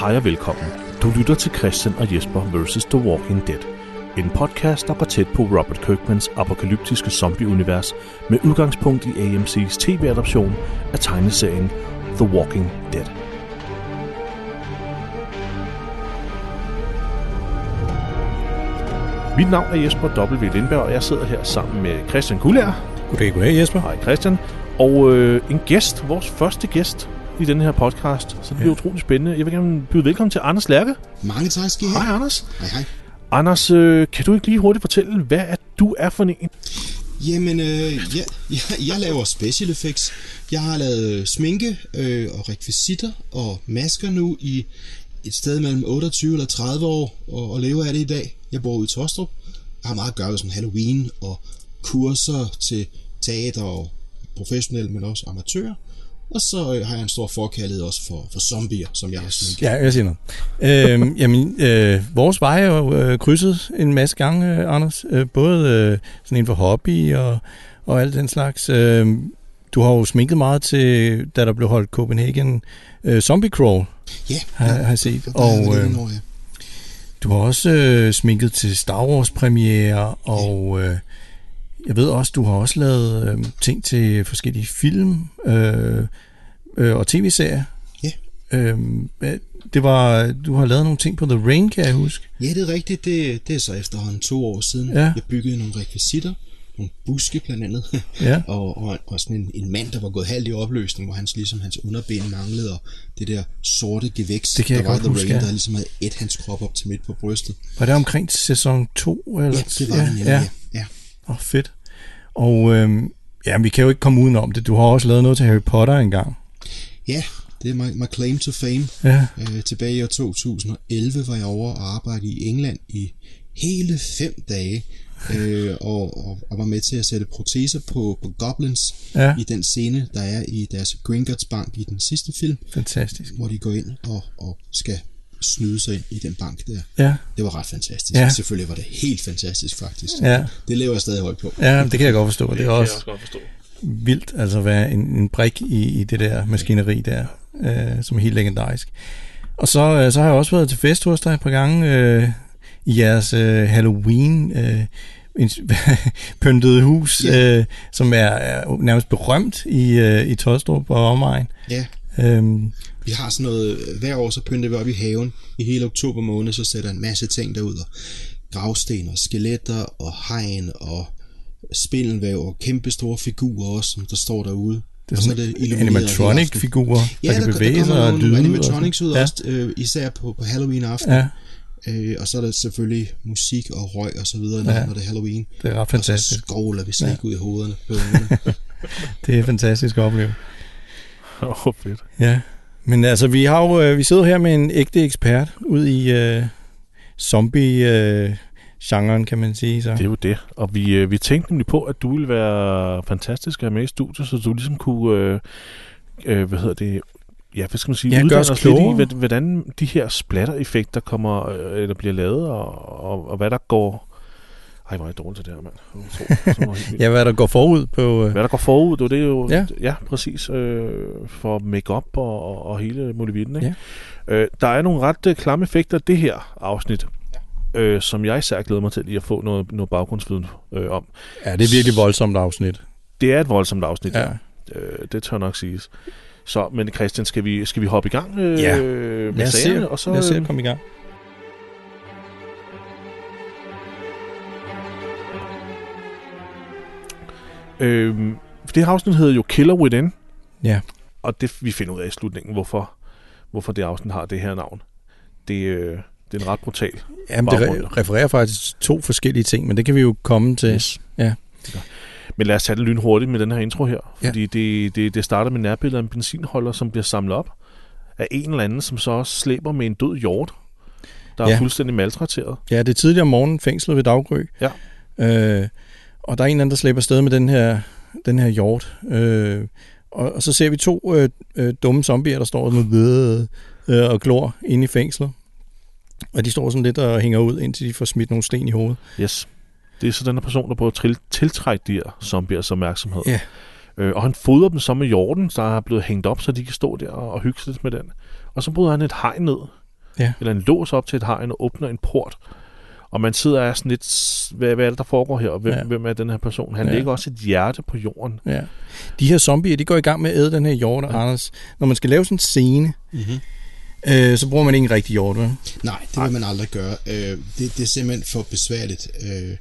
Hej og velkommen. Du lytter til Christian og Jesper vs. The Walking Dead. En podcast, der går tæt på Robert Kirkmans apokalyptiske zombieunivers med udgangspunkt i AMC's tv-adaption af tegneserien The Walking Dead. Mit navn er Jesper W. Lindberg, og jeg sidder her sammen med Christian Kuller. Goddag, goddag Jesper. Hej Christian. Og øh, en gæst, vores første gæst i denne her podcast, så det bliver ja. utroligt spændende. Jeg vil gerne byde velkommen til Anders Lærke. Mange tak skal I have. Hej Anders. Hej, hej. Anders, øh, kan du ikke lige hurtigt fortælle, hvad er du er for en? Jamen, øh, jeg, jeg, jeg laver special effects. Jeg har lavet øh, sminke øh, og rekvisitter og masker nu i et sted mellem 28 eller 30 år, og, og lever af det i dag. Jeg bor ude i Tostrup. Jeg har meget at gøre med sådan Halloween og kurser til teater og professionelle, men også amatører. Og så øh, har jeg en stor forkærlighed også for, for zombier, som jeg har sminket. Ja, jeg siger noget. øhm, jamen, øh, vores veje er jo øh, krydset en masse gange, øh, Anders. Øh, både øh, sådan inden for hobby og, og alt den slags. Øh, du har jo sminket meget til, da der blev holdt Copenhagen øh, Zombie Crawl, Ja, har, har jeg set. der er Og jeg øh, lidt over, ja. du har også øh, sminket til Star Wars premiere og... Øh, jeg ved også, du har også lavet øh, ting til forskellige film øh, øh, og tv-serier. Ja. Øhm, hvad- det var, du har lavet nogle ting på The Rain, kan jeg huske. Ja, det er rigtigt. Det, det er så efterhånden to år siden. Ja. Jeg byggede nogle rekvisitter, nogle buske blandt andet, Ja. og, og, og sådan en, en mand, der var gået halvt i opløsning, hvor hans, ligesom, hans underben manglede, og det der sorte gevækst, Det kan jeg der var godt The huske, Rain, ja. der ligesom havde et hans krop op til midt på brystet. Var det omkring sæson 2? Eller? Ja, det var ja, det nemlig. Ja, Ja. ja. oh, fedt. Og øhm, ja, vi kan jo ikke komme udenom det. Du har også lavet noget til Harry Potter engang. ja det er my, my claim to fame. Ja. Øh, tilbage i år 2011 var jeg over og arbejde i England i hele fem dage, øh, og, og, og var med til at sætte proteser på, på goblins Ja. i den scene, der er i deres Gringotts bank i den sidste film, Fantastisk. hvor de går ind og, og skal snyde sig ind i den bank der. Ja, Det var ret fantastisk. Ja. Ja. Selvfølgelig var det helt fantastisk, faktisk. ja. Det lever jeg stadig højt på. ja det kan jeg godt forstå. Det, det er også godt forstå. vildt, altså være en, en brik i, i det der maskineri der, øh, som er helt legendarisk. Og så, øh, så har jeg også været til fest hos dig et par gange øh, i jeres øh, Halloween øh, ins- pyntede hus, Ja. øh, som er, er nærmest berømt i, øh, i Tolstrup og omegn. Ja, Øhm, Vi har sådan noget, øh, hver år så pynter vi op i haven. I hele oktober måned, så sætter en masse ting derud. Og gravsten og skeletter og hegn og spindelvæv og kæmpe store figurer også, som der står derude. det er Og så er sådan det illumineret hele aften. animatronic-figurer, Ja, der, kan bevæge sig og lyde. nogle og animatronics ud sådan. også, øh, især på, på Halloween aften. Ja, ja, Øh, og så er der selvfølgelig musik og røg og så videre, når, Ja. når det er Halloween. det er ret Og fantastisk. så skovler vi slik ud i hovederne på ungerne. Det er fantastisk at opleve. Åh, oh, fedt. Ja, men altså, vi, har jo, øh, vi sidder jo her med en ægte ekspert ud i øh, zombie-genren, kan man sige. Det er Så. jo det. Og vi, øh, vi tænkte nemlig på, at du ville være fantastisk at have med i studiet, så du ligesom kunne, øh, øh, hvad hedder det, ja, hvad skal man sige, Ja, gøre uddanne os os lidt i, klogere. hved- hvordan de her splatter-effekter kommer, øh, eller bliver lavet, og, og, og hvad der går... Ej, hvor er jeg dårlig til det her, mand. Utro- sådan noget helt vildt. Ja, hvad der går forud på... Øh, Hvad der går forud, det er det jo, ja, Ja. ja præcis, øh, for makeup og, og, og hele muligheden. Ikke? Ja. Øh, der er nogle ret øh, klamme effekter i det her afsnit, øh, som jeg især glæder mig til lige at få noget, noget baggrundsviden øh, om. ja, det er virkelig voldsomt afsnit. Det er et voldsomt afsnit, ja. Ja. øh, det tør nok siges. Så, men Christian, skal vi, skal vi hoppe i gang øh, Ja. med Lad os se, sagerne? og så, øh, lad os se at komme i gang. Øh, for det her afsnit hedder jo Killer Within. Ja. Og det vi finder ud af i slutningen, hvorfor, hvorfor det afsnit har det her navn. Det, øh, det er en ret brutal. Jamen, det Baggrund. re- refererer faktisk til to forskellige ting, men det kan vi jo komme til. Yes. Ja. Men lad os tage det lynhurtigt med den her intro her. Ja. Fordi det, det, det starter med nærbilleder af en benzinholder, som bliver samlet op af en eller anden, som så også slæber med en død hjort, der ja. Ja. er fuldstændig maltrakteret. Ja, det er tidligere om morgenen, fængslet ved Daggry. Ja. Øh, og der er en eller anden, der slæber afsted med den her, den her hjort. Øh, og, og så ser vi to øh, øh, dumme zombier, der står sådan ved øh, og glor inde i fængslet. Og de står sådan lidt og hænger ud, indtil de får smidt nogle sten i hovedet. Yes. Det er så den her person, der prøver at tril- tiltrække de her zombiers opmærksomhed. Ja. Øh, og han fodrer dem så med jorden, der er blevet hængt op, så de kan stå der og, og hygge sig lidt med den. Og så bryder han et hegn ned Ja. eller en lås op til et hegn og åbner en port. Og man sidder og er sådan lidt, "S- hvad, hvad er det, der foregår her, og hvem, Ja. ja. hvem er den her person? Han Ja. ja. lægger også et hjerte på jorden. Ja. De her zombier, de går i gang med at æde den her hjort, ja. Anders. Når man skal lave sådan en scene, Mm-hmm. øh, så bruger man ikke en rigtig hjort, vel? Nej, det vil man aldrig gøre. Øh, det, det er simpelthen for besværligt. Øh,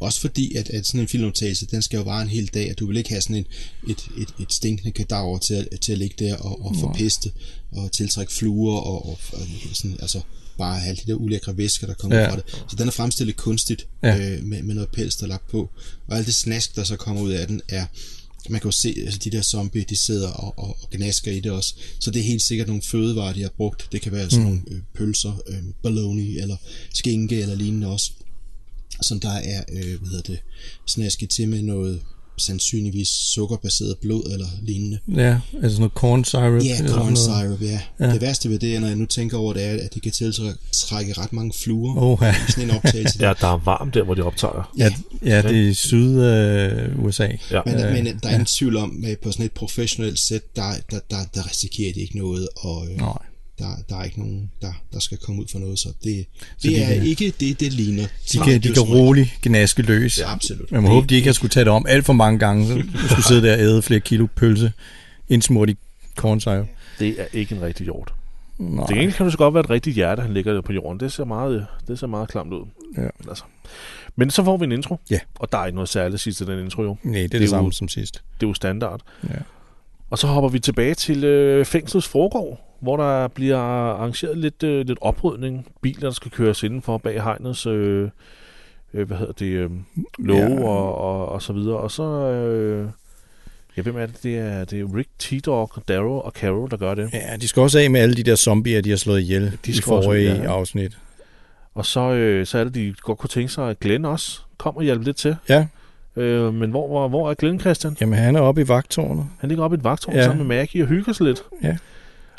også fordi, at, at sådan en filmoptagelse, den skal jo vare en hel dag, og du vil ikke have sådan en, et, et, et stinkende kadaver til at, til at ligge der og, og forpeste og tiltrække fluer og, og, og sådan, altså bare alle de der ulækre væsker, der kommer Ja. ja. fra det. Så den er fremstillet kunstigt Ja. ja. øh, med, med noget pels, der er lagt på. Og alt det snask, der så kommer ud af den, er man kan jo se, altså de der zombier, de sidder og, og, og gnasker i det også. Så det er helt sikkert nogle fødevarer, de har brugt. Det kan være sådan mm. nogle øh, pølser, øh, bologna eller skinke eller lignende også. Som der er, øh, hvad hedder det, snasket til med noget sandsynligvis sukkerbaseret blod eller lignende. Ja, altså sådan noget corn syrup. Ja, eller corn sådan noget. syrup, ja. Ja. ja. Det værste ved det, er, når jeg nu tænker over det, er, at det kan tiltrække ret mange fluer. Åh, Oh. ja. i Sådan en optagelse. der. Ja, der er varmt der, hvor de optager. Ja, ja, det er syd-USA. Ja. Men, Øh, øh, men der er ingen tvivl om, at på sådan et professionelt sæt, der, der, der, der risikerer de ikke noget, og øh, Nej. der, der er ikke nogen, der, der skal komme ud for noget, så det, det de er kan- ikke det, det ligner. De Nej, kan, det er de jo kan sådan noget. roligt gnaske løs. Ja, absolut. Man må håbe, de ikke har skulle tage det om alt for mange gange, så du skulle sidde der og æde flere kilo pølse, indsmurt i corn syrup. Det er ikke en rigtig hjort. Nej. Det gengæld kan det så godt være et rigtigt hjerte, han ligger der på jorden. Det ser meget, det ser meget klamt ud. Ja. Men Altså. Men så får vi en intro. Ja. Og der er ikke noget særligt at sige til den intro jo. Nej, det er det, er jo- samme som sidst. Det er jo standard. Ja. Og så hopper vi tilbage til øh, fængslets foregård, hvor der bliver arrangeret lidt, øh, lidt oprydning. Biler, der skal køres indenfor bag hegnets... Øh, øh, hvad hedder det, øh, love Ja. ja. og, og, og så videre. Og så, øh, ja, hvem er det? Det er, det er Rick, T-Dog, Darrow og Carol, der gør det. Ja, de skal også af med alle de der zombier, de har slået ihjel de De i skal også- forrige ja. afsnit. Og så, øh, så er det, de godt kunne tænke sig, at Glenn også kom og hjalp lidt til. Ja, Øh, men hvor, hvor, hvor er Glenn Christian? jamen han er oppe i vagtårnet, Han ligger oppe i et vagtårn Ja. ja. sammen med Maggie og hygger sig lidt.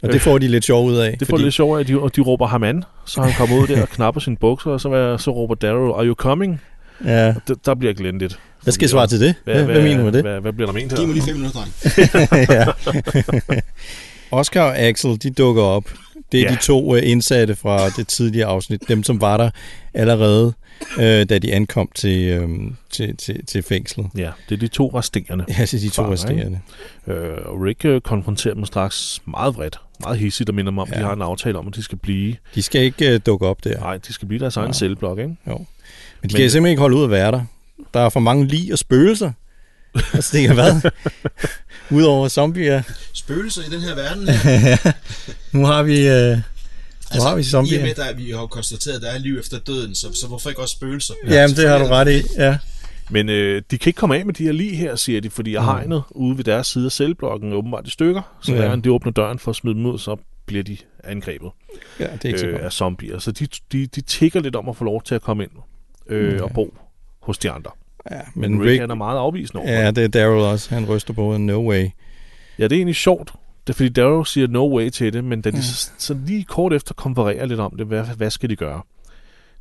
og det Øh, får de lidt sjov ud af. Det får lidt sjovt, at de, og de råber ham an. Så han kommer ud der og knapper sine bukser, og så, er- så råber Darrow, are you coming? Ja, D- der bliver Glenn lidt. hvad skal jeg svare til det? Hvad, hvad mener du med det? Hvad, hvad bliver der ment Giv mig her? lige fem minutter, dreng. ja. Oscar og Axel, de dukker op. Det er ja. Ja. de to øh, indsatte fra det tidligere afsnit, dem som var der allerede, øh, da de ankom til, øh, til, til, til fængslet. Ja, det er de to resterende. Ja, så de to Fanger, resterende. Øh, og Rick øh, konfronterer dem straks meget vredt. Meget hissigt og minder dem om, at Ja. de har en aftale om, at de skal blive. De skal ikke øh, dukke op der. Nej, de skal blive deres egen Ja. ja. celleblok, ikke? Men de Men- kan simpelthen ikke holde ud at være der. Der er for mange lig og spøgelser. Altså, Og så tænker jeg, hvad? Udover zombier. Spøgelser i den her verden her. Nu har vi, øh, nu har vi I og med, zombier. at vi har konstateret, at der er liv efter døden, så, så hvorfor ikke også spøgelser? Jamen, det har du ret i. Ja. Men øh, de kan ikke komme af med de her lige her, siger de, fordi jeg hegnet ude ved deres side af celleblokken er åbenbart i stykker. Så Mm. Ja. ja. der, de åbner døren for at smide dem ud, så bliver de angrebet ja, det er ikke så øh, godt. af zombier. Så de, de, de tigger lidt om at få lov til at komme ind øh, okay. og bo hos de andre. Ja, Men, Men Rick, han er meget afvisende over. Ja. Ja, det er Daryl også. Han ryster på hovedet. No way. ja, det er egentlig sjovt. Det er fordi Darrow siger no way til det, men da de så, så lige kort efter konfererer lidt om det, hvad, hvad skal de gøre?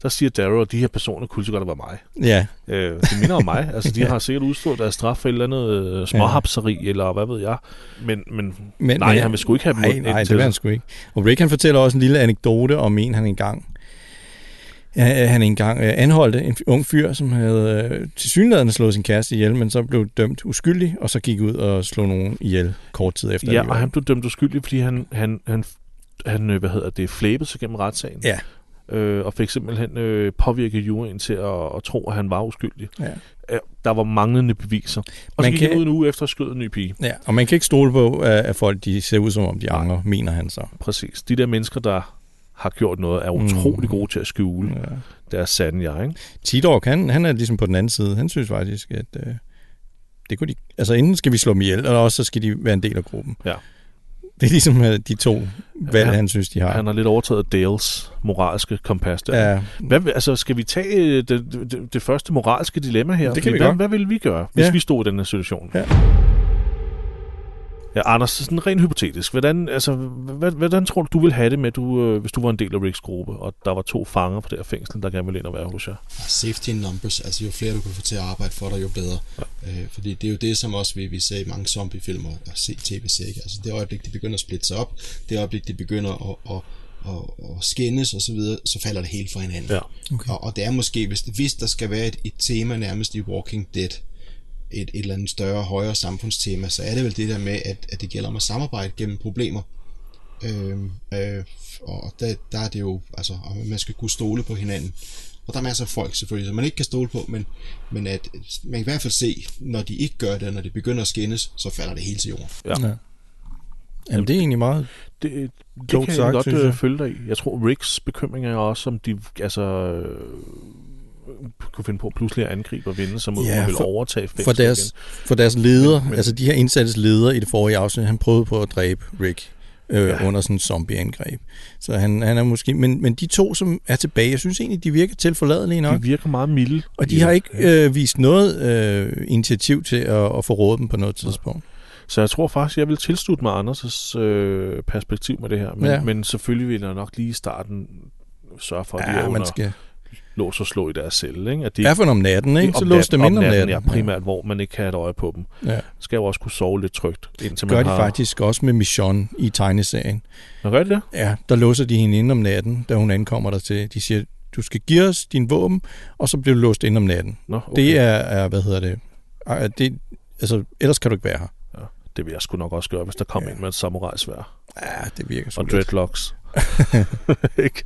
Der siger Darrow, at de her personer kunne lige så godt have været mig. Ja, Øh, det minder om mig. Altså, de har sikkert udstået deres straf for et eller andet øh, småhapseri, ja. eller hvad ved jeg. Men, men, men nej, han vil sgu ikke have dem øh, nej, ind nej, det til. vil han sgu ikke. Og Rick han fortæller også en lille anekdote om en, han engang øh, han engang øh, anholdte en ung fyr, som havde øh, tilsyneladende slået sin kæreste ihjel, men så blev dømt uskyldig, og så gik ud og slog nogen ihjel kort tid efter. Ja, alligevel. og han blev dømt uskyldig, fordi han, han, han, han øh, hvad hedder det, flæbede sig gennem retssagen. Ja. Øh, og fik simpelthen øh, påvirket juryen til at, at tro, at han var uskyldig. Ja. Øh, der var manglende beviser. Og Man så gik han kan- ud en uge efter og skød en ny pige. ja, og man kan ikke stole på, at at folk de ser ud som om de angrer, mener han så. Præcis. De der mennesker, der har gjort noget, er utrolig gode til at skjule Mm. Ja. deres sande jeg. Ikke? Tidork, han, han er ligesom på den anden side. Han synes faktisk, at øh, det kunne de... Altså, enten skal vi slå dem ihjel, eller også så skal de være en del af gruppen. Ja. Det er ligesom øh, de to valg, Han- han synes, de har. Han har lidt overtaget Dales moralske kompas der. ja, Hvad, vil- altså, skal vi tage øh, det, det, det første moralske dilemma her? Det kan Fordi vi hvad, godt. hvad ville vi gøre, hvis Ja. vi stod i den her situation? Ja. Ja, Anders, sådan rent hypotetisk. Hvordan, altså, hvad, hvordan tror du, du ville have det med, du, øh, hvis du var en del af Ricks gruppe, og der var to fanger på det her fængsel, der gerne ville ind og være hos jer? Safety in numbers, altså jo flere du kan få til at arbejde for dig, jo bedre. Øh, fordi det er jo det, som også vi, vi ser i mange zombiefilmer og se tv-serier. Altså det øjeblik, de begynder at splitte sig op, det øjeblik, de begynder at, at og, og skændes og så videre, så falder det helt fra hinanden. Ja. Okay. Og, og det er måske, hvis, hvis der skal være et, et tema nærmest i Walking Dead, et, et eller andet større, højere samfundstema, så er det vel det der med, at, at det gælder om at samarbejde gennem problemer. Øhm, øh, og der, der er det jo, altså, og man skal kunne stole på hinanden. Og der er masser af folk selvfølgelig, som man ikke kan stole på, men, men at man kan i hvert fald se, når de ikke gør det, og når det begynder at skændes, så falder det hele til jorden. Ja. Ja. Jamen, det er egentlig meget... Det, det Klogt kan sagt, jeg godt synes jeg. jeg. følge dig i. Jeg tror, Ricks bekymring er også, om de altså, øh, kunne finde på at pludselig at angribe og vinde sig mod, Ja, ja, vil for- overtage fængslet For deres, igen. for deres leder, Men- men- altså de her indsattes leder i det forrige afsnit, han prøvede på at dræbe Rick øh, ja. under sådan en zombieangreb. Så han, han er måske... Men, men de to, som er tilbage, jeg synes egentlig, de virker tilforladelige nok. De virker meget milde. Og de har ikke øh, vist noget øh, initiativ til at, at forråde dem på noget tidspunkt. Så jeg tror faktisk, jeg vil tilslutte mig Anders' øh, perspektiv med det her. Men, Ja. ja. men selvfølgelig vil jeg nok lige i starten sørge for, at de er Ja, under man skal... lås og slå i deres celle. Ikke? At de I hvert fald om natten, det er ikke? Så lås dem ind om natten. Ja, primært, hvor man ikke kan have et øje på dem. Ja. Skal jo også kunne sove lidt trygt, indtil Gør man de har... faktisk også med Michonne i tegneserien. Nå, gør de det? Ja, der låser de hende ind om natten, da hun ankommer der til. De siger, du skal give os din våben, og så bliver du låst ind om natten. Nå, okay. Okay. Det er, er, hvad hedder det? Ej, det altså, ellers kan du ikke være her. Ja, det vil jeg sgu nok også gøre, hvis der kom ja. ind med et samurajsvær. Ja, det virker sgu Og lidt. dreadlocks. ikke?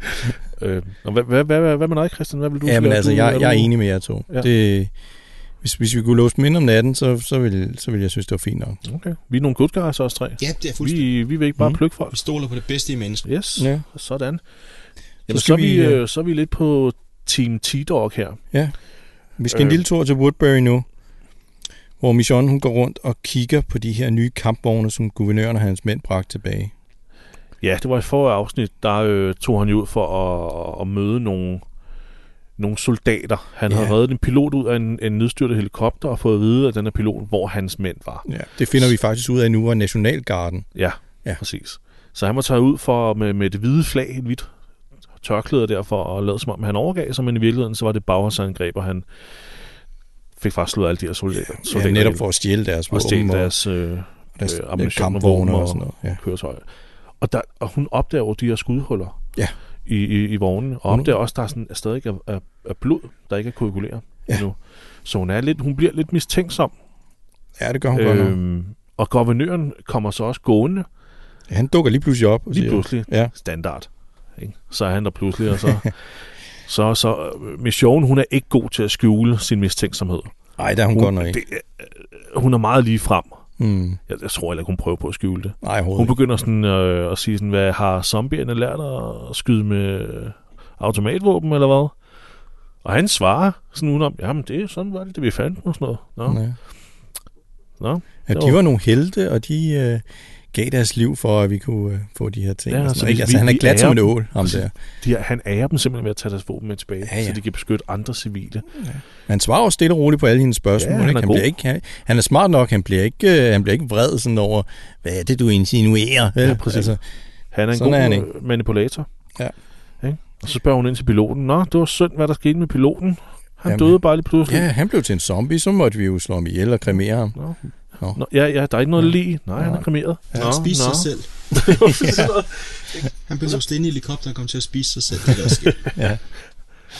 Øh, nå, hvad, hvad, hvad, hvad, hvad med dig, Christian? Hvad vil du Ja, men gøre? altså, du, jeg, jeg er du- enig med jer to. Ja. Ja. Det, hvis, hvis vi kunne låse dem ind om natten, så, så, ville, så ville jeg synes, det var fint nok. Okay. Vi er nogle good guys, os tre. Ja, det er fuldstændig. Vi, vi vil ikke bare Mm. mm. plukke folk. Vi stoler på det bedste i mennesket. Yes, Ja. ja. sådan. Jamen, så, skal er vi, vi, øh, øh, så er vi lidt på Team T-Dog her. Vi skal øh. en Øh. lille tur til Woodbury nu, hvor Michonne hun går rundt og kigger på de her nye kampvogne, som guvernøren og hans mænd bragte tilbage. Ja, det var i forrige afsnit, der øh, tog han jo ud for at, at møde nogle, nogle soldater. Han Ja. havde reddet en pilot ud af en, en nedstyrtet helikopter og fået at vide af den her pilot, hvor hans mænd var. Ja, det finder vi faktisk ud af nu af Nationalgarden. Ja, Ja. ja. præcis. Så han var taget ud for med, med det hvide flag, et hvidt tørklæde derfor, og lavede som om, han overgav sig, men i virkeligheden, så var det bagholdsangreb, og han fik faktisk slået alle de her soldater. Ja, soldater netop ihjel. for at stjæle deres og stjæle og deres, øh, deres øh, øh, ammunition og kampvogne våben og, og- sådan noget. Ja. køretøjer. Og, der, og hun opdager jo de her skudhuller Ja. Mm. i, i, i vognen, og Hun- opdager også, at der er sådan, at stadig er, er, er blod, der ikke er koaguleret ja. Ja. endnu. Så hun, er lidt, hun bliver lidt mistænksom. ja, det gør hun øh, godt nok. Øhm, og guvernøren kommer så også gående Ja, Han dukker lige pludselig op. Og lige siger, pludselig. Ja. Standard. Ikke? Så er han der pludselig, og så... så, så øh, Mission, hun er ikke god til at skjule sin mistænksomhed. Nej, der er hun, hun godt nok ikke. Det, er- hun er meget lige frem. Mm. Jeg, jeg tror heller ikke, hun prøver på at skjule det. Nej, Hun overhovedet ikke. begynder sådan øh, at sige sådan, hvad har zombierne lært at skyde med automatvåben eller hvad? Og han svarer sådan udenom, jamen det er sådan var det, det vi fandt og sådan noget. Nå, Ja. nå. Ja, Det de var- var nogle helte, og de øh, gav deres liv for, at vi kunne øh, få de her ting. Ja, og sådan så noget, vi- ikke? altså, vi- han er vi glad som ærer en dem. ål, ham der. De, her- han ærer dem simpelthen ved at tage deres våben med tilbage, Ja, ja. så de kan beskytte andre civile. Han svarer også stille og roligt på alle hendes spørgsmål. Ja, ikke? han er han, bliver god. ikke, han, han er smart nok, han bliver ikke, øh, han bliver ikke vred sådan over, hvad er det, du insinuerer? vel?" Ja, præcis. Han er en Sådan sådan god er han er ikke. han manipulator. Ja. Ikke? Og så spørger hun ind til piloten, nå, det var synd, hvad der skete med piloten. Han Jamen. jamen. døde bare lige pludselig. ja, han blev til en zombie, så måtte vi jo slå ham ihjel og kremere ham. Nå. Nå. Nå, ja, ja, der er ikke noget lige. Nej, han er kremeret. Han Nå, spiste nå. sig selv. Han blev låst inde i helikopteren og kom til at spise sig selv. Det er også sket.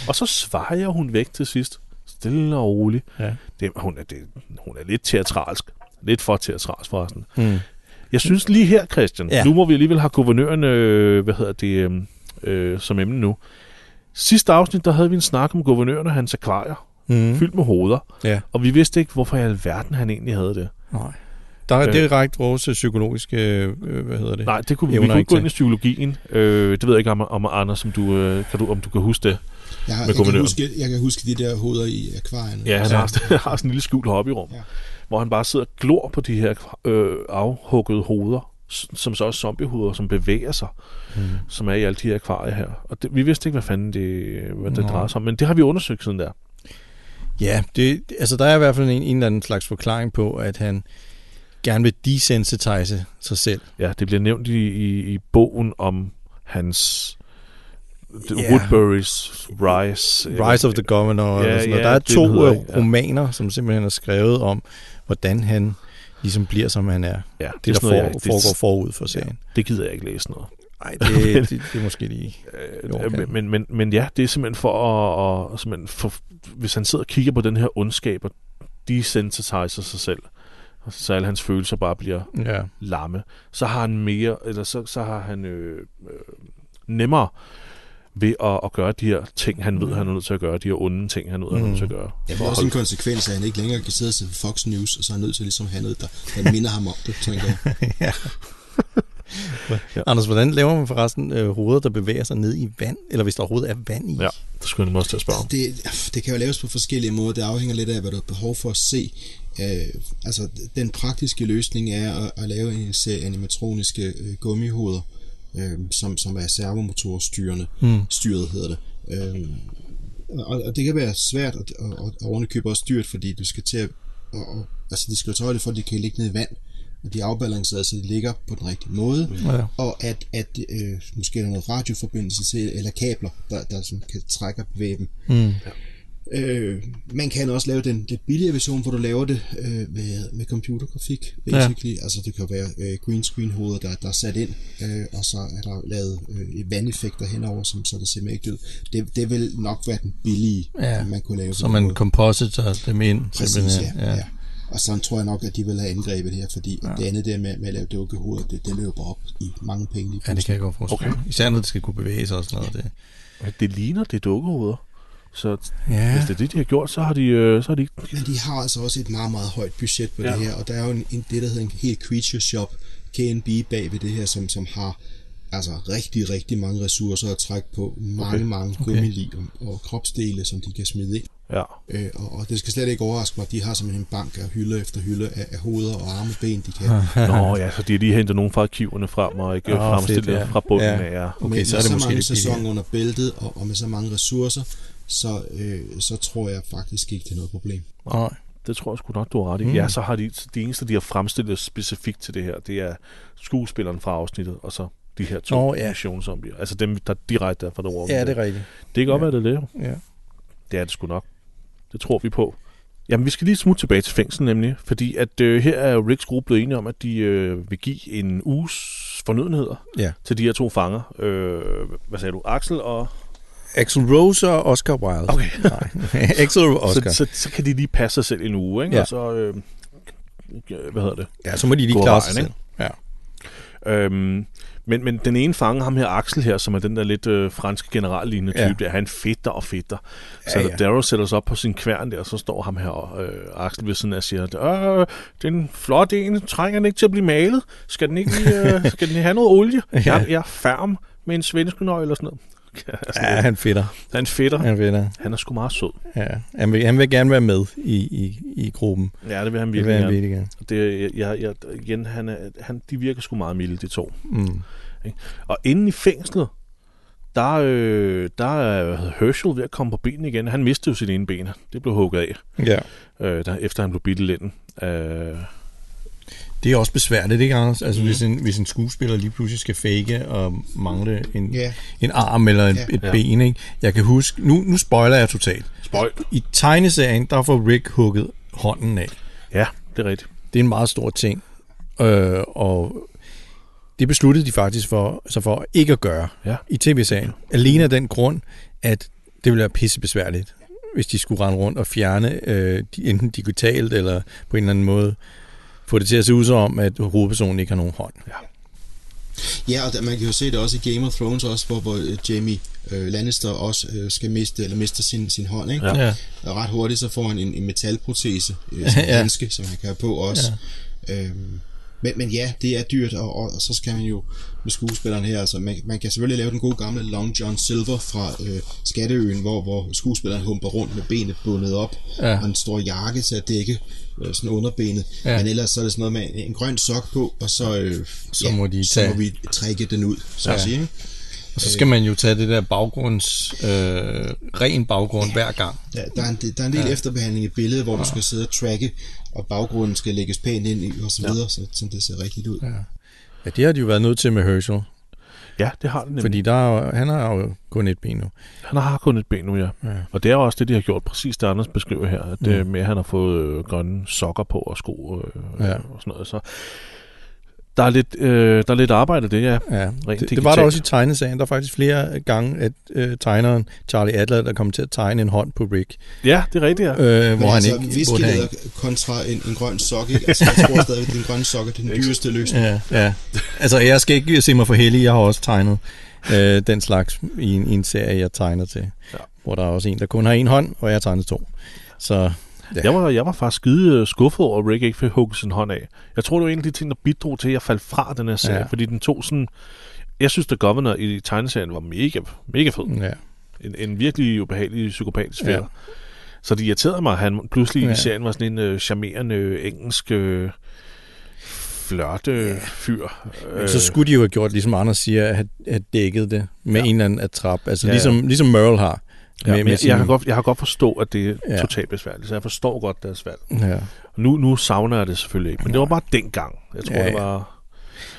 Og så svarer hun væk til sidst. Stille og roligt. Ja. Det, hun, er, det, hun er lidt teatralsk. Lidt for teatralsk forresten. Mm. Jeg synes lige her, Christian, Ja. ja. nu må vi alligevel have guvernøren, øh, hvad hedder det, øh, øh, som emne nu. Sidste afsnit, der havde vi en snak om guvernøren og hans akvarier, Mm. mm. fyldt med hoveder. Ja. Og vi vidste ikke, hvorfor i alverden han egentlig havde det. Nej. Der er Øh. direkte vores psykologiske, øh, hvad hedder det? Nej, det kunne, vi Evner kunne ikke ikke gå til. ind i psykologien. Øh, det ved jeg ikke om, om Anders, om du, øh, kan du, om du kan huske det. Med Jeg, jeg, kan guvernøren. huske, jeg kan huske de der hoveder i akvarierne. Ja, han Ja. ja. Har, sådan- har sådan en lille skjult hobbyrum, Ja. ja. hvor han bare sidder og glor på de her øh, afhuggede hoveder, s- som så også zombiehoveder, som bevæger sig, mm. som er i alle de her akvarier her. Og det, vi vidste ikke, hvad fanden det, hvad det Nå. drejer sig om, men det har vi undersøgt siden der. Ja, det, altså der er i hvert fald en, en eller anden slags forklaring på, at han gerne vil desensitize sig selv. Ja, det bliver nævnt i, i, i bogen om hans The Ja. Woodbury's Rise. Rise of the Governor. Ja, Ja, eller sådan noget. ja, Der er det hedder to det, øh, ja. romaner, som simpelthen er skrevet om, hvordan han ligesom bliver, som han er. Ja, Det, det der sådan noget, for, jeg- foregår forud for serien. Det gider jeg ikke læse noget. Nej, det, det, det er måske lige... Øh, men, men, men, men ja, det er simpelthen for at... at simpelthen for, hvis han sidder og kigger på den her ondskab og desensitiser sig selv, så alle hans følelser bare bliver Ja. lamme, så har han mere, eller så, så har han øh, øh, nemmere ved at, at gøre de her ting, han ved, han er nødt til at gøre, de her onde ting, han ved, han er nødt til at gøre. Ja, det For er at også en holde- konsekvens af, at han ikke længere kan sidde og se Fox News, og så er han nødt til ligesom at have noget, der, der minder ham om det, tænker jeg. ja. Anders, hvordan laver man forresten øh, hoveder, der bevæger sig ned i vand? Eller hvis der overhovedet er vand i? Ja, det skulle jeg nemlig også til at spørge om. Det, det kan jo laves på forskellige måder. Det afhænger lidt af, hvad du har behov for at se. Øh, altså, den praktiske løsning er at, at lave en serie animatroniske øh, gummihoveder, øh, som, som er servomotorstyrende. Hmm. Mm. Styret hedder det. Øh, og, og det kan være svært at, at, at ovenikøbe også dyrt, fordi du skal til at... Og, og- altså, de skal jo tage højde for, at de kan ligge ned i vand, og de er afbalanceret, så de ligger på den rigtige måde. Hmm. Mm Ja. og at, at øh, måske er der noget radioforbindelse til, eller kabler, der, der sådan kan trække og bevæge dem. Mm. Øh, man kan også lave den lidt billigere version, hvor du laver det øh, med, med computergrafik, basically. Ja. Altså det kan være øh, green screen hoveder, der, der er sat ind, øh, og så er der lavet øh, vandeffekter henover, som så det ser mærkeligt ud. Det, det vil nok være den billige, Ja, man kunne lave. Så på den man måde. compositor dem ind. Præcis, simpelthen. ja. ja. ja. Og sådan tror jeg nok, at de vil have angrebet her, fordi ja. det andet der med, med at lave dukkehoveder, det, det løber op i mange penge lige ja, det kan jeg godt forstå. Okay. Især når det skal kunne bevæge sig og sådan noget. Det. Ja, det ligner det er dukkehoveder. Så ja. Ja. hvis det er det, de har gjort, så har de, øh, så har de ikke... Men de har altså også et meget, meget højt budget på ja. Ja. det her, og der er jo en, en, det, der hedder en helt creature shop, K&B bag ved det her, som, som har altså rigtig, rigtig mange ressourcer at trække på. Mange, okay. mange gummili og, og kropsdele, som de kan smide ind. Ja, Øh, og, og det skal slet ikke overraske mig, de har simpelthen en bank af hylde efter hylde af, af hoveder og arme og ben, de kan. Ah, Ja. Nå, ja, så de har lige hentet nogen fra arkiverne frem, og ikke Åh, oh, fremstillet fedt, ja. ja. fra bunden Ja. ja. af. Ja. Okay, med, så er med det måske så mange lidt billigere. sæsoner under bæltet og, og med så mange ressourcer, så, øh, så tror jeg faktisk ikke, det er noget problem. Nej. Det tror jeg sgu nok, du har ret i. Mm. Ja, så har de, de eneste, de har fremstillet specifikt til det her, det er skuespilleren fra afsnittet, og så de her to Nå, oh, ja. ja. zombier. Altså dem, der direkte er fra The Walking Ja, Dead. det er rigtigt. Det kan godt Ja. ja. være, det er det. Ja. Det er det sgu nok. Det tror vi på. Jamen, vi skal lige smutte tilbage til fængsel nemlig, fordi at øh, her er jo Ricks gruppe blevet enige om, at de øh, vil give en uges fornødenheder ja. til de her to fanger. Øh, hvad sagde du? Axel og... Axel Rose og Oscar Wilde. Okay. Nej. Axel og Oscar. Så, så, så kan de lige passe sig selv en uge, ikke? Ja. Og så... Øh, hvad hedder det? ja, så må de lige Gå klare sig vejen, selv. ikke? Ja. Øhm, men, men den ene fanger, ham her Axel her, som er den der lidt øh, franske generallignende Ja. type, der, han fedter og fedter. Så Ja, ja, ja. ja. Darrow sætter sig op på sin kværn der, og så står ham her og øh, Axel ved siden af og siger, øh, den flot en, trænger den ikke til at blive malet? Skal den ikke lige, øh, skal den have noget olie? Ja. ja. jeg, jeg er færm med en svenskenøgle eller sådan noget. altså, ja, han fedter. Han fedter. Ja. Han fedter. Han er sgu meget sød. Ja. Han, vil, han vil gerne være med i, i, i gruppen. Ja, det vil han Det virkelig vil han gerne. virkelig gerne. Det, jeg, jeg, igen, han er, han, de virker sgu meget milde, de to. Mm. Ikke? Og inde i fængslet, der, øh, der er Herschel ved at komme på benene igen. Han mistede jo sit ene ben. Det blev hugget af, Ja. øh, der, efter han blev bidt i lænden. Øh, Det er også besværligt, ikke Anders? Altså, mm. hvis, en, hvis en skuespiller lige pludselig skal fake og mangle en, Ja. en arm eller en, Ja. et ben, ikke? Jeg kan huske... Nu, nu spoiler jeg totalt. spøj. I tegneserien, der får Rick hugget hånden af. Ja, det er rigtigt. Det er en meget stor ting. Øh, og det besluttede de faktisk for, så for ikke at gøre Ja. i tv-serien. Alene af den grund, at det ville være pissebesværligt, hvis de skulle rende rundt og fjerne, øh, de- enten digitalt eller på en eller anden måde, få det til at se ud som om, at hovedpersonen ikke har nogen hånd. Ja, og der, man kan jo se det også i Game of Thrones, også, hvor, hvor øh, Jamie øh, Lannister også øh, skal miste, eller mister sin, sin hånd, ikke? Ja. Og ret hurtigt så får han en, en metalprotese, øh, sådan en Ja. handske, som han kan have på også. Ja. Øhm, men, men ja, det er dyrt, og, og, og så skal man jo med skuespilleren her, altså man, man kan selvfølgelig lave den gode gamle Long John Silver fra øh, Skatteøen, hvor, hvor skuespilleren humper rundt med benet bundet op, Ja. og en stor jakke til at dække øh, sådan underbenet, Ja. ja. men ellers så er det sådan noget med en, en grøn sok på, og så, øh, Så må de så tage- må vi trække den ud, så ja. Ja. at sige. Ikke? Og så skal man jo tage det der baggrunds, øh, ren baggrund hver gang. Ja, der, er en, del- der er en del ja. efterbehandling i billedet, hvor ja. du skal sidde og tracke, og baggrunden skal lægges pænt ind i, og så videre, ja. så, så det ser rigtigt ud. Ja. Ja, det har de jo været nødt til med Herschel, Ja, det har den nemlig. Fordi... fordi der er, jo- han har jo kun et ben nu. Han har kun et ben nu, ja. ja. Og det er også det, de har gjort, præcis det Anders beskriver her, at mm. med, at han har fået øh, grønne sokker på og sko øh, Ja. ja. og sådan noget. Så Der er lidt, øh, der er lidt arbejde i det, ja. Ja, Rent det, det var der digitalt. også i tegnesagen. Der er faktisk flere gange, at øh, tegneren Charlie Adler, der kom til at tegne en hånd på Rick, Ja, det er rigtigt, ja. øh, hvor han altså, ikke... hvor han viskelæder ikke- kontra en, en grøn sok, ikke? Altså, jeg tror stadig, at den grønne sok er den dyreste løsning. Ja, ja. Altså, jeg skal ikke se mig for heldig. Jeg har også tegnet øh, den slags i en, i en serie, jeg tegner til. Ja. Ja. Hvor der er også en, der kun har en hånd, og jeg har tegnet to. Så Ja. Jeg, var, jeg var faktisk skide øh, skuffet over, at Rick ikke fik hugget sin hånd af. Jeg tror, det var en af de ting, der bidrog til, at jeg faldt fra den her serie, ja. Ja. fordi den tog sådan... Jeg synes, at Governor i tegneserien var mega, mega fed. ja. En, en virkelig ubehagelig psykopatisk Ja. fætter. Ja. Så det irriterede mig, at han pludselig ja. i Ja. serien var sådan en øh, charmerende øh, engelsk øh, flørte øh, fyr. Øh. Så skulle de jo have gjort, ligesom Anders siger, at have- have dækket det med Ja. ja. en eller anden atrap. Altså Ja, ja, ja. ja. Ligesom, ligesom Merle har. ja, men jeg, sin- jeg, kan godt, jeg kan godt forstå, at det er ja. Ja. totalt besværligt, så jeg forstår godt deres valg. Ja. Nu, nu savner jeg det selvfølgelig ikke, men det var bare dengang. Jeg tror, ja, Ja, ja. det ja. var...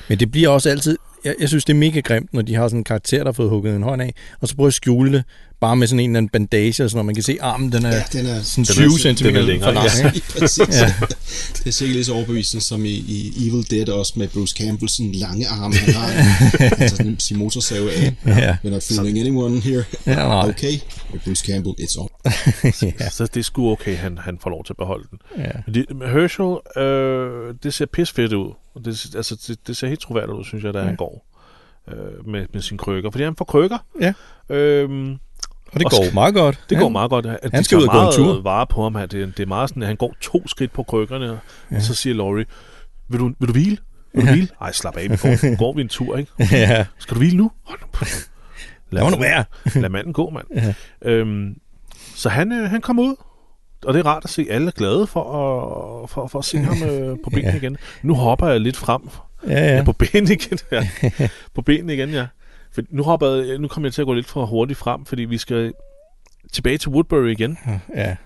Men det bliver også altid... Jeg, jeg synes, det er mega grimt, når de har sådan en karakter, der har fået hugget en hånd af, og så prøver at skjule det, bare med sådan en eller anden bandage, og sådan, og man kan se armen, den er Ja, den er... sådan Den er- 20 den er cm længere, for lang. ja. ikke? Lige præcis. Ja. Det er sikkert lige så overbevisende som i, i Evil Dead også med Bruce Campbell, sådan lange arme, han har. altså sådan sin motorsave af. Ja. We're not fooling anyone here. Ja, nej. Okay, Bruce Campbell, it's all. Ja. Så det er sgu okay, han, han får lov til at beholde den. Ja. Men Det, men Herschel, øh, det ser pisfedt ud. Og Det, altså, det, det ser helt troværdigt ud, synes jeg, da ja. han går øh, med, med sine krykker. Fordi han får krykker. Ja. Øhm, Og det Og sk- går meget godt. det ja. går meget godt. At de Han skal ud tager og gå en meget tur. vare på ham. Han- Det, det er meget sådan, at han går to skridt på krykkerne, og ja. så siger Laurie, vil du, vil du hvile? Vil du hvile? Ej, slap af, vi går, går vi en tur, ikke? ja. Skal du hvile nu? Hold nu. på. Lad, Nå, nu manden- være. lad manden gå, mand. øhm, så han, øh, han kom ud, og det er rart at se alle er glade for at, for, for at se ham øh, på benene Ja. igen. Nu hopper jeg lidt frem Ja, ja. ja. på benene igen. Ja. på benene igen, ja. For nu, hopper jeg, nu kommer jeg til at gå lidt for hurtigt frem, fordi vi skal tilbage til Woodbury igen, ja.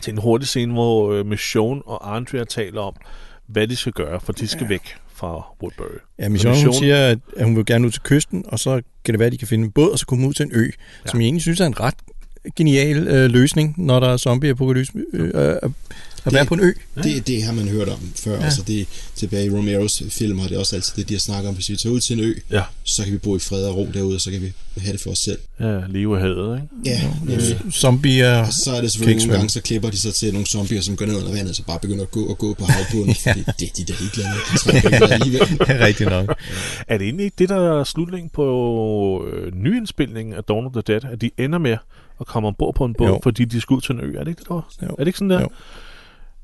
til en hurtig scene, hvor øh, Mission og Andrea taler om, hvad de skal gøre, for de skal ja. væk fra Woodbury. Ja, Michonne, Michonne- hun siger, at- at hun vil gerne ud til kysten, og så kan det være, at de kan finde en båd, og så komme ud til en ø, ja. som jeg egentlig synes er en ret genial øh, løsning, når der er zombie-apokalypse, øh, øh, at- at være Det- på en ø. Det, det har man hørt om før. Ja. Altså det, tilbage i Romeros film har det også altid det, de har snakket om. Hvis vi tager ud til en ø, Ja. så kan vi bo i fred og ro derude, og så kan vi have det for os selv. Ja, leve af hadet, ikke? Ja, nemlig. Zombier. Og så er det Kan selvfølgelig ikke nogle gange, svømme. så klipper de sig til nogle zombier, som går ned under vandet, og så bare begynder at gå og gå på havbunden, ja. fordi det er de der ligeglade med. De trækker ikke vejret alligevel. Ja, rigtig nok. Er det egentlig ikke det, der er slutningen på øh, nyindspilningen af Dawn of the Dead, at de ender med at komme ombord på en båd, jo. Jo. fordi de skal ud til en ø? Er det ikke det, der? var? Jo. Er det ikke sådan der?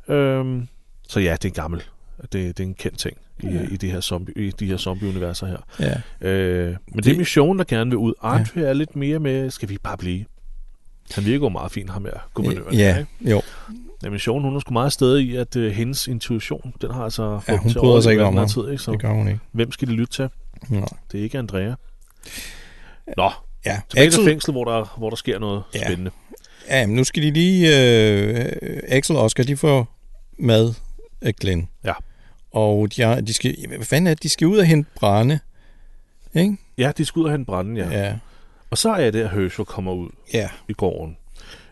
Øhm, så ja, det er en gammel. Det, det er en kendt ting i, ja. i, det her zombie, i de her zombie-universer her. Ja. Øh, men det, det er Det- missionen, der gerne vil ud. Andre ja. er lidt mere med, skal vi bare blive? Han virker jo meget fint, ham her guvernøren. der, ja, ikke? jo. Men missionen, hun er sgu meget stadig i, at øh, hendes intuition, den har altså fået Ja, dem hun til at bryder sig ikke overleve om den ham. her Tid, ikke? Så Det gør hun ikke. hvem skal de lytte til? Nå. Det er ikke Andrea. Nå, Ja, tilbage til Axel- fængsel, hvor der, hvor der sker noget ja. Øh, Ja. spændende. Ja, men nu skal de lige... Øh, Axel og Oscar, de får mad af Glenn. Ja. Og de, har, de skal... Hvad fanden er det? De skal ud og hente brænde. Ikke? Ja, de skal ud og hente branden, ja. ja. Ja. Og så er det, at Herschel kommer ud Ja. i gården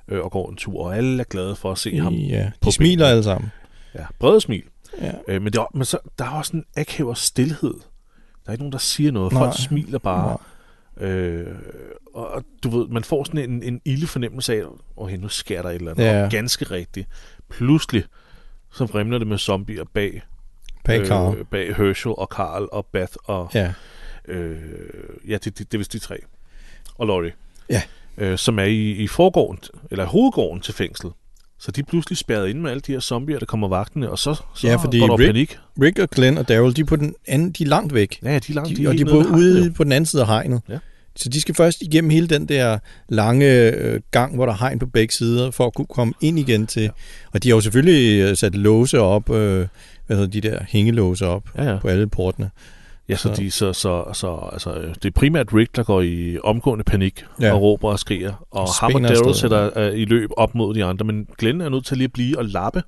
øh, og går en tur, og alle er glade for at se ham. ja. på De smiler benene. alle sammen. Ja, brede smil. Ja. Øh, men det, er- men så, der er også en akavet stillhed. Der er ikke nogen, der siger noget. Nej. Folk smiler bare. Øh, og og du ved, man får sådan en, en ilde fornemmelse af, åh, nu sker der et eller andet. Ja. Og ganske rigtigt. Pludselig, så fremler det med zombier bag, Bag Carl. øh, bag Herschel og Karl og Beth og Ja. Øh, ja, det, det, det er vist de tre. Og Laurie. Ja. Øh, som er i, i forgården, eller hovedgården til fængslet. Så de er pludselig spærret inde med alle de her zombier, der kommer vagtene, og så, så Ja, fordi går der Rick- panik. Rick og Glenn og Daryl, de er på den anden... De er langt væk. Ja, de er langt, De, og de helt er nede ved på, hegnet, ude jo. på den anden side af hegnet. Ja. Så de skal først igennem hele den der lange øh, gang, hvor der er hegn på begge sider, for at kunne komme ind igen til. Ja. Og de har jo selvfølgelig øh, sat låse op, øh, hvad hedder de der hængelåse op Ja, ja. på alle portene. Ja, så, de, så, så, så altså, øh, det er primært Rick, der går i omgående panik ja. Ja. og råber og skriger. Og ham og Spænder Daryl afsted. sætter øh, i løb op mod de andre, men Glenn er nødt til lige at blive og lappe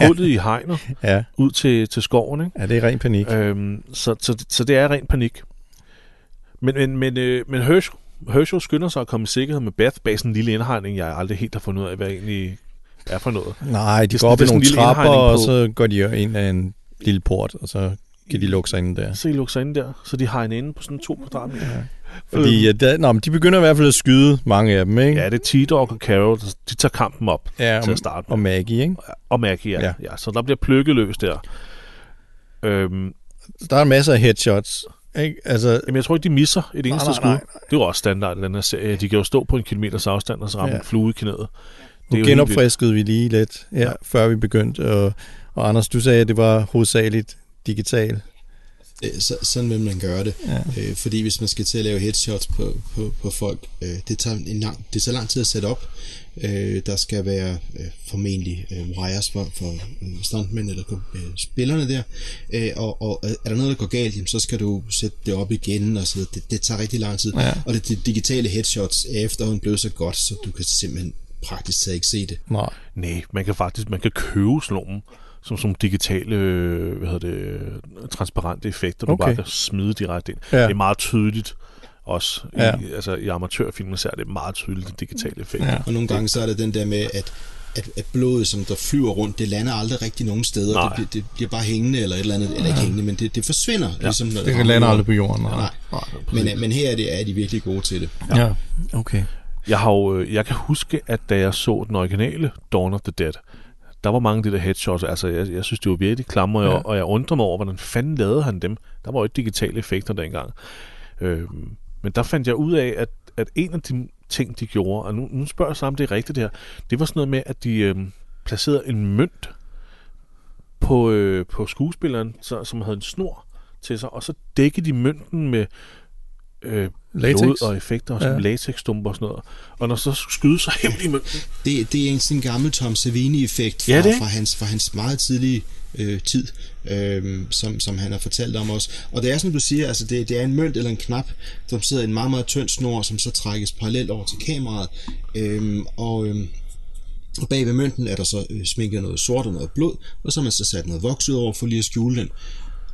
ja. hullet i hegnet Ja, ud til, til skoven. Ikke? ja det er ren panik. Øhm, så, så, så det er ren panik. Men, men, men, øh, men Herschel, Herschel skynder sig at komme i sikkerhed med Beth bag sådan en lille indhegning, jeg aldrig helt har fundet ud af, hvad egentlig er for noget. Nej, de det er går op sådan ad nogle en lille trapper, indhegning på- og så går de ind ad en lille port, og så kan de lukke sig inde der. Se lukke sig inde der, så de har en ende på sådan to kvadratmeter. Ja. Fordi ja, der, nå, men de begynder i hvert fald at skyde, mange af dem, ikke? øh, Ja, det er T-Dog og Carol, der- de tager kampen op ja til og, at starte med. og Maggie, ikke? Og Maggie, ja. Ja. ja. ja. Så der bliver pløkkeløs der. Øhm, Så Der er masser af headshots, ikke? Altså, jamen, jeg tror ikke, de misser et eneste nej, skud. nej, Det er jo også standard i den her serie. De kan jo stå på en kilometers afstand og så ramme Ja. ja. en flue i knæet. Det nu er jo helt vildt. genopfriskede vi lige lidt, ja, ja. før vi begyndte. Og, og Anders, du sagde, at det var hovedsageligt digital. Øh, så, sådan vil man gøre det. Ja. Øh, fordi hvis man skal til at lave headshots på, på, på folk, øh, det, tager en lang, det tager lang tid at sætte op. Øh, der skal være øh, formentlig øh, wires for, for øh, stuntmænd eller øh, spillerne der. Øh, og, og er der noget, der går galt, jamen, så skal du sætte det op igen. Og så, videre. det, det tager rigtig lang tid. Ja. Og det, det digitale headshots er efterhånden blevet så godt, så du kan simpelthen praktisk taget ikke se det. Nej. Nej, man kan faktisk man kan købe sådan nogle, som, som digitale, øh, hvad hedder det, øh, transparente effekter, du Okay. okay. bare kan smide direkte ind. Ja. Ja. Det er meget tydeligt også. Ja. Ja. I, altså i amatørfilmen ser det meget tydeligt, de digitale effekter. Ja. Ja. Og nogle gange så er det den der med, at, at, at blodet, som der flyver rundt, det lander aldrig rigtig nogen steder. Nej. Det, bliver- det bliver bare hængende eller et eller andet. Eller ikke hængende, men det, det forsvinder. Ja, ligesom, når Det lander aldrig på jorden. Nej. Nej. nej. Men, øh, men her er, det, er de virkelig gode til det. Ja. ja. Okay. Jeg, har jo, øh, jeg kan huske, at da jeg så den originale Dawn of the Dead, der var mange af de der headshots. Altså, jeg, jeg synes, det var virkelig klamme, og, Ja. ja. og jeg undrer mig over, hvordan fanden lavede han dem? Der var jo ikke digitale effekter dengang. Øhm, men der fandt jeg ud af, at, at en af de ting, de gjorde, og nu, nu spørger jeg så, om det er rigtigt det her, det var sådan noget med, at de øhm, placerede en mønt på, øh, på skuespilleren, så, som havde en snor til sig, og så dækkede de mønten med øh, Latex. blod og effekter, og sådan Ja. ja. latexstumper og sådan noget. Og når så skyder sig hjem i mønten, Det, det er en sådan gammel Tom Savini-effekt fra, Ja, det er. fra, hans, fra hans meget tidlige øh, tid, øh, som, som han har fortalt om også. Og det er som du siger, altså det, det er en mønt eller en knap, som sidder i en meget, meget tynd snor, som så trækkes parallelt over til kameraet. Øh, og... Øh, Og bag ved mønten er der så øh, sminket noget sort og noget blod, og så har man så sat noget voks ud over for lige at skjule den.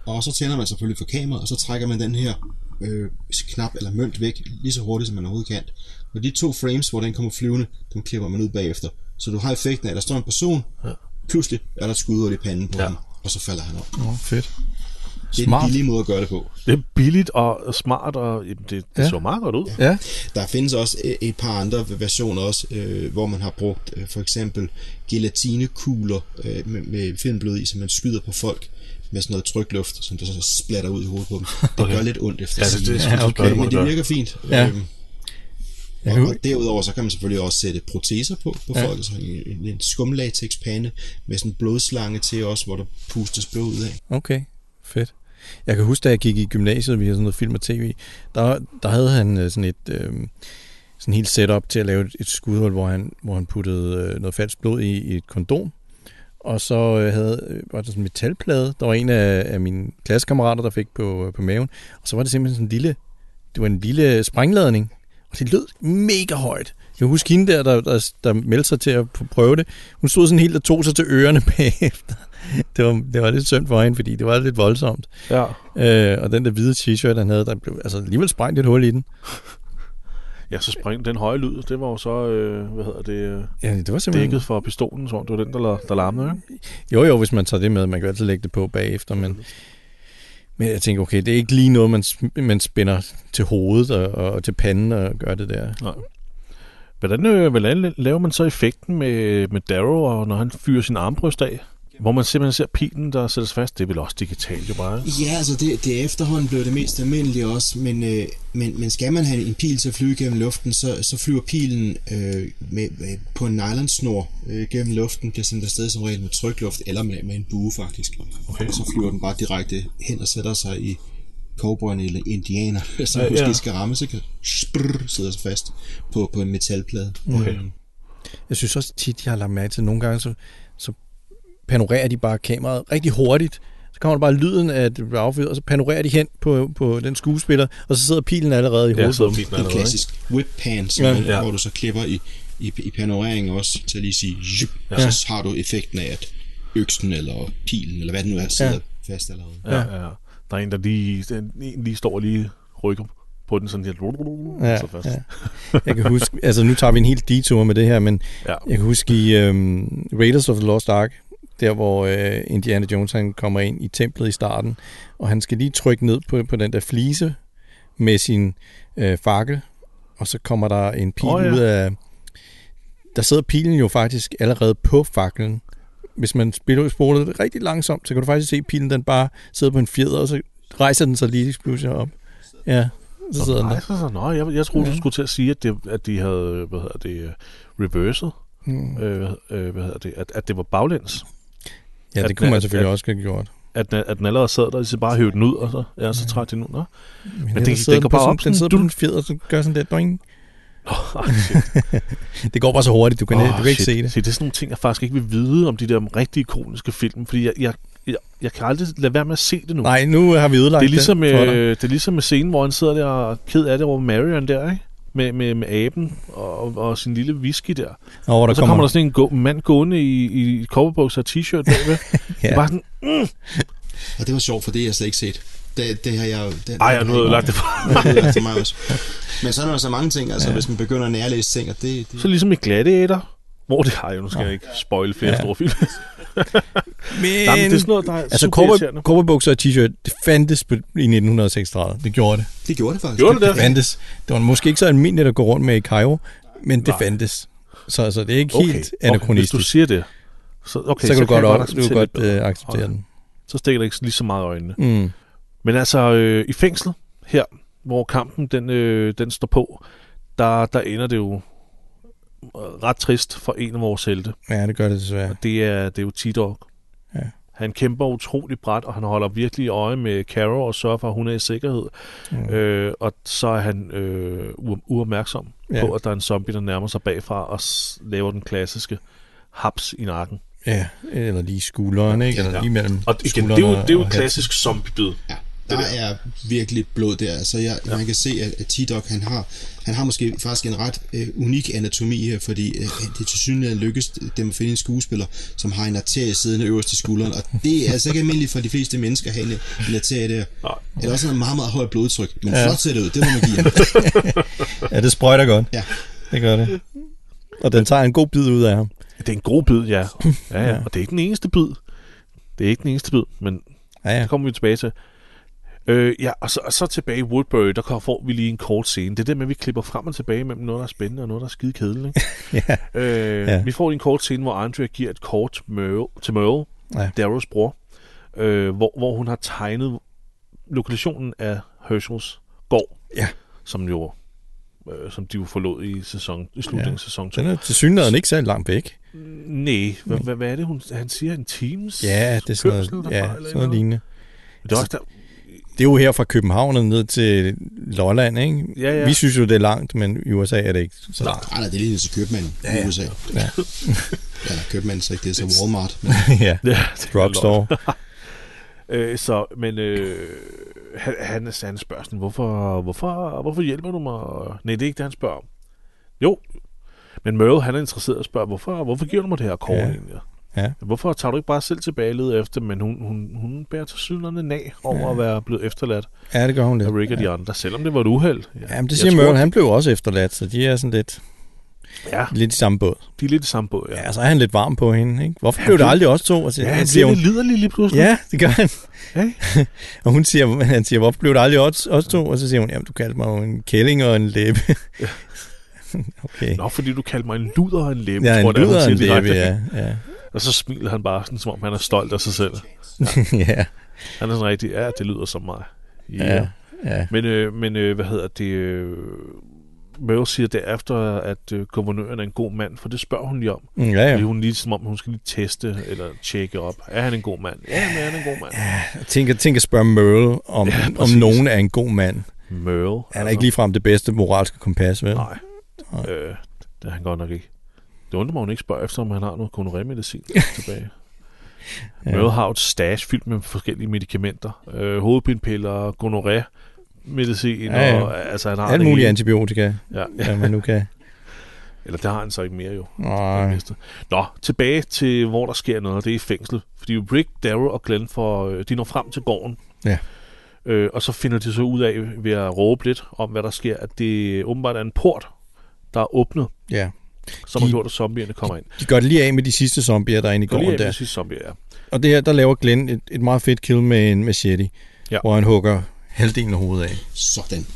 Og så tænder man selvfølgelig for kameraet, og så trækker man den her øh, knap eller mønt væk lige så hurtigt, som man overhovedet kan. Og de to frames, hvor den kommer flyvende, dem klipper man ud bagefter. Så du har effekten af, at der står en person, ja. pludselig er der et skudhul i panden på ja. ham, og så falder han op. Nå, fedt. Det er Smart. en billig måde at gøre det på. det er billigt og smart, og jamen, det, det Ja. ja. så meget godt ud. Ja. Der findes også øh, et par andre versioner også, øh, hvor man har brugt øh, for eksempel gelatinekugler øh, med, med filmblod i, som man skyder på folk med sådan noget trykluft, som der så splatter ud i hovedet på dem. Det okay. gør lidt ondt efter Altså, det, sigende. det, det, Ja, okay. okay. må men det virker fint. Ja. Øhm, Jeg og, kan og hu- derudover så kan man selvfølgelig også sætte proteser på, på Ja. ja. folk, så en, en, en skumlatexpande med sådan en blodslange til også, hvor der pustes blod ud af. Okay, fedt. Jeg kan huske, da jeg gik i gymnasiet, vi havde sådan noget film og tv, der, der havde han øh, sådan et øh, sådan helt setup til at lave et, et skudhold, hvor han, hvor han puttede øh, noget falsk blod i, i et kondom. Og så øh, havde, øh, var der sådan en metalplade, der var en af, af mine klassekammerater, der fik på, øh, på maven. Og så var det simpelthen sådan en lille, det var en lille sprængladning, og det lød mega højt. Jeg kan huske hende der, der, der, der meldte sig til at prøve det. Hun stod sådan helt og tog sig til ørerne bagefter det var, det var lidt synd for hende, fordi det var lidt voldsomt. Ja. Øh, og den der hvide t-shirt, han havde, der blev altså, alligevel sprængt et hul i den. ja, så spring den høje lyd, det var jo så, øh, hvad hedder det, øh, Ja, det var simpelthen... dækket for pistolen, så det var den, der, la- der larmede, ikke? Jo, jo, hvis man tager det med, man kan altid lægge det på bagefter, men, men jeg tænker, okay, det er ikke lige noget, man, sm- man spænder til hovedet og, og, og til panden og gør det der. Hvordan, øh, hvordan laver man så effekten med, med Darrow, og når han fyrer sin armbryst af? Hvor man simpelthen ser pilen, der sættes fast. Det er vel også digitalt jo bare. ikke? Ja, altså det, det er efterhånden blevet det mest almindelige også, men, øh, men, men skal man have en pil til at flyve gennem luften, så, så flyver pilen øh, med, med, på en nylonsnor øh, gennem luften, bliver sendt afsted som regel med trykluft, eller med, med en bue faktisk. Okay. Og så flyver den bare direkte hen og sætter sig i cowboyerne eller indianer, som ja, Ja, måske ja. skal ramme, så kan sprrr, sidder sig fast på, på en metalplade. Mm. Okay. Jeg synes også tit, jeg har lagt mærke til, at nogle gange så, så panorerer de bare kameraet rigtig hurtigt. Så kommer der bare lyden af, at det bliver affyret, og så panorerer de hen på, på den skuespiller, og så sidder pilen allerede i Ja, hovedet. så er på dem. pilen En allerede. ikke? klassisk whip pan, som Ja. ja, Ja. hvor du så klipper i, i, i panoreringen også, til at lige sige, jup, ja. så har du effekten af, at øksen eller pilen, eller hvad det nu er, sidder ja. fast allerede. Ja, ja. Der er en, der lige, den- en lige står og lige rykker på den sådan her. Ja, Ja, så fast. ja. Jeg kan huske, altså nu tager vi en helt detour med det her, men Ja. jeg kan huske i øhm, Raiders of the Lost Ark, der hvor øh, Indiana Jones han kommer ind i templet i starten, og han skal lige trykke ned på, på den der flise med sin øh, fakkel, og så kommer der en pil Åh, oh, ja. ja. ud af... Der sidder pilen jo faktisk allerede på faklen. Hvis man spiller spoler det rigtig langsomt, så kan du faktisk se, at pilen den bare sidder på en fjeder, og så rejser den sig lige pludselig op. Ja, så sidder den der. rejser sig. Nå, jeg, jeg troede, du Ja. skulle til at sige, at, det, at de havde, hvad hedder det, øh, reverset, Hmm. øh, hvad- øh, hvad hedder det, at, at det var baglæns. Ja, At- det kunne man at- selvfølgelig også have gjort. At, den- at den allerede sad der, og de så bare hævde den ud, og så, ja, så træk den ud. Nå, Men, den- den den sidder går på bare sådan- op sådan, Den sidder du- på en fjeder, så gør sådan der. Doing. Åh, shit. Det går bare så hurtigt, du kan, oh, Åh, du kan ikke shit. se det. Se, det er sådan nogle ting, jeg faktisk ikke vil vide om de der rigtige ikoniske film, fordi jeg, jeg, jeg, jeg kan aldrig lade være med at se det nu. Nej, nu har vi ødelagt det er ligesom, den for dig. øh, det er ligesom med scenen, hvor han sidder der og er ked af det over Marion der, ikke? Med, med, med aben og, og sin lille whisky der. Og, Nå, hvor der så kommer, der sådan en gå, mand gående i, i cowboybukser og t-shirt bagved. ja. Bare sådan, Og det var sjovt, for det har jeg slet ikke set. Det, det har jeg jo... ej, jeg har nu ødelagt det for. det for mig også. Men sådan er der så mange ting, altså, ja. hvis man begynder at nærlæse ting, og det, det Så ligesom i Gladiator, hvor det har jeg nu skal jeg ikke spoil flere ja. Ja. store film. Men, Jamen, det er sådan noget, der er altså, altså, super irriterende. cowboy- cowboybukser og t-shirt, det fandtes på, i 1936. Det gjorde det. det gjorde det faktisk. Gjorde det Det fandtes. Det var måske ikke så almindeligt at gå rundt med i Cairo, men det fandtes. Så altså, det er ikke okay. helt hvis du anachronistisk. siger det, så, okay, Okay, så kan du jeg godt, op, du acceptere kan det godt bedre. øh, acceptere den. Så stikker det ikke lige så meget i øjnene. Mm. Men altså, øh, i fængslet her, hvor kampen den, øh, den står på, der, der ender det jo øh, ret trist for en af vores helte. Ja, det gør det desværre. Det er, det er jo T-Dog. Ja. Han kæmper utrolig bræt, og han holder virkelig øje med Caro og sørger for, at hun er i sikkerhed. Mm. Øh, og så er han øh, u- uopmærksom Ja. på, at der er en zombie, der nærmer sig bagfra og s- laver den klassiske haps i nakken. Ja, eller lige skulderen, ikke? Eller Ja. lige mellem Og igen, det skulderen er jo, det er jo og et klassisk zombiebid. Ja, der er virkelig blod der. Altså, jeg, ja. man kan se, at, at T-Dog, han har, han har måske faktisk en ret øh, unik anatomi her, fordi øh, det til synligheden lykkes dem at finde en skuespiller, som har en arterie siddende øverst i skulderen, og det er altså ikke almindeligt for de fleste mennesker at have en, en arterie der. Nej. Eller også en meget, meget høj blodtryk. Men ja. flot ser det ud, det må man give ham. halsen. Ja, det sprøjter godt. Ja. Det gør det. Og den tager en god bid ud af ham. Det er en god bid, ja. ja, ja. Og det er ikke den eneste bid. Det er ikke den eneste bid, men Ja, ja. det kommer vi tilbage til. Øh, ja, og så, og så tilbage i Woodbury, der kom- får vi lige en kort scene. Det er der med, at vi klipper frem og tilbage mellem noget, der er spændende og noget, der er skide kedeligt. Ikke? ja. Øh, ja. Ja. Vi får lige en kort scene, hvor Andrea giver et kort til Merle, til Merle ja. Ja. Darrows bror, øh, hvor, hvor hun har tegnet lokationen af Herschels gård, Ja. som jo øh, som de jo forlod i, sæson, i slutningen af Ja. sæson 2. Den er til synligheden ikke særlig langt væk. Nej, hvad, hvad, hvad er det, hun, han siger? En times Ja, det er sådan kørsel noget, derfra, ja, eller sådan noget et lignende. eller andet? Det er også der, Det er jo her fra København og ned til Lolland, ikke? Ja, ja. Vi synes jo, det er langt, men i USA er det ikke så langt. Ej, Ah, nej, det er lige næsten købmanden ja, i USA. Ja. Eller købmanden, så ikke det er så Walmart. Men ja. ja, det er Drugstore. lort. Øh, så, men øh, han, han, han spørger sådan, hvorfor, hvorfor, hvorfor hjælper du mig? Nej, det er ikke det, han spørger om. Jo, men Merle, han er interesseret og spørger, hvorfor, hvorfor giver du mig det her kort Ja. egentlig? Ja. Hvorfor tager du ikke bare selv tilbage og leder efter, men hun, hun, hun bærer til synerne nag over ja. at være blevet efterladt Ja, det gør hun lidt. af Rick og de andre, selvom det var et uheld. Ja, Ja, men Jeg det siger tror, Merle, han blev også efterladt, så de er sådan lidt, Ja, lidt i samme båd. de er lidt i samme båd, ja. Ja, så er han lidt varm på hende, ikke? Hvorfor blev det aldrig også to? Og så, Ja, han han siger, bliver hun, lidt liderlig lige pludselig. ja, det gør han. Hey. og hun siger, han siger, hvorfor blev det aldrig også, også to? Og så siger hun, jamen, du kaldte mig jo en kælling og en læbe. okay. Nå, fordi du kaldte mig en luder og en læbe, Ja, tror jeg, en da, hun lyder og en siger direkte. læbe, ja. ja. Og så smiler han bare, sådan, som om han er stolt af sig selv. ja, Han er sådan rigtig, ja, det lyder som mig. Ja. ja, ja. ja. Men, øh, men øh, hvad hedder det... Øh, Merle siger derefter, at øh, guvernøren er en god mand, for det spørger hun lige om. Mm, Ja, Fordi ja. hun lige som om, hun skal lige teste eller tjekke op. Er han en god mand? Ja, men er han en god mand? Tænk, at- tænk at spørge Merle, om, Ja, ja, om præcis. nogen er en god mand. Merle. Han er ikke ligefrem det bedste moralske kompas, vel? Nej. Øh, det er han godt nok ikke. Det undrer mig, hun ikke spørger efter, om han har noget gonorrhea-medicin tilbage. ja. Merle har jo et stash fyldt med forskellige medicamenter. Øh, hovedpinepiller, gonorrhea, medicin, ja, Ja, ja. ja. og altså han har Alt det muligt hele. antibiotika, Ja, ja. hvad man nu kan. Eller det har han så ikke mere jo. Nej. Nej. Nå, tilbage til, hvor der sker noget, og det er i fængslet. Fordi Rick, Darrow og Glenn får, øh, de når frem til gården. Ja. Øh, og så finder de så ud af, ved at råbe lidt om, hvad der sker, at det åbenbart er en port, der er åbnet. Ja, som har De- gjort, at zombierne kommer ind. De gør det lige af med de sidste zombier, der er inde i Gå lige af gården med der. de sidste zombier, ja. Og det her, der laver Glenn et, et meget fedt kill med en machete, Ja. ja. hvor han hugger halvdelen af hovedet af. Sådan,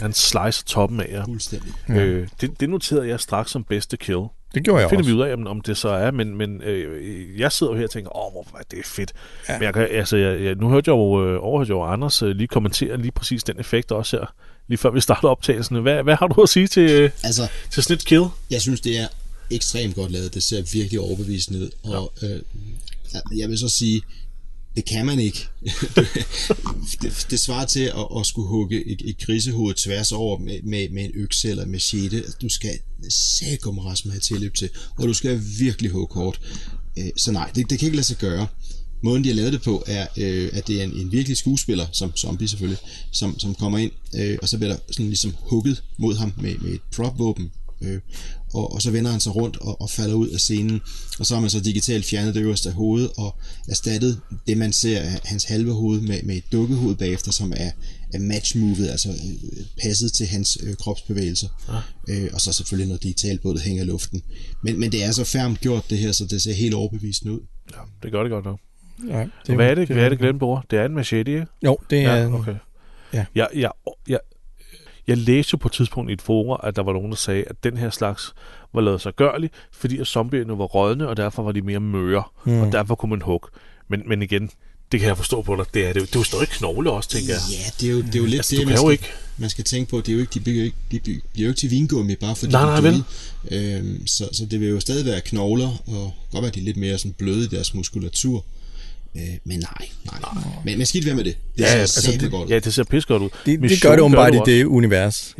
Han slicer toppen af jer. fuldstændig. Ja. Øh, det, det noterede jeg straks som bedste kill. Det gjorde jeg finder vi også. ud af, om- om det så er, men, men øh, jeg sidder jo her og tænker, åh, hvor er det fedt. Ja. Ja. Men jeg kan, altså, jeg, jeg, nu hørte jeg jo, øh, overhørte jeg jo Anders øh, lige kommentere lige præcis den effekt også her, lige før vi starter optagelsen. Hvad, hvad har du at sige til, øh, Altså, til sådan et kill? jeg synes, det er ekstremt godt lavet. Det ser virkelig overbevisende ud. Og øh, jeg vil så sige, det kan man ikke. det, det svarer til at, at skulle hugge et, et grisehoved tværs over med, med, med en økse eller med sjette. Du skal sækum Rasmus have tilløb til, og du skal virkelig hugge hårdt. Øh, så nej, det, det kan ikke lade sig gøre. Måden, de har lavet det på, er, øh, at det er en, en virkelig skuespiller, som zombie selvfølgelig, som, som kommer ind, øh, og så bliver der sådan ligesom hugget mod ham med, med et prop-våben, øh, og, og så vender han sig rundt og, og falder ud af scenen, og så har man så digitalt fjernet det øverste af hovedet og erstattet det, man ser af hans halve hoved med, med et dukkehoved bagefter, som er, er matchmovet, altså øh, passet til hans øh, kropsbevægelser. Ja. Øh, og så selvfølgelig noget digitalt på, det hænger i luften. Men, men det er så færmt gjort det her, så det ser helt overbevisende ud. Ja, det gør det godt nok. Ja, Det, hvad er øh, det, hvad er det Glenn bruger? Det er en machete, ikke? Jo, det er... Ja, okay. ja. Jeg, jeg, jeg, jeg læste jo på et tidspunkt i et forum, at der var nogen, der sagde, at den her slags var lavet sig gørlig, fordi at zombierne var rådne, og derfor var de mere møre, mm. og derfor kunne man hugge. Men, men igen, det kan jeg forstå på dig, det er det jo. Det er jo stadig knogle også, tænker jeg. Ja, det er jo, det er jo lidt Altså, det, du man kan jo skal, ikke- man skal tænke på. Det er jo ikke, de, bliver jo ikke, de bliver bliver jo ikke til vingummi, bare fordi Nej, de er nej, døde. Øhm, så, så det vil jo stadig være knogler, og godt være, de er lidt mere sådan bløde i deres muskulatur. Øh, men nej, nej. nej. Men, men skidt være med det. Det ser altså, det, godt det, ud. ja, det ser pis godt ud. det, det Mission gør det åbenbart i også. det univers.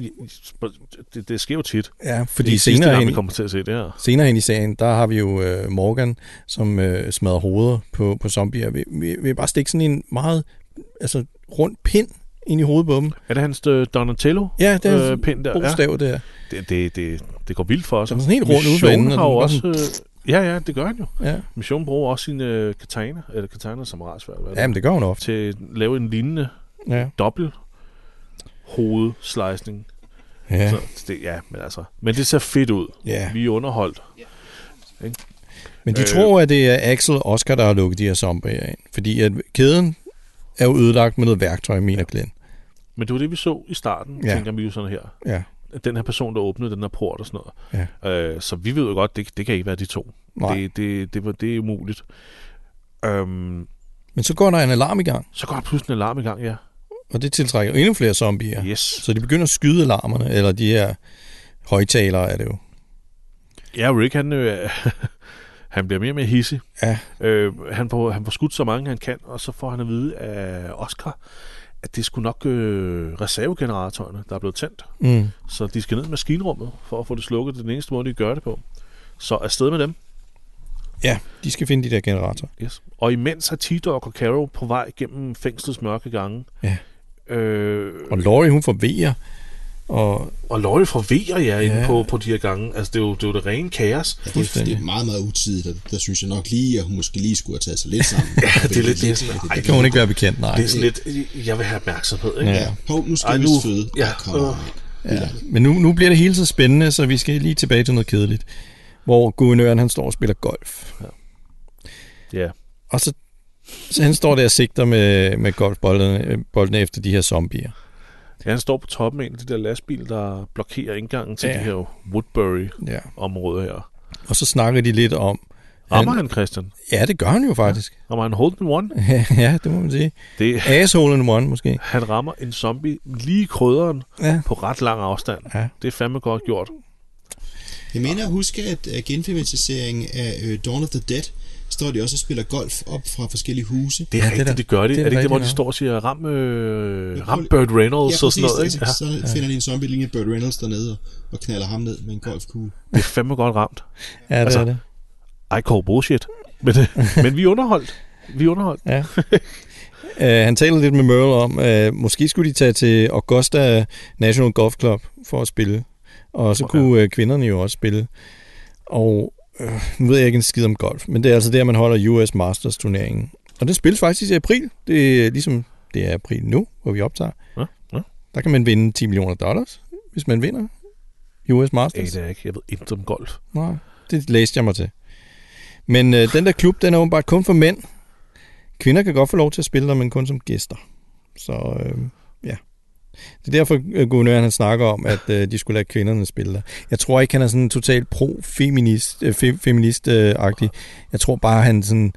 Det, det sker jo tit. Ja, Det fordi er sidste senere gang, vi hen, kommer til at se det her. senere hen i serien, der har vi jo øh, Morgan, som øh, smadrer hoveder på, på zombier. Vi, vi, vi bare stikke sådan en meget altså, rund pind ind i hovedet på dem. Er det hans øh, Donatello? Ja, det er øh, øh, pind der. Ja. Brostav der. Det, det, det, det går vildt for os. Den er sådan helt rund ude for Mission enden, og har jo den var også... Øh, ja, ja, det gør han jo. Ja. Mission bruger også sine øh, katana, eller katana som rasvær, hvad er det? Jamen, det gør hun ofte. til at lave en lignende Ja. dobbelt hovedslicing. Ja. Ja. Så det, ja, men altså. Men det ser fedt ud. ja. Vi er underholdt. Men de Øh. øh. tror, at det er Axel og Oscar, der har lukket de her zombier ind. Fordi at kæden er jo ødelagt med noget værktøj, mener Glenn. Men det var det, vi så i starten, ja. Ja. tænker vi jo sådan her. Ja. Den her person, der åbnede den her port og sådan noget. Ja. Øh, så vi ved jo godt, det, det kan ikke være de to. Nej. Det, det, det, var- det er umuligt. Øhm, Men så går der en alarm i gang, så går der pludselig en alarm i gang, ja. og det tiltrækker endnu flere zombier. Yes. Så de begynder at skyde alarmerne, eller de her højtalere er det jo. Ja, Rick, han, øh, han bliver mere og mere hissig. Ja. Øh, han, får, han får skudt så mange, han kan, og så får han at vide af Oscar, at det skulle nok øh, reservegeneratorerne, der er blevet tændt. Mm. Så de skal ned i maskinrummet for at få det slukket. Det er den eneste måde, de gør det på. Så afsted med dem. Ja, de skal finde de der generatorer. Yes. Og imens er T-Dog og Caro på vej gennem fængslets mørke gange. Ja. Øh, Og Laurie, hun forvejer, og og Løje forvirrer jer ja. inde Ja. på, på de her gange. Altså, det er jo det, er jo det rene kaos. Ja, det, er, Fuldstændig. det er meget, meget utidigt, og der synes jeg nok lige, at hun måske lige skulle have taget sig lidt sammen. Ja, det er lidt det. Fordi Ej, det kan hun ikke være bekendt, nej. Det er sådan lidt, jeg vil have opmærksomhed, ikke? Ja. Ja, hov, nu skal Ej, vi nu- føde. ja, Kom, øh. øh. Ja. Men nu, nu bliver det hele så spændende, så vi skal lige tilbage til noget kedeligt, hvor guvernøren han står og spiller golf. Ja. Og så, så han står der og sigter med, med golfboldene øh, boldene efter de her zombier. Ja, han står på toppen af en af de der lastbil, der blokerer indgangen til ja. Ja. det her Woodbury-område Ja. her. Og så snakker de lidt om... Rammer han, Christian? Ja, det gør han jo faktisk. Rammer han Holden One? ja, det må man sige. Det, Asshole in one, måske. han rammer en zombie lige i krydderen Ja. på ret lang afstand. Ja. Det er fandme godt gjort. Jeg mener at huske, at øh, genfilmatiseringen af øh, Dawn of the Dead står de også og spiller golf op fra forskellige huse. Det er ja, Ja, det er rigtigt, det, da- det gør det. det det er er, det da ikke det, hvor de rigtigt står og siger, ram, øh, Ja, ram prøv- Bird Reynolds ja, og sådan noget? altså, Ikke? Ja. Så finder de en zombie lignende Burt Reynolds dernede og, og knalder ham ned med en golfkugle. Det er fandme godt ramt. Ja, det Altså- altså, er det. I call bullshit. Men, øh, men vi er underholdt. Vi er underholdt. Ja. uh, han taler lidt med Merle om, uh, måske skulle de tage til Augusta National Golf Club for at spille. Og så Okay. kunne uh, kvinderne jo også spille. Og uh, nu ved jeg ikke en skid om golf, men det er altså der, man holder US Masters turneringen. Og det spilles faktisk i april. Det er ligesom, det er april nu, hvor vi optager. Ja, ja. Der kan man vinde 10 millioner dollars, hvis man vinder US Masters? Aner jeg ikke. Jeg ved intet om golf. Nej, det læste jeg mig til. Men øh, den der klub, den er åbenbart kun for mænd. Kvinder kan godt få lov til at spille der, men kun som gæster. Så øh, ja. Det er derfor, øh, guvernøren han snakker om, at øh, de skulle lade kvinderne spille der. Jeg tror ikke, han er sådan totalt pro-feminist, øh, fe, feminist, øh, agtig. Jeg tror bare, han sådan,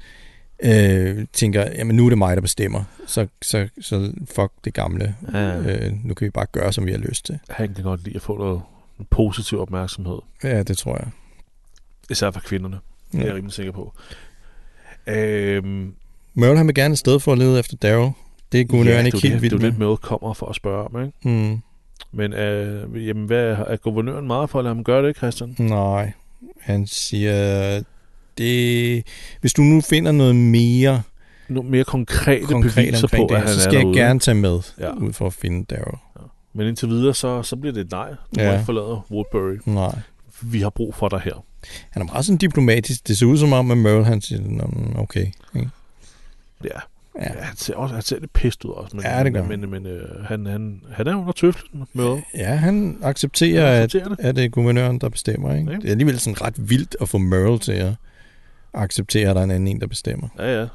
øh, tænker, jamen nu er det mig, der bestemmer. Så, så, så fuck det gamle. Ja. Øh, nu kan vi bare gøre, som vi har lyst til. Han kan godt lide at få noget positiv opmærksomhed. Ja, det tror jeg. Især fra kvinderne. Det er jeg Ja. rimelig sikker på. Øhm, Merle han vil gerne et sted for at lede efter Daryl. Det er guvernøren det er ikke jo det, helt vild Det er jo med. lidt med kommer for at spørge om, ikke? Mm. Men øh, jamen, hvad, er guvernøren meget for at lade ham gøre det, Christian? Nej, han siger, det, hvis du nu finder noget mere Nogle mere konkrete Konkret konkret beviser på, omkring det at her, han så er skal jeg derude. gerne tage med Ja. ja. ud for at finde Daryl. Men indtil videre, så, så bliver det et nej. Du ja. må Ja. ikke forlade Woodbury. Nej. Vi har brug for dig her. Han er meget sådan diplomatisk. Det ser ud som om, at Merle han siger, "Nå, men okay. ikke? Ja. Ja. Ja, han ser, også, han ser lidt pist ud også. Men, Ja, det gør han. Men, men, men øh, han, han, han er under tøflen med ja, han accepterer, ja, at, at... det. at det er guvernøren, der bestemmer. Ikke? Ja. Det er alligevel sådan ret vildt at få Merle til at acceptere, at der er en anden en, der bestemmer. Ja, ja.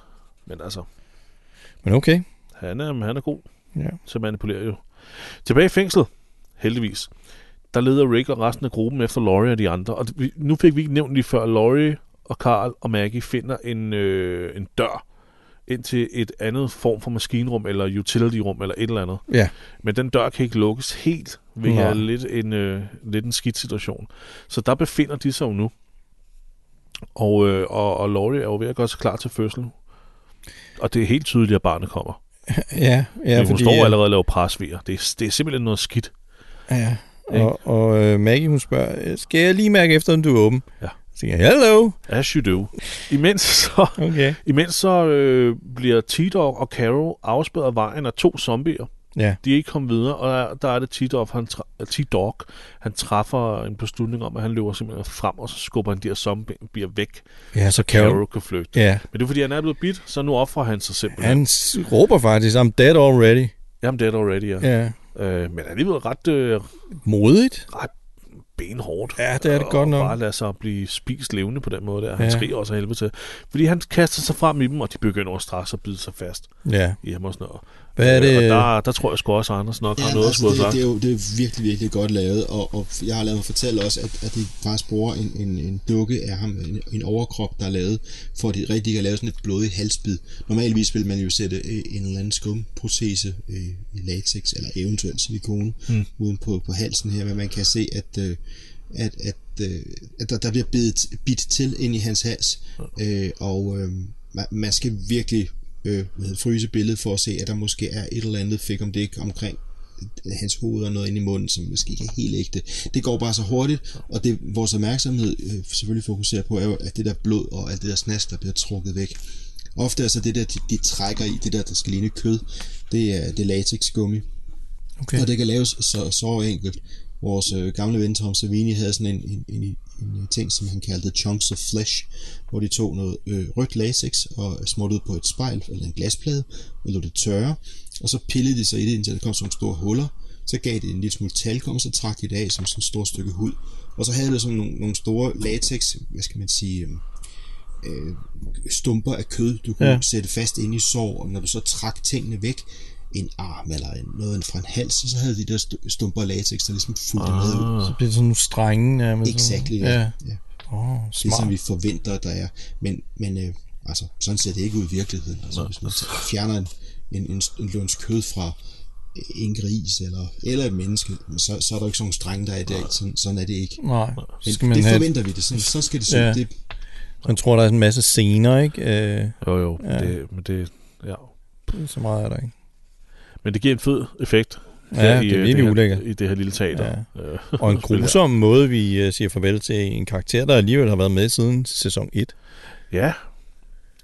Men altså, Men okay. han er, han er god. Ja. så manipulerer jo. Tilbage i fængslet, heldigvis, der leder Rick og resten af gruppen efter Laurie og de andre. Og vi- nu fik vi ikke nævnt lige før, at Laurie og Carl og Maggie finder en, øh, en dør ind til et andet form for maskinrum, eller utility-rum, eller et eller andet. Ja. Men den dør kan ikke lukkes helt, hvilket Nej. er lidt en, øh, lidt en skidt situation. Så der befinder de sig jo nu. Og, øh, og, og Laurie er jo ved at gøre sig klar til fødslen. Og det er helt tydeligt, at barnet kommer. Ja, ja Ja, hun fordi, står øh, allerede og laver presviger. Det, er- det er simpelthen noget skidt. Ja, Ikke? og, og øh, Maggie hun spørger, skal jeg lige mærke efter, om du er åben? Ja. Så siger jeg, hello. As you do. Imens så, Okay. imens så øh, bliver T-Dog og Caro afspærret af vejen af to zombier. Ja, De er ikke kommet videre, og der, der er det T-Dog, han, tra- øh, T-Dog, han træffer en beslutning om, at han løber simpelthen frem, og så skubber han de her zombier væk. ja så Carol. Caro kan flygte. Ja, Men det er fordi, han er blevet bidt, så nu offrer han sig simpelthen. han s- råber faktisk, I'm dead already. Jamen, det er der already, ja. ja. Ja. Øh, men alligevel ret øh, Modigt. benhårdt. Ja, det er det og godt nok. bare lade sig blive spist levende på den måde der. Han ja. Ja. skriger også af helvede til. Fordi han kaster sig frem i dem, og de begynder at straks at bide sig fast Ja. i ham og sådan noget. Hvad er Øh, det? Og der, der tror jeg sgu også, at Anders nok har noget at skulle altså, det, have det, er sagt. jo, det er virkelig, virkelig godt lavet, og, og jeg har lavet mig fortælle også, at, at de faktisk bruger en, en, en dukke af ham, en, en overkrop, der er lavet, for at de rigtig kan lave sådan et blodigt halsbid. Normalvis vil man jo sætte øh, en eller anden skumprotese øh, i latex, eller eventuelt silikone, Mm. mm. uden på, på halsen her, men man kan se, at, øh, at, at, øh, at der, der bliver bidt, bidt til ind i hans hals, øh, og øh, man, man skal virkelig øh, hvad hedder det, fryse billedet for at se, at der måske er et eller andet fik om det ikke omkring hans hoved og noget ind i munden, som måske ikke er helt ægte. Det går bare så hurtigt, og det vores opmærksomhed øh, selvfølgelig fokuserer på, er jo, at det der blod og alt det der snask, der bliver trukket væk. Ofte er så det der, de, de trækker i, det der, der skal ligne kød, det er, det er latexgummi. Okay. Og det kan laves så, så enkelt. Vores øh, gamle ven Tom Savini havde sådan en, en, en, en øh, ting, som han kaldte chunks of flesh, hvor de tog noget øh, rødt latex og smuttede på et spejl eller en glasplade og lod det tørre, og så pillede de sig i det, indtil der kom sådan nogle store huller. Så gav det en lille smule talkum, så trak de det af som sådan et stort stykke hud. Og så havde det sådan nogle, nogle store latex, hvad skal man sige, øhm, øh, stumper af kød, du kunne Ja. ja. sætte fast inde i sår, og når du så trak tingene væk, en arm eller en, noget fra en hals, så havde de der stu- stumper af latex, der ligesom fulgte ah, med ud. Så bliver det sådan nogle strenge nærmest. Exakt, ja. Ja. ja. Oh, Det er smart. som vi forventer, der er. Men, men øh, altså, sådan ser det ikke ud i virkeligheden. Altså, hvis man t- fjerner en, en, en, en lunds kød fra en gris eller, eller et menneske, så, så er der jo ikke sådan nogle strenge, der er i dag. Sådan, sådan er det ikke. Nej, så Men skal man det have... forventer vi det. Sådan, så skal det se Ja. ja. det, Man tror, der er en masse scener, ikke? Øh, Jo, jo. Ja. Ja. Det, men, det, ja. Øh, så meget er der ikke. men det giver en fed effekt. Ja, her det er øh, virkelig det her, ulækkert. I det her lille teater. Ja. Øh, Og en Spiller. grusom måde, vi øh, siger farvel til en karakter, der alligevel har været med siden sæson 1. ja.